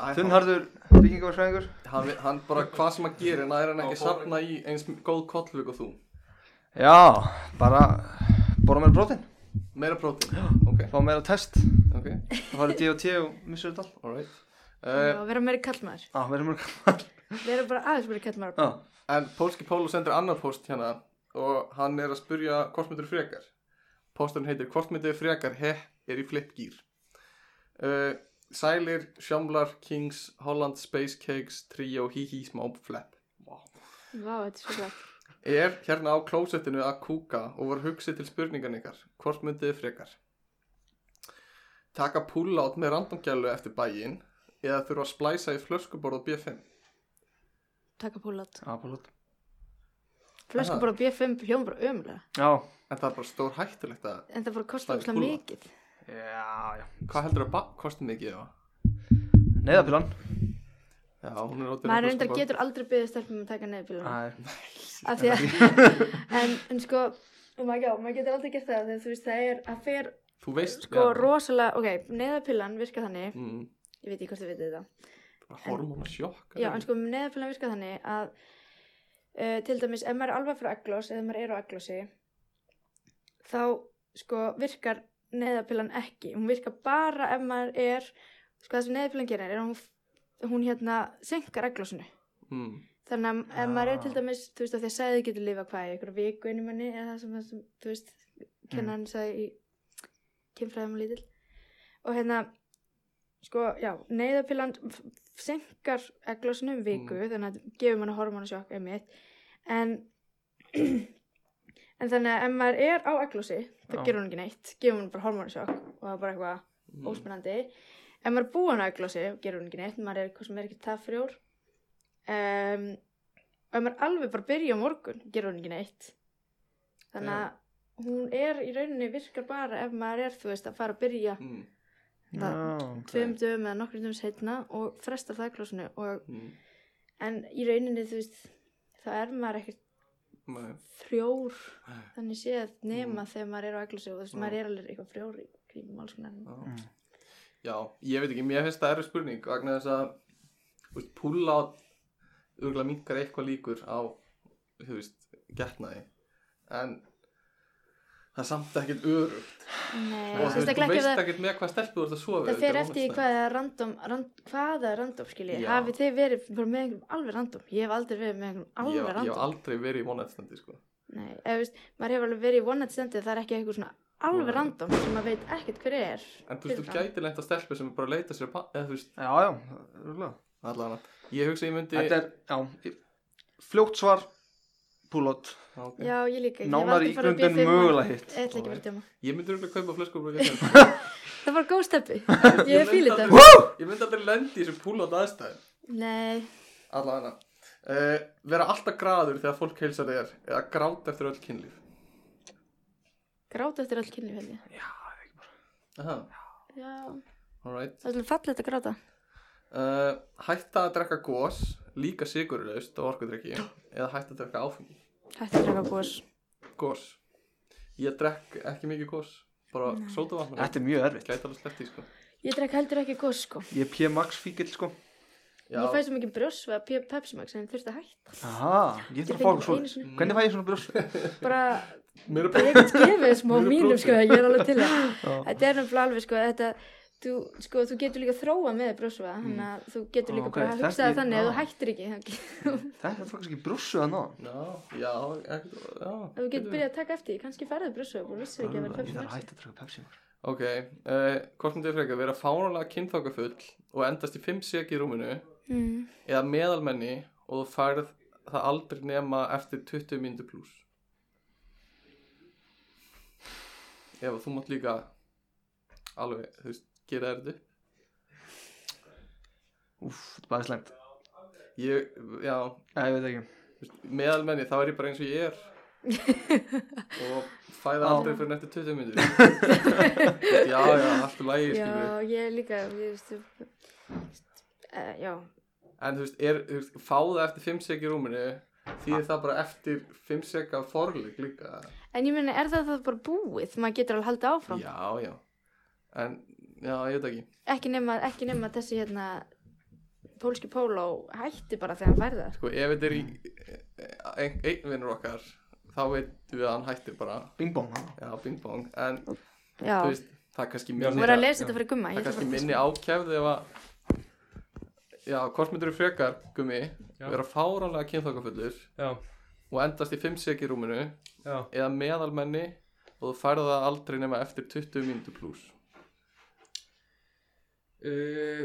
Æ, Þunnharður byggingarfræðingur hann, hann bara hvað sem hann gerir, næri hann ekki Á, fór- safna í eins góð kollvík og þú Já, bara Bóra meira brotin Meira prótín, ok, Fá meira test ok, Það farið D.O.T. og missur þetta all alright Já, uh, vera meiri kallmaður Á, verður mörg kallar Vera bara aðeins meiri kallmaður Já, En pólski póló sendir annar post hérna og hann er að spurja hvort myndir frekar Pósturinn heitir hvort myndir frekar he er í flipgýr uh, Sælir, Sjómlar, Kings, Holland, Space Cakes, Trio, Hihi, Smá, Flap wow. Vá, þetta er svo glætt Er hérna á klósettinu að kúka og var hugsið til spurningan ykkar, hvort myndið þið frekar? Taka púlát með randomgælu eftir bæinn eða þurfa að splæsa í flöskuborð og B5? Takka púlat absolutt Flösku Aha. bara B5 hljóðum bara ömulega Já, En það er bara stór hættulegt að, En það bara kostar Stakk óslega púlla. mikið já, já hvað heldur að bann kosti mikið eða? Neiðapílan Já, hún er ótrúið Maður reyndar getur aldrei byggðið stelpum að taka neðbíluna Æ, af því að en, en sko, oh my god, maður getur aldrei gert það þegar þú veist það er að fer Þú veist, sko rosalega, ok, neðapillan virka þannig, Mm, ég veit ekki hvort þið vitið þetta hormóna sjokk já, en sko neðapillan virka þannig að uh, til dæmis ef maður er alveg frá eglós eða maður er á eglósi þá sko virkar neðapillan ekki, hún virkar bara ef maður er, sko það sem neðapillan gerir er að hún, hún hérna senkar eglósinu mm, Þannig að ef maður er til Ah. dæmis, þú veist, af því að sæði getur lifa hvað í einhverju viku inn í manni eða það sem, það sem þú veist, kennan sagði í kynfræðum og lítil. Og hérna, sko, já, neyðapillan senkar eglosinu um viku, þannig að gefur mann hormónasjokk einmitt. En, en þannig að ef maður er á eglosi, þá Já. gerur hún ekki neitt, gefur mann bara hormónasjokk og það er bara eitthvað mm, óspennandi ef maður er búin að glósi, gerur hún ekki neitt maður er, hvað sem er ekki það frjór um, ef maður er alveg bara að byrja á morgun, gerur hún ekki neitt þannig að hún er í rauninni virkar bara ef maður er þú veist að fara að byrja mm, já það tveim dögum eða nokkrum dögum setna og frestar það glósinu og, mm, en í rauninni þú veist þá er maður ekkert nei, frjór Nei. Mm. þannig séð nema þegar maður er á eglósi og þú veist Já. maður er alveg eitthvað frjór í kringum alls konar já. Mm. Já, ég veit ekki, mér finnst það erfið spurning vegna þess að þú veist, púlát örgulega minkar eitthvað líkur á þú veist, getnaði en það er samt ekkert örugt Nei, og þú veist, þú sérstaklega ef veist það- ekkert með hvað stelpu þú ert að sofa Það þetta er fer eftir í ómögulegt. hvaða random, rand, hvaða random skilji, Já. hafið þið verið bara með einhverjum alveg random, ég hef aldrei verið með einhverjum Ég- alveg Ég hef random, aldrei verið í vonættstandi sko. nei, eða þú veist, maður hefur alveg verið í one night standi, það er ekki eitthvað svona alveg Nei. random sem maður veit ekkert hver er, en þú veist, þú Fyrirfram. gæti lent að stelpu sem er bara að leita sér að pa- eða þú veist, Já, já, rúglega allavega ég hugsa ég myndi Þetta er, já, fljótt svar Púlót Já, ok. já ég líka, ég Nánar aldrei farið að ígrundun bíða fimm mögulega mánuði. hitt. Ég ætla ekki að vera að djóma, ég myndi örgulega kaupa flöskur og getnaði það var góð steppi, Ég ég er myndi fílið aldrei- það, Ég myndi aldrei lendi í þessu púlát aðstæðum nei, Allavega uh, Vera alltaf graður þegar fólk heilsar þér eða gráta eftir öll kynlíf gráta eftir öll kynlíf held ég, Aha, já, alright það er svolítið fallegt að gráta, uh, Hætta að drekka gós líka sigurlaust og orkudrykki eða hætta að drekka áfengi hætti að draka búis, Gós Ég drekk ekki mikið gós bara sótavatn Þetta er mjög erfitt Gæti alveg sleppt í sko ég drek heldur ekki gos sko, Ég er P-Max fíkil, sko Já. Ég fæ svo mikið brjósva að Pepsi Max en þurfti að hætta. Aha, ég Ég þarf að fá fengi okkur svo. einu sinni. Hvernig fæ ég svona brjósvi? Bara, Mér er ég get gefið smá Mér er mínum, brotið. sko, ég er alveg til það. Já, Þetta er nefnilega alveg, sko, þetta, þú, sko, þú getur líka þróa með brjósva, þannig að þú getur líka Ó, bara ok, að hugsa þetta- það þannig að þú já. hættir ekki. þá get- þetta var kannski brjósvi að ná. Já, já, ekkert, já Ef þú getur byrjað að taka eftir, því, kannski færðu brjósva, bara vissir ekki að vera Ég Pepsi þarf að Max. hætta að draka Pepsi. maður. Ok, uh, hvort myndið frekar vera fánulega kynþókafull og endast í 5 sek í rúminu Mm. eða meðalmenni og þú færð það aldrei nema eftir 20 myndu pluss Ef þú mátt líka alveg, þú veist, gera þér þetta upp. Úff, þetta er bara slæmt. Ég, já, Já, ég veit ekki. þú veist, meðalmenni þá er ég bara eins og ég er og fæ það Já. aldrei fyrir eftir 20 myndu Já, já, allt í lagi, skilur Já, ég er líka, ég veist, þú- eh, já, En þú veist, er, þú veist fá það eftir 5 sek í rúminu því það bara eftir 5 sek af forleik líka en ég meina, er það það bara búið? Maður getur alveg haldið áfram. Já, já En, já, ég veit ekki ekki nema, ekki nema þessi hérna pólski póló hætti bara þegar hann færði það Sko, ef þetta er í e, ein, einn vinnur okkar þá veitum við að hann hættir bara Bing bong, ha? Já, bing bong En, já, þú veist, það er kannski Já, hún minni var að Það lesa þetta fyrir gumma er kannski minni ákjæfð ef að Já, hvort myndir við frekar, gummi Já. vera fáranlega kynþokkafullur já, og endast í 5 sek í rúminu já eða meðalmenni og þú færð það aldrei nema eftir 20 mínútur pluss uh,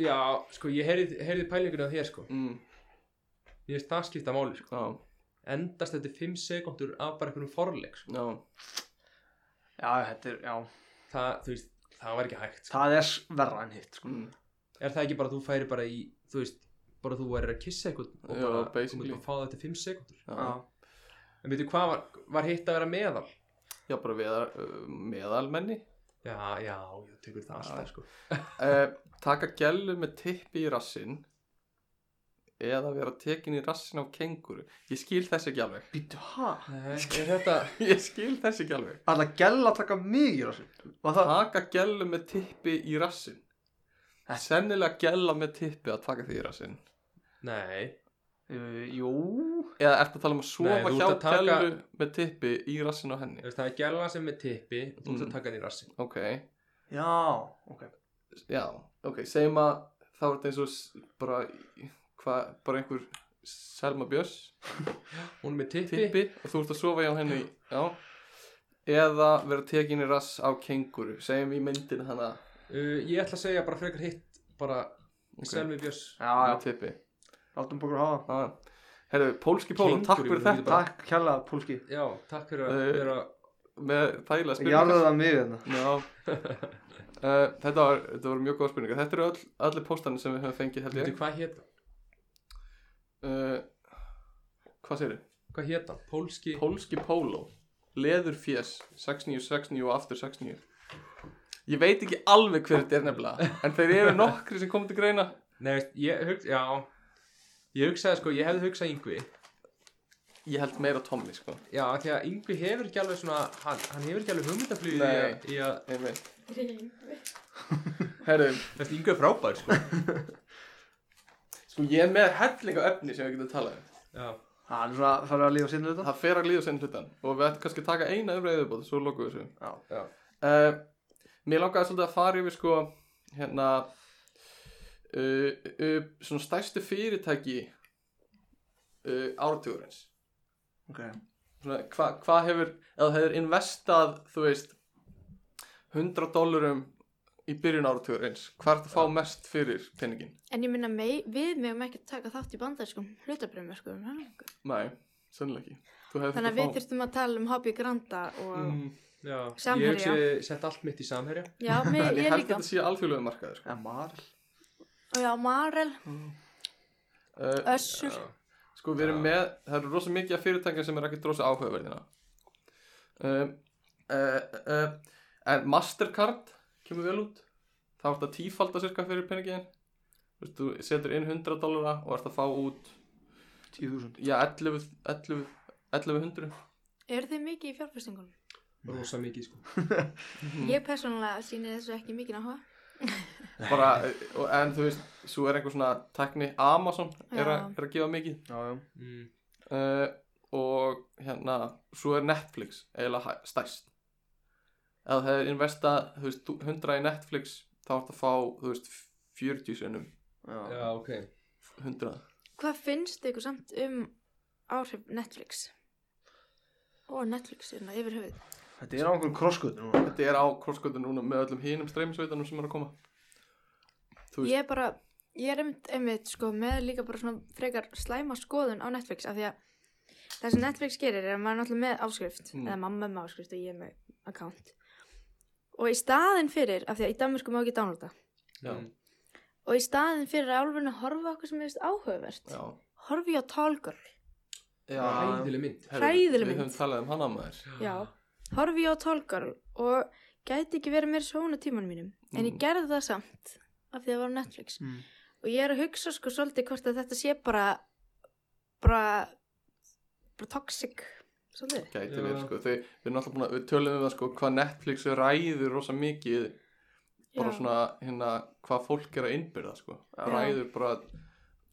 Já, sko, ég heyrði, heyrði pælinguna á þér, sko mm, Ég veist það skipta máli, sko Já, Endast þetta 5 sekundur af bara einhvernum forleik, sko já, Já, þetta er, já. Það, þú veist, það var ekki hægt, sko Það er s- verra en hitt, sko. mm, Er það ekki bara að þú færi bara í, þú veist bara þú værir að kissa eitthvað og Já, bara, þú basically. myndir bara fá það eftir 5 sekundur já. Já. En veitu hvað var, var hitt að vera meðal? já, bara veðar, uh, meðalmenni Já, já, ég tekur það alltaf, sko uh, Taka gælu með tippi í rassin eða vera tekin í rassin af kenguru Ég skil þess ekki alveg Býttu, ha? Nei, er þetta Ég skil þess ekki alveg Það er að gæla að taka mig í rásin. Var það? Taka gælu með tippi í rassin Sennilega gæla með tippi að taka því í rassin Nei, Uh, jú. Eða ertu að tala um að Nei, sofa þú hjá ert að taka- gælu með tippi í rassin á henni Þú veist, það er gæla sem er tippi og þú ert Mm. að taka hann í rassin Ok, Já, ok. já, ok, segjum að þá er þetta eins og s- bara, hva, bara einhver Selma Björns Hún er með tippi, tippi og þú ert að sofa hjá henni já. eða vera tekin í rass á kenguru segjum í myndinu hana Uh, Ég ætla að segja bara frekar hitt bara Ok. Selmi Björns Já, já. með tippi Látum bara hafa. Já. herru, Pólski Pólum, takk Kengúru, fyrir þú getur þetta bara- Takk kjærlega, Pólki. Já, takk fyrir að Uh, vera með þægilega Jarðið spurningar að hérna. mig þarna. já Uh, þetta var, þetta var mjög góð spurningar Þetta eru all, allir póstana sem við höfum fengið held Veitu ég hvað hét uh, Hvað segir þið? Hvað hét hann? Pólski Pólski Póló Leður Fjess 69, 69 og aftur 69 Ég veit ekki alveg hver þetta er nefnilega En þeir eru nokkri sem kom til greina Nei, veist, ég hugsa, já Ég hugsaði sko, ég hefði hugsað yngvi Ég held meira Tommy sko Já, af því að yngvi hefur ekki alveg svona Hann, hann hefur ekki alveg hugmyndaflýði í, Nei. að- í að Einmitt. áfram Herru, Þú veist, yngvi er frábær sko sko ég er með hellinga efni sem við getum talað um Já, Það er svona, það er að lífa sinni þetta. Það fer að líða sinn hlutan og við ættum kannski að taka eina umræðubóð svo lokum við Já. já þessu uh, Mér langaði svolítið að fara yfir sko hérna uh, uh, svona stærstu fyrirtæki uh, áratugurins Ok. svona, hva, hvað hefur, eða hefur investað, þú veist 100 dólarum í byrjun áratugur eins, hvað er það að fá mest fyrir peningin? en ég meina mei, við megum ekki að taka þátt í bandarskum hlutabrömmur sko þannig Nei, sennilega ekki Þú hefur að við þurftum að tala um Hobby Granda og mm, Já, Samherja. ég hugsaði sett allt mitt í samherja já, En mig, ég, ég held að líka þetta sé alþjóðlega markaður En Maril. og já, Marel, uh, Össur Já. Sko við erum með, það eru rosa mikið af fyrirtækja sem er ekki drosa áhugaverðina um, uh, uh, En Mastercard kemur vel út Það vart að tífalda cirka fyrir peningin Þú veist, þú setur inn 100 dólara og ert að fá út 10.000. Já, 11, 11, 1100 eru þið mikið í fjárfestingunum? Rosa mikið sko Mm. ég persónulega síni þessu ekki mikið áhuga bara, og- en þú veist, svo er eitthvað svona tekni Amazon er, a, Já. er að gefa mikið já, já, mm. uh, og hérna, svo er Netflix eiginlega hæ- stærst eða það er investa, þú veist, þú- 100 í Netflix þá ertu að fá, þú veist, 40 sinnum já. Já, ok 100 Hvað finnst ykkur samt um áhrif Netflix? Ó, Netflix er það yfir höfuð. þetta er á einhverjum krosskutu núna þetta er á krossgötu núna með öllum hinum streymisveitunum sem er að koma Þú veist- Ég er bara, ég er einmitt, einmitt sko, með líka bara svona frekar slæma skoðun á Netflix af því að það sem Netflix gerir er að maður er náttúrulega með áskrift Mm. eða mamma er með áskrift og ég er með account. Og í staðin fyrir, af því að í Danmarku má ekki downloada, Já. Mm. og í staðin fyrir að álfurinn að horfa á okkur sem er áhugavert, já, horfi ég á Tálgur. já Hræðileg mynd herru, við hræðileg mynd. höfum talað um hana maður Já, horfi ég á tólkar og gæti ekki verið mér svona tímanum mínum en ég Mm. gerði það samt af því að það var á Netflix Mm. og ég er að hugsa sko svolítið hvort að þetta sé bara bara bara toxic svolítið gæti Já. verið sko Þau, við erum alltaf búin að við tölum um það sko hvað Netflix ræður rosa mikið bara Já. svona hérna hvað fólk er að innbyrða sko Já. ræður bara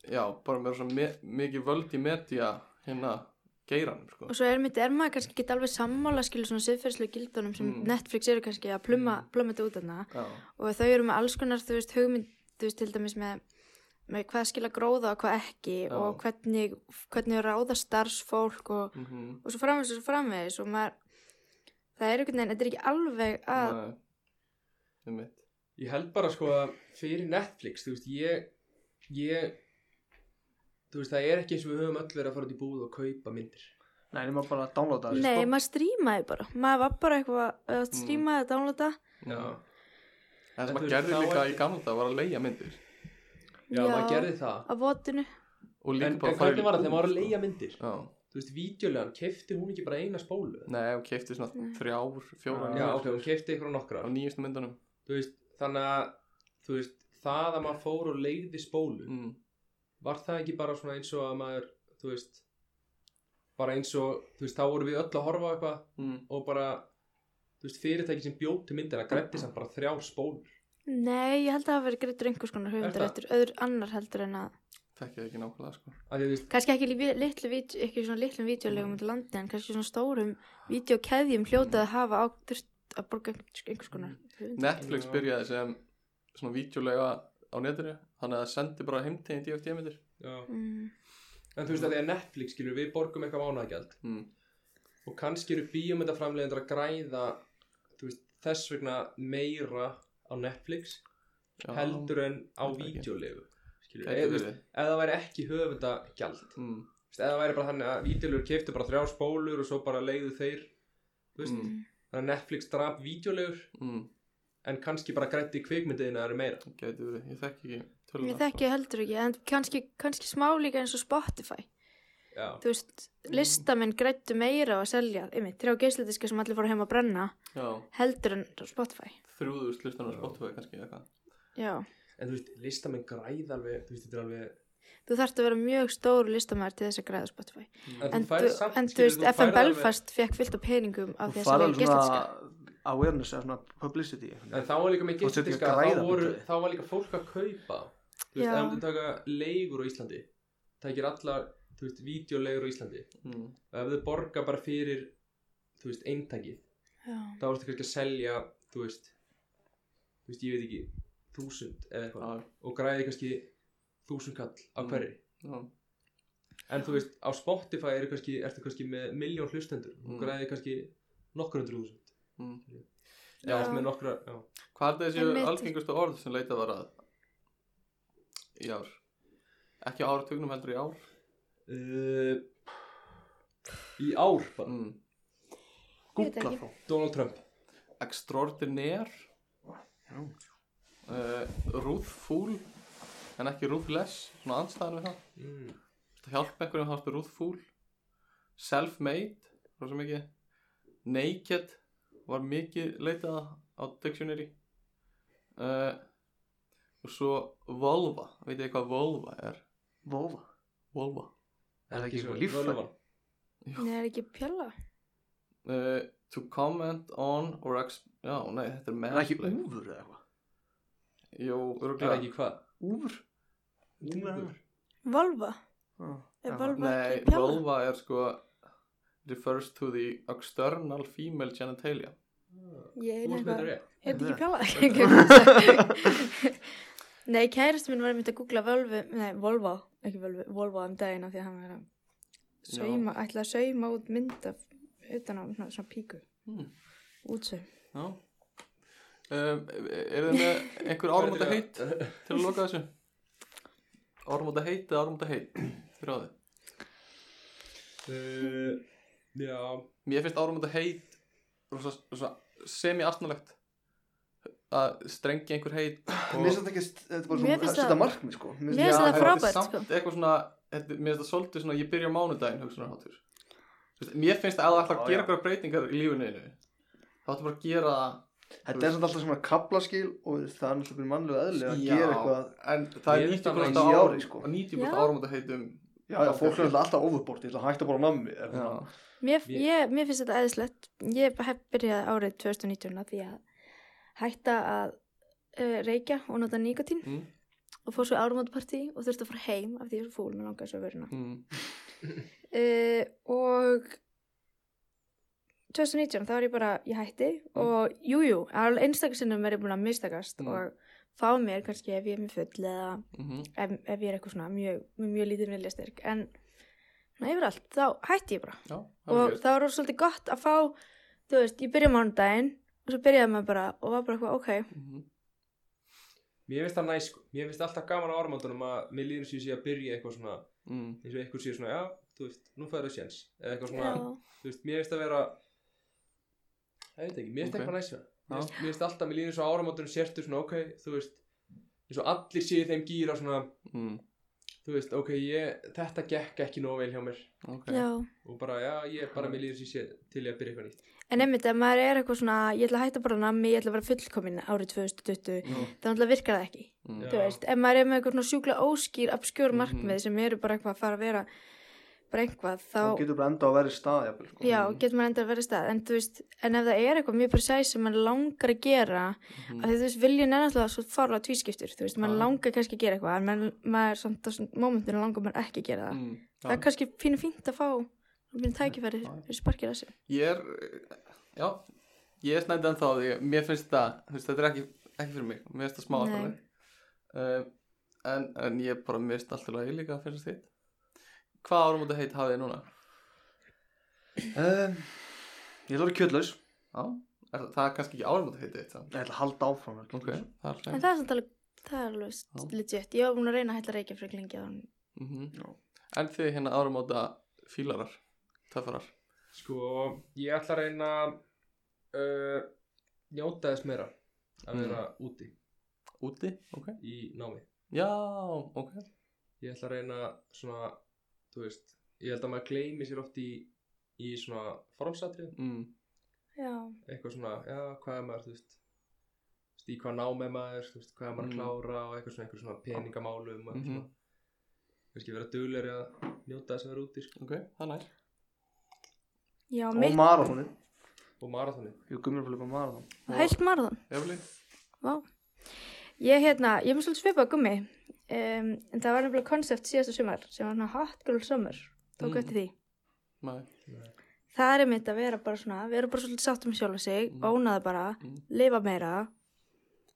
já bara með rosa me, mikið völd í media hérna geiranum sko og svo er mitt er maður kannski ekki alveg sammála skilur svona siðferðslega gildunum sem Mm. Netflix eru kannski að plumma, plumma þetta út þarna já, og þau eru með alls konar þú veist hugmynd þú veist til dæmis með, með hvað skila gróða og hvað ekki Já. og hvernig, hvernig ráða starfsfólk og mm -hmm. og svo framvegis og svo framvegis og maður það er einhvern veginn, þetta er ekki alveg að mitt Ég held bara sko að fyrir Netflix, þú veist, ég, ég, þú veist, það er ekki eins og við höfum öll verið að fara út í búð og kaupa myndir. nei, nema bara að downloada þessu, nei, sko. maður strímaði bara maður var bara eitthvað Mm. að strímaði að downloada já Mhm. en En sem þú að veist, gerði þá líka er- í gamla það var að leia myndir Já, maður gerði það. á votinu og líka En, bara en fara í hvernig var búð, það þegar maður var að sko. leia myndir? já Þú veist, vídeolegan, kefti hún ekki bara eina spólu? nei hún keipti svona Mm. þrjár fjórar Já, myndir ok, hún kefti ykkur og nokkra. á nýjustu myndunum Þú veist, þannig að, þú veist, það að maður fór og leiði spólu, mm. var það ekki bara svona eins og að maður, þú veist, bara eins og, þú veist, þá vorum við öll að horfa á eitthvað Mm. og bara, þú veist, fyrirtæki sem bjóti myndina grætti samt bara þrjár spólur. nei, ég held að það hafi verið greittur einhvers konar höfundar Er eftir öður annar heldur en að þekki það ekki nákvæmlega sko Af því að, þú veist, kannski ekki, lífi- litlu, vít- ekki svona litlum vídeolegum mm. landi en kannski svona stórum vídeokeðjum hljótað að hafa á þurft að borga einhvers einhvers konar Mm. höfundar Netflix Já. byrjaði sem svona vítjulega á netinu þannig að það sendi bara heimtegin DFT-myndir já. mm. En þú veist að því að Netflix skilur við borgum eitthvað mánagjald mm. og kannski eru bíómyndaframlegendur að græða þú veist, þess vegna meira á Netflix Já. heldur en á Heldur ekki. vídeolegu skilur Gæti við, þú veist, verið. ef það væri ekki höfundagjald þú mm. veist, ef það væri bara þannig að vídeolegur keftu bara þrjá spólur og svo bara leiðu þeir þú veist, Mm. þannig að Netflix draf vídeolegur mm. en kannski bara grætti kvikmyndiðina eru meira gæti verið, ég þekki ekki ég töluna þekki heldur ekki en kannski, kannski smá líka eins og Spotify Já, þú veist, Mm. listamenn grættu meira á að selja, einmitt, þrjá geisladiska sem allir fóru heim að brenna, já, heldur en Spotify. þrjúðust listan á Já. Spotify kannski eða eitthvað Já, en þú veist, listamenn græða alveg þú veist, þetta er alveg þú þarft að vera mjög stór listamæður til þess að græða á Spotify. en, En þú færð þú, samt, en þú skilur, veist, þú FM færð alveg- Belfast fekk fyllt á peningum á þú því að farið selja alveg geisladiska. svona awareness eða svona publicity En þá var líka með Þú ert ekki að gildiska, græða þá, voru, mikið. þá var líka fólk að kaupa Þú veist, Já. ef þú myndir taka leigur á Íslandi Tækir allar, þú veist, vídeoleigur á Íslandi mm. Og ef þau borga bara fyrir, þú veist, eintakið Já. Þá ertu kannski að selja, þú veist Þú veist, ég veit ekki, þúsund eða eitthvað já, Og græði kannski þúsund kall á Mm. hverri já, En þú veist, á Spotify eru kannski, ertu kannski með miljón hlustendur Mm. Og græði kannski nokkur hundru þúsund Mm. Já, Já. með nokkra, já hvað er þessi Einmitt. algengustu orð sem leitað var að í ár ekki á áratugnum heldur í ár uh, Í ár bara mm. Ég veit googla ekki. þá Donald Trump extraordinaire Já. uh, ruthful en ekki ruthless svona anstæðan við það mm. Þú hjálpa einhverjum þá ertu ruthful self-made rosa mikið naked var mikið leitað á dictionary uh, og svo vulva veit ég hvað vulva er Vófa vulva Er það ekki svo eitthvað líffæri? völvan? Nei, það er ekki pjalla. uh, to comment on or ex já nei þetta er Er það ekki mansplain úfur eða eitthvað? Jú, Er það örgulega ekki hvað? Úr? Úlfur. Volva? Já, Er Volva Nei, ekki pjalla? vulva er sko refers to the external female genitalia Ég Þú er veist með þetta eitthvað, rétt. heit Nei. ekki pjalla Nei, kærasti minn var einmitt að googla Volvo, nei, Volvo, ekki Volvo, Volvo um daginn af því að hann var að sauma, ætla að sauma út mynd af utan á svona, svona píku, hmm. útsaum. Já um, Er þið með einhver áramóta heit til að loka þessu? Áramóta heit eða áramóta heit? Fyrir á þið Uh, Já, Mér finnst áramóta heit rosa, rosa semi-astnalegt að strengja einhver heit og- Mér finnst þetta ekki, þetta er Mér bara svona, finnst þetta það- markmið sko Mér Já, finnst Mér finnst en það frábært, er samt eitthvað svona, þetta, mér finnst það svolítið svona, ég byrja á mánudaginn hugsunarháttur. Þú veist, Mér finnst að það ætla Já, að já. gera eitthvað breytingar í lífinu þínu. þá ætla bara að gera það. Þetta er samt alltaf svona kaplaskil og það er náttúrulega mannlega eðli að gera eitthvað en það er Mér finnst það 90% í ári, ári, sko. sko. 90% Já. árum að heitum. Já, já, fólk er náttúrulega alltaf overbort, ég ætla að hætta bara á nammi er Já, það. Mér, Ég- ég, mér finnst þetta eðislegt. Ég hef byrjað árið 2019 að því að hætta að uh, reykja og nota nikotín Mm. og fór svo árumátparti og þurfti að fara heim af því ég er svo fúl með langaði svo að veruna. mm. Uh, og 2019 þá er ég bara, ég hætti og jújú, jú, einstakarsinnum er ég búin að mistakast Mm. og fá mér kannski ef ég er mér full eða mhm. ef, ef ég er eitthvað svona mjög, með mjög lítið viljastyrk en svona yfirallt, þá hætti ég bara Já, það er og mjög- það var svolítið gott að fá þú veist, ég byrja mánudaginn og svo byrjaði maður bara og var bara eitthvað, ok Mhm. mér finnst það næ sko Mér finnst alltaf gaman á áramóndunum að mér líður sem ég sé að byrja eitthvað svona Mm. eins og einhver sé svona, já, þú veist, nú fæður það séns eða eitthvað svona, já, þú veist, mér finnst að vera ég veit ekki, mér finnst Ok. eitthvað næsja mér finnst- mér finnst alltaf, mér líður svo áramótunum sértur svona, ok, þú veist eins og allir séu þeim gýra svona Mm. þú veist, ok, ég, þetta gekk ekki nóg vel hjá mér Ok. já. og bara, já, ég, bara mér líður sem ég sé til ég að byrja eitthvað nýtt en einmitt, ef maður er eitthvað svona ég ætla að hætta bara nammi, ég ætla að vera fullkomin árið 2020, þá náttúrulega virkar það ekki Mm. Já. þú veist, ef maður er með eitthvað svona sjúkla óskýr obskjör Mhm. markmið sem eru bara eitthvað að fara að vera bara eitthvað, þá Þá getur bara enda á að vera í stað jafnvel, sko. já, Mhm. getur maður enda að vera í stað en þú veist, en ef það er eitthvað mjög precise sem maður langar að gera Mhm. að því þú veist, viljun er náttúrulega svo farlega tvískiptur, þú veist, Já. maður langar kannski að gera eitthvað en maður, maður samt á momentinu langar maður ekki að gera það Mm. það Já. er kannski pínu fínt að fá pínu tækifæri Já. fyrir sparkir þessu Ég er, já, ég er snændið ennþá því, að mér finnst það, þú veist, þetta er ekki, ekki fyrir mig, mér finnst það smá Nei. alveg, uh, en, en ég bara, mér finnst alltaf lagi líka að finnst þitt. Hvað árum út að heit hafið þið núna? Um, Ég ætla að vera kjötlaus Já, er, það það er kannski ekki árum út að heita þitt, það. Ég ætla að halda áfram að vera Ok, kjötlaus. það er en slæmt. það er samt alveg, það er alveg st- legit ég var búin að reyna að hætla reykja fyrir lengi áður en- Mm Já. En þið hérna árum út að fílarar, töffarar. sko, ég ætla að reyna að, uh, njóta þess meira að Mm. vera úti Úti, ok. í námi Já, ok. ég ætla að reyna svona þú veist, ég held að maður gleymi sér oft í í svona formsatrið Mm. já, eitthvað svona, já, hvað er maður, þú veist þú veist, í hvað nám er maður, þú veist, hvað er maður Mm. að klára og eitthvað svona, eitthvað svona peningamálum og eitthvað Mhm. svona kannski vera duglegri að njóta þess að vera úti sko. Ok, það er nær. já, Og mitt, marathónið og marathonið Ég gummir að flipa marathón hælt marðan Evelyn? Vá. Ég hérna, ég mun svolítið svipað gummi um, en það var nefnilega koncept síðasta sumar sem var hann hot girl summer tók Mm. eftir því. Nei. Það er einmitt að vera bara svona, vera bara svolítið sátt um sjálf sig, Mm. mm. ónaða bara, Mm. lifa meira,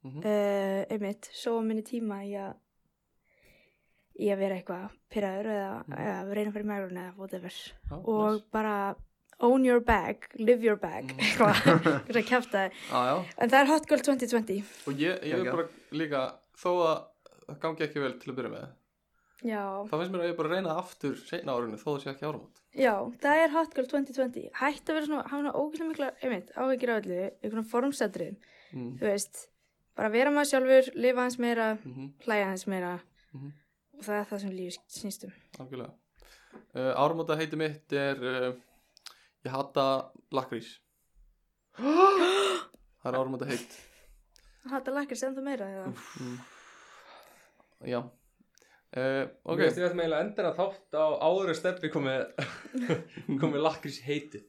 Mhm. uh, einmitt, sóa minni tíma í að í að vera eitthvað pyrraður eða, Mm. eða reyna fyrir megrun eða whatever Já, og nice. bara own your bag, live your bag Mm. eitthvað, eitthvað Já, kæfta já. en það er hot girl 2020 Og ég, ég er Geggjað. bara líka, þó að það gangi ekki vel til að byrja með, Já, þá finnst mér að ég bara reyna það aftur seinna árinu þó það sé ekki áramót. Já, það er Hot Girl 2020. Hætt að vera svona, hafa svona ógæslega mikla, einmitt, áhyggjur á öllu, einhvern formsetrið, Mm. þú veist, bara vera maður sjálfur, lifa hans meira, Mm hlæja hans meira Mhm. og það er það sem lífið snýst um. Algjörlega. Uh, áramóta heiti mitt er, uh, ég hata lakrís. það er áramóta heit. Hata lakrís ennþá meira eða? Mm. Já. Uh, ok, ok, við ætlum eiginlega að enda að þátt á áður en steppi komið komið lakrís heitið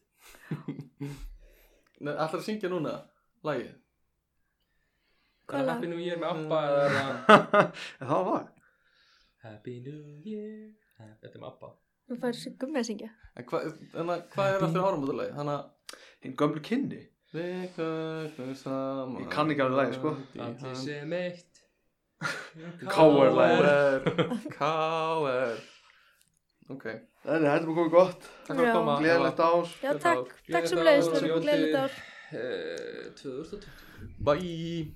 ætlar að syngja núna lagið? Er Hvaða? það Happy New Year með Abba Mm. eða er það en það var lag. Happy New Year Ha- Þetta er með Abba Nú fær þessi gummi að syngja. En hva- en að- hvað er aftur áramótalagi? Þannig að hinn gömlu kynni Við köllum saman Ég kann ekki alveg lagið, sko. Allir sem eitt K.R. lagið. K.R. K.R. Ok, en þetta er bara komið gott, takk fyrir Já. að koma gleðilegt ár Já, Gleðilegt takk. ár. Takk sem leiðist. Gleðilegt ár. Gleðilegt ár. Eh, 2002 Bye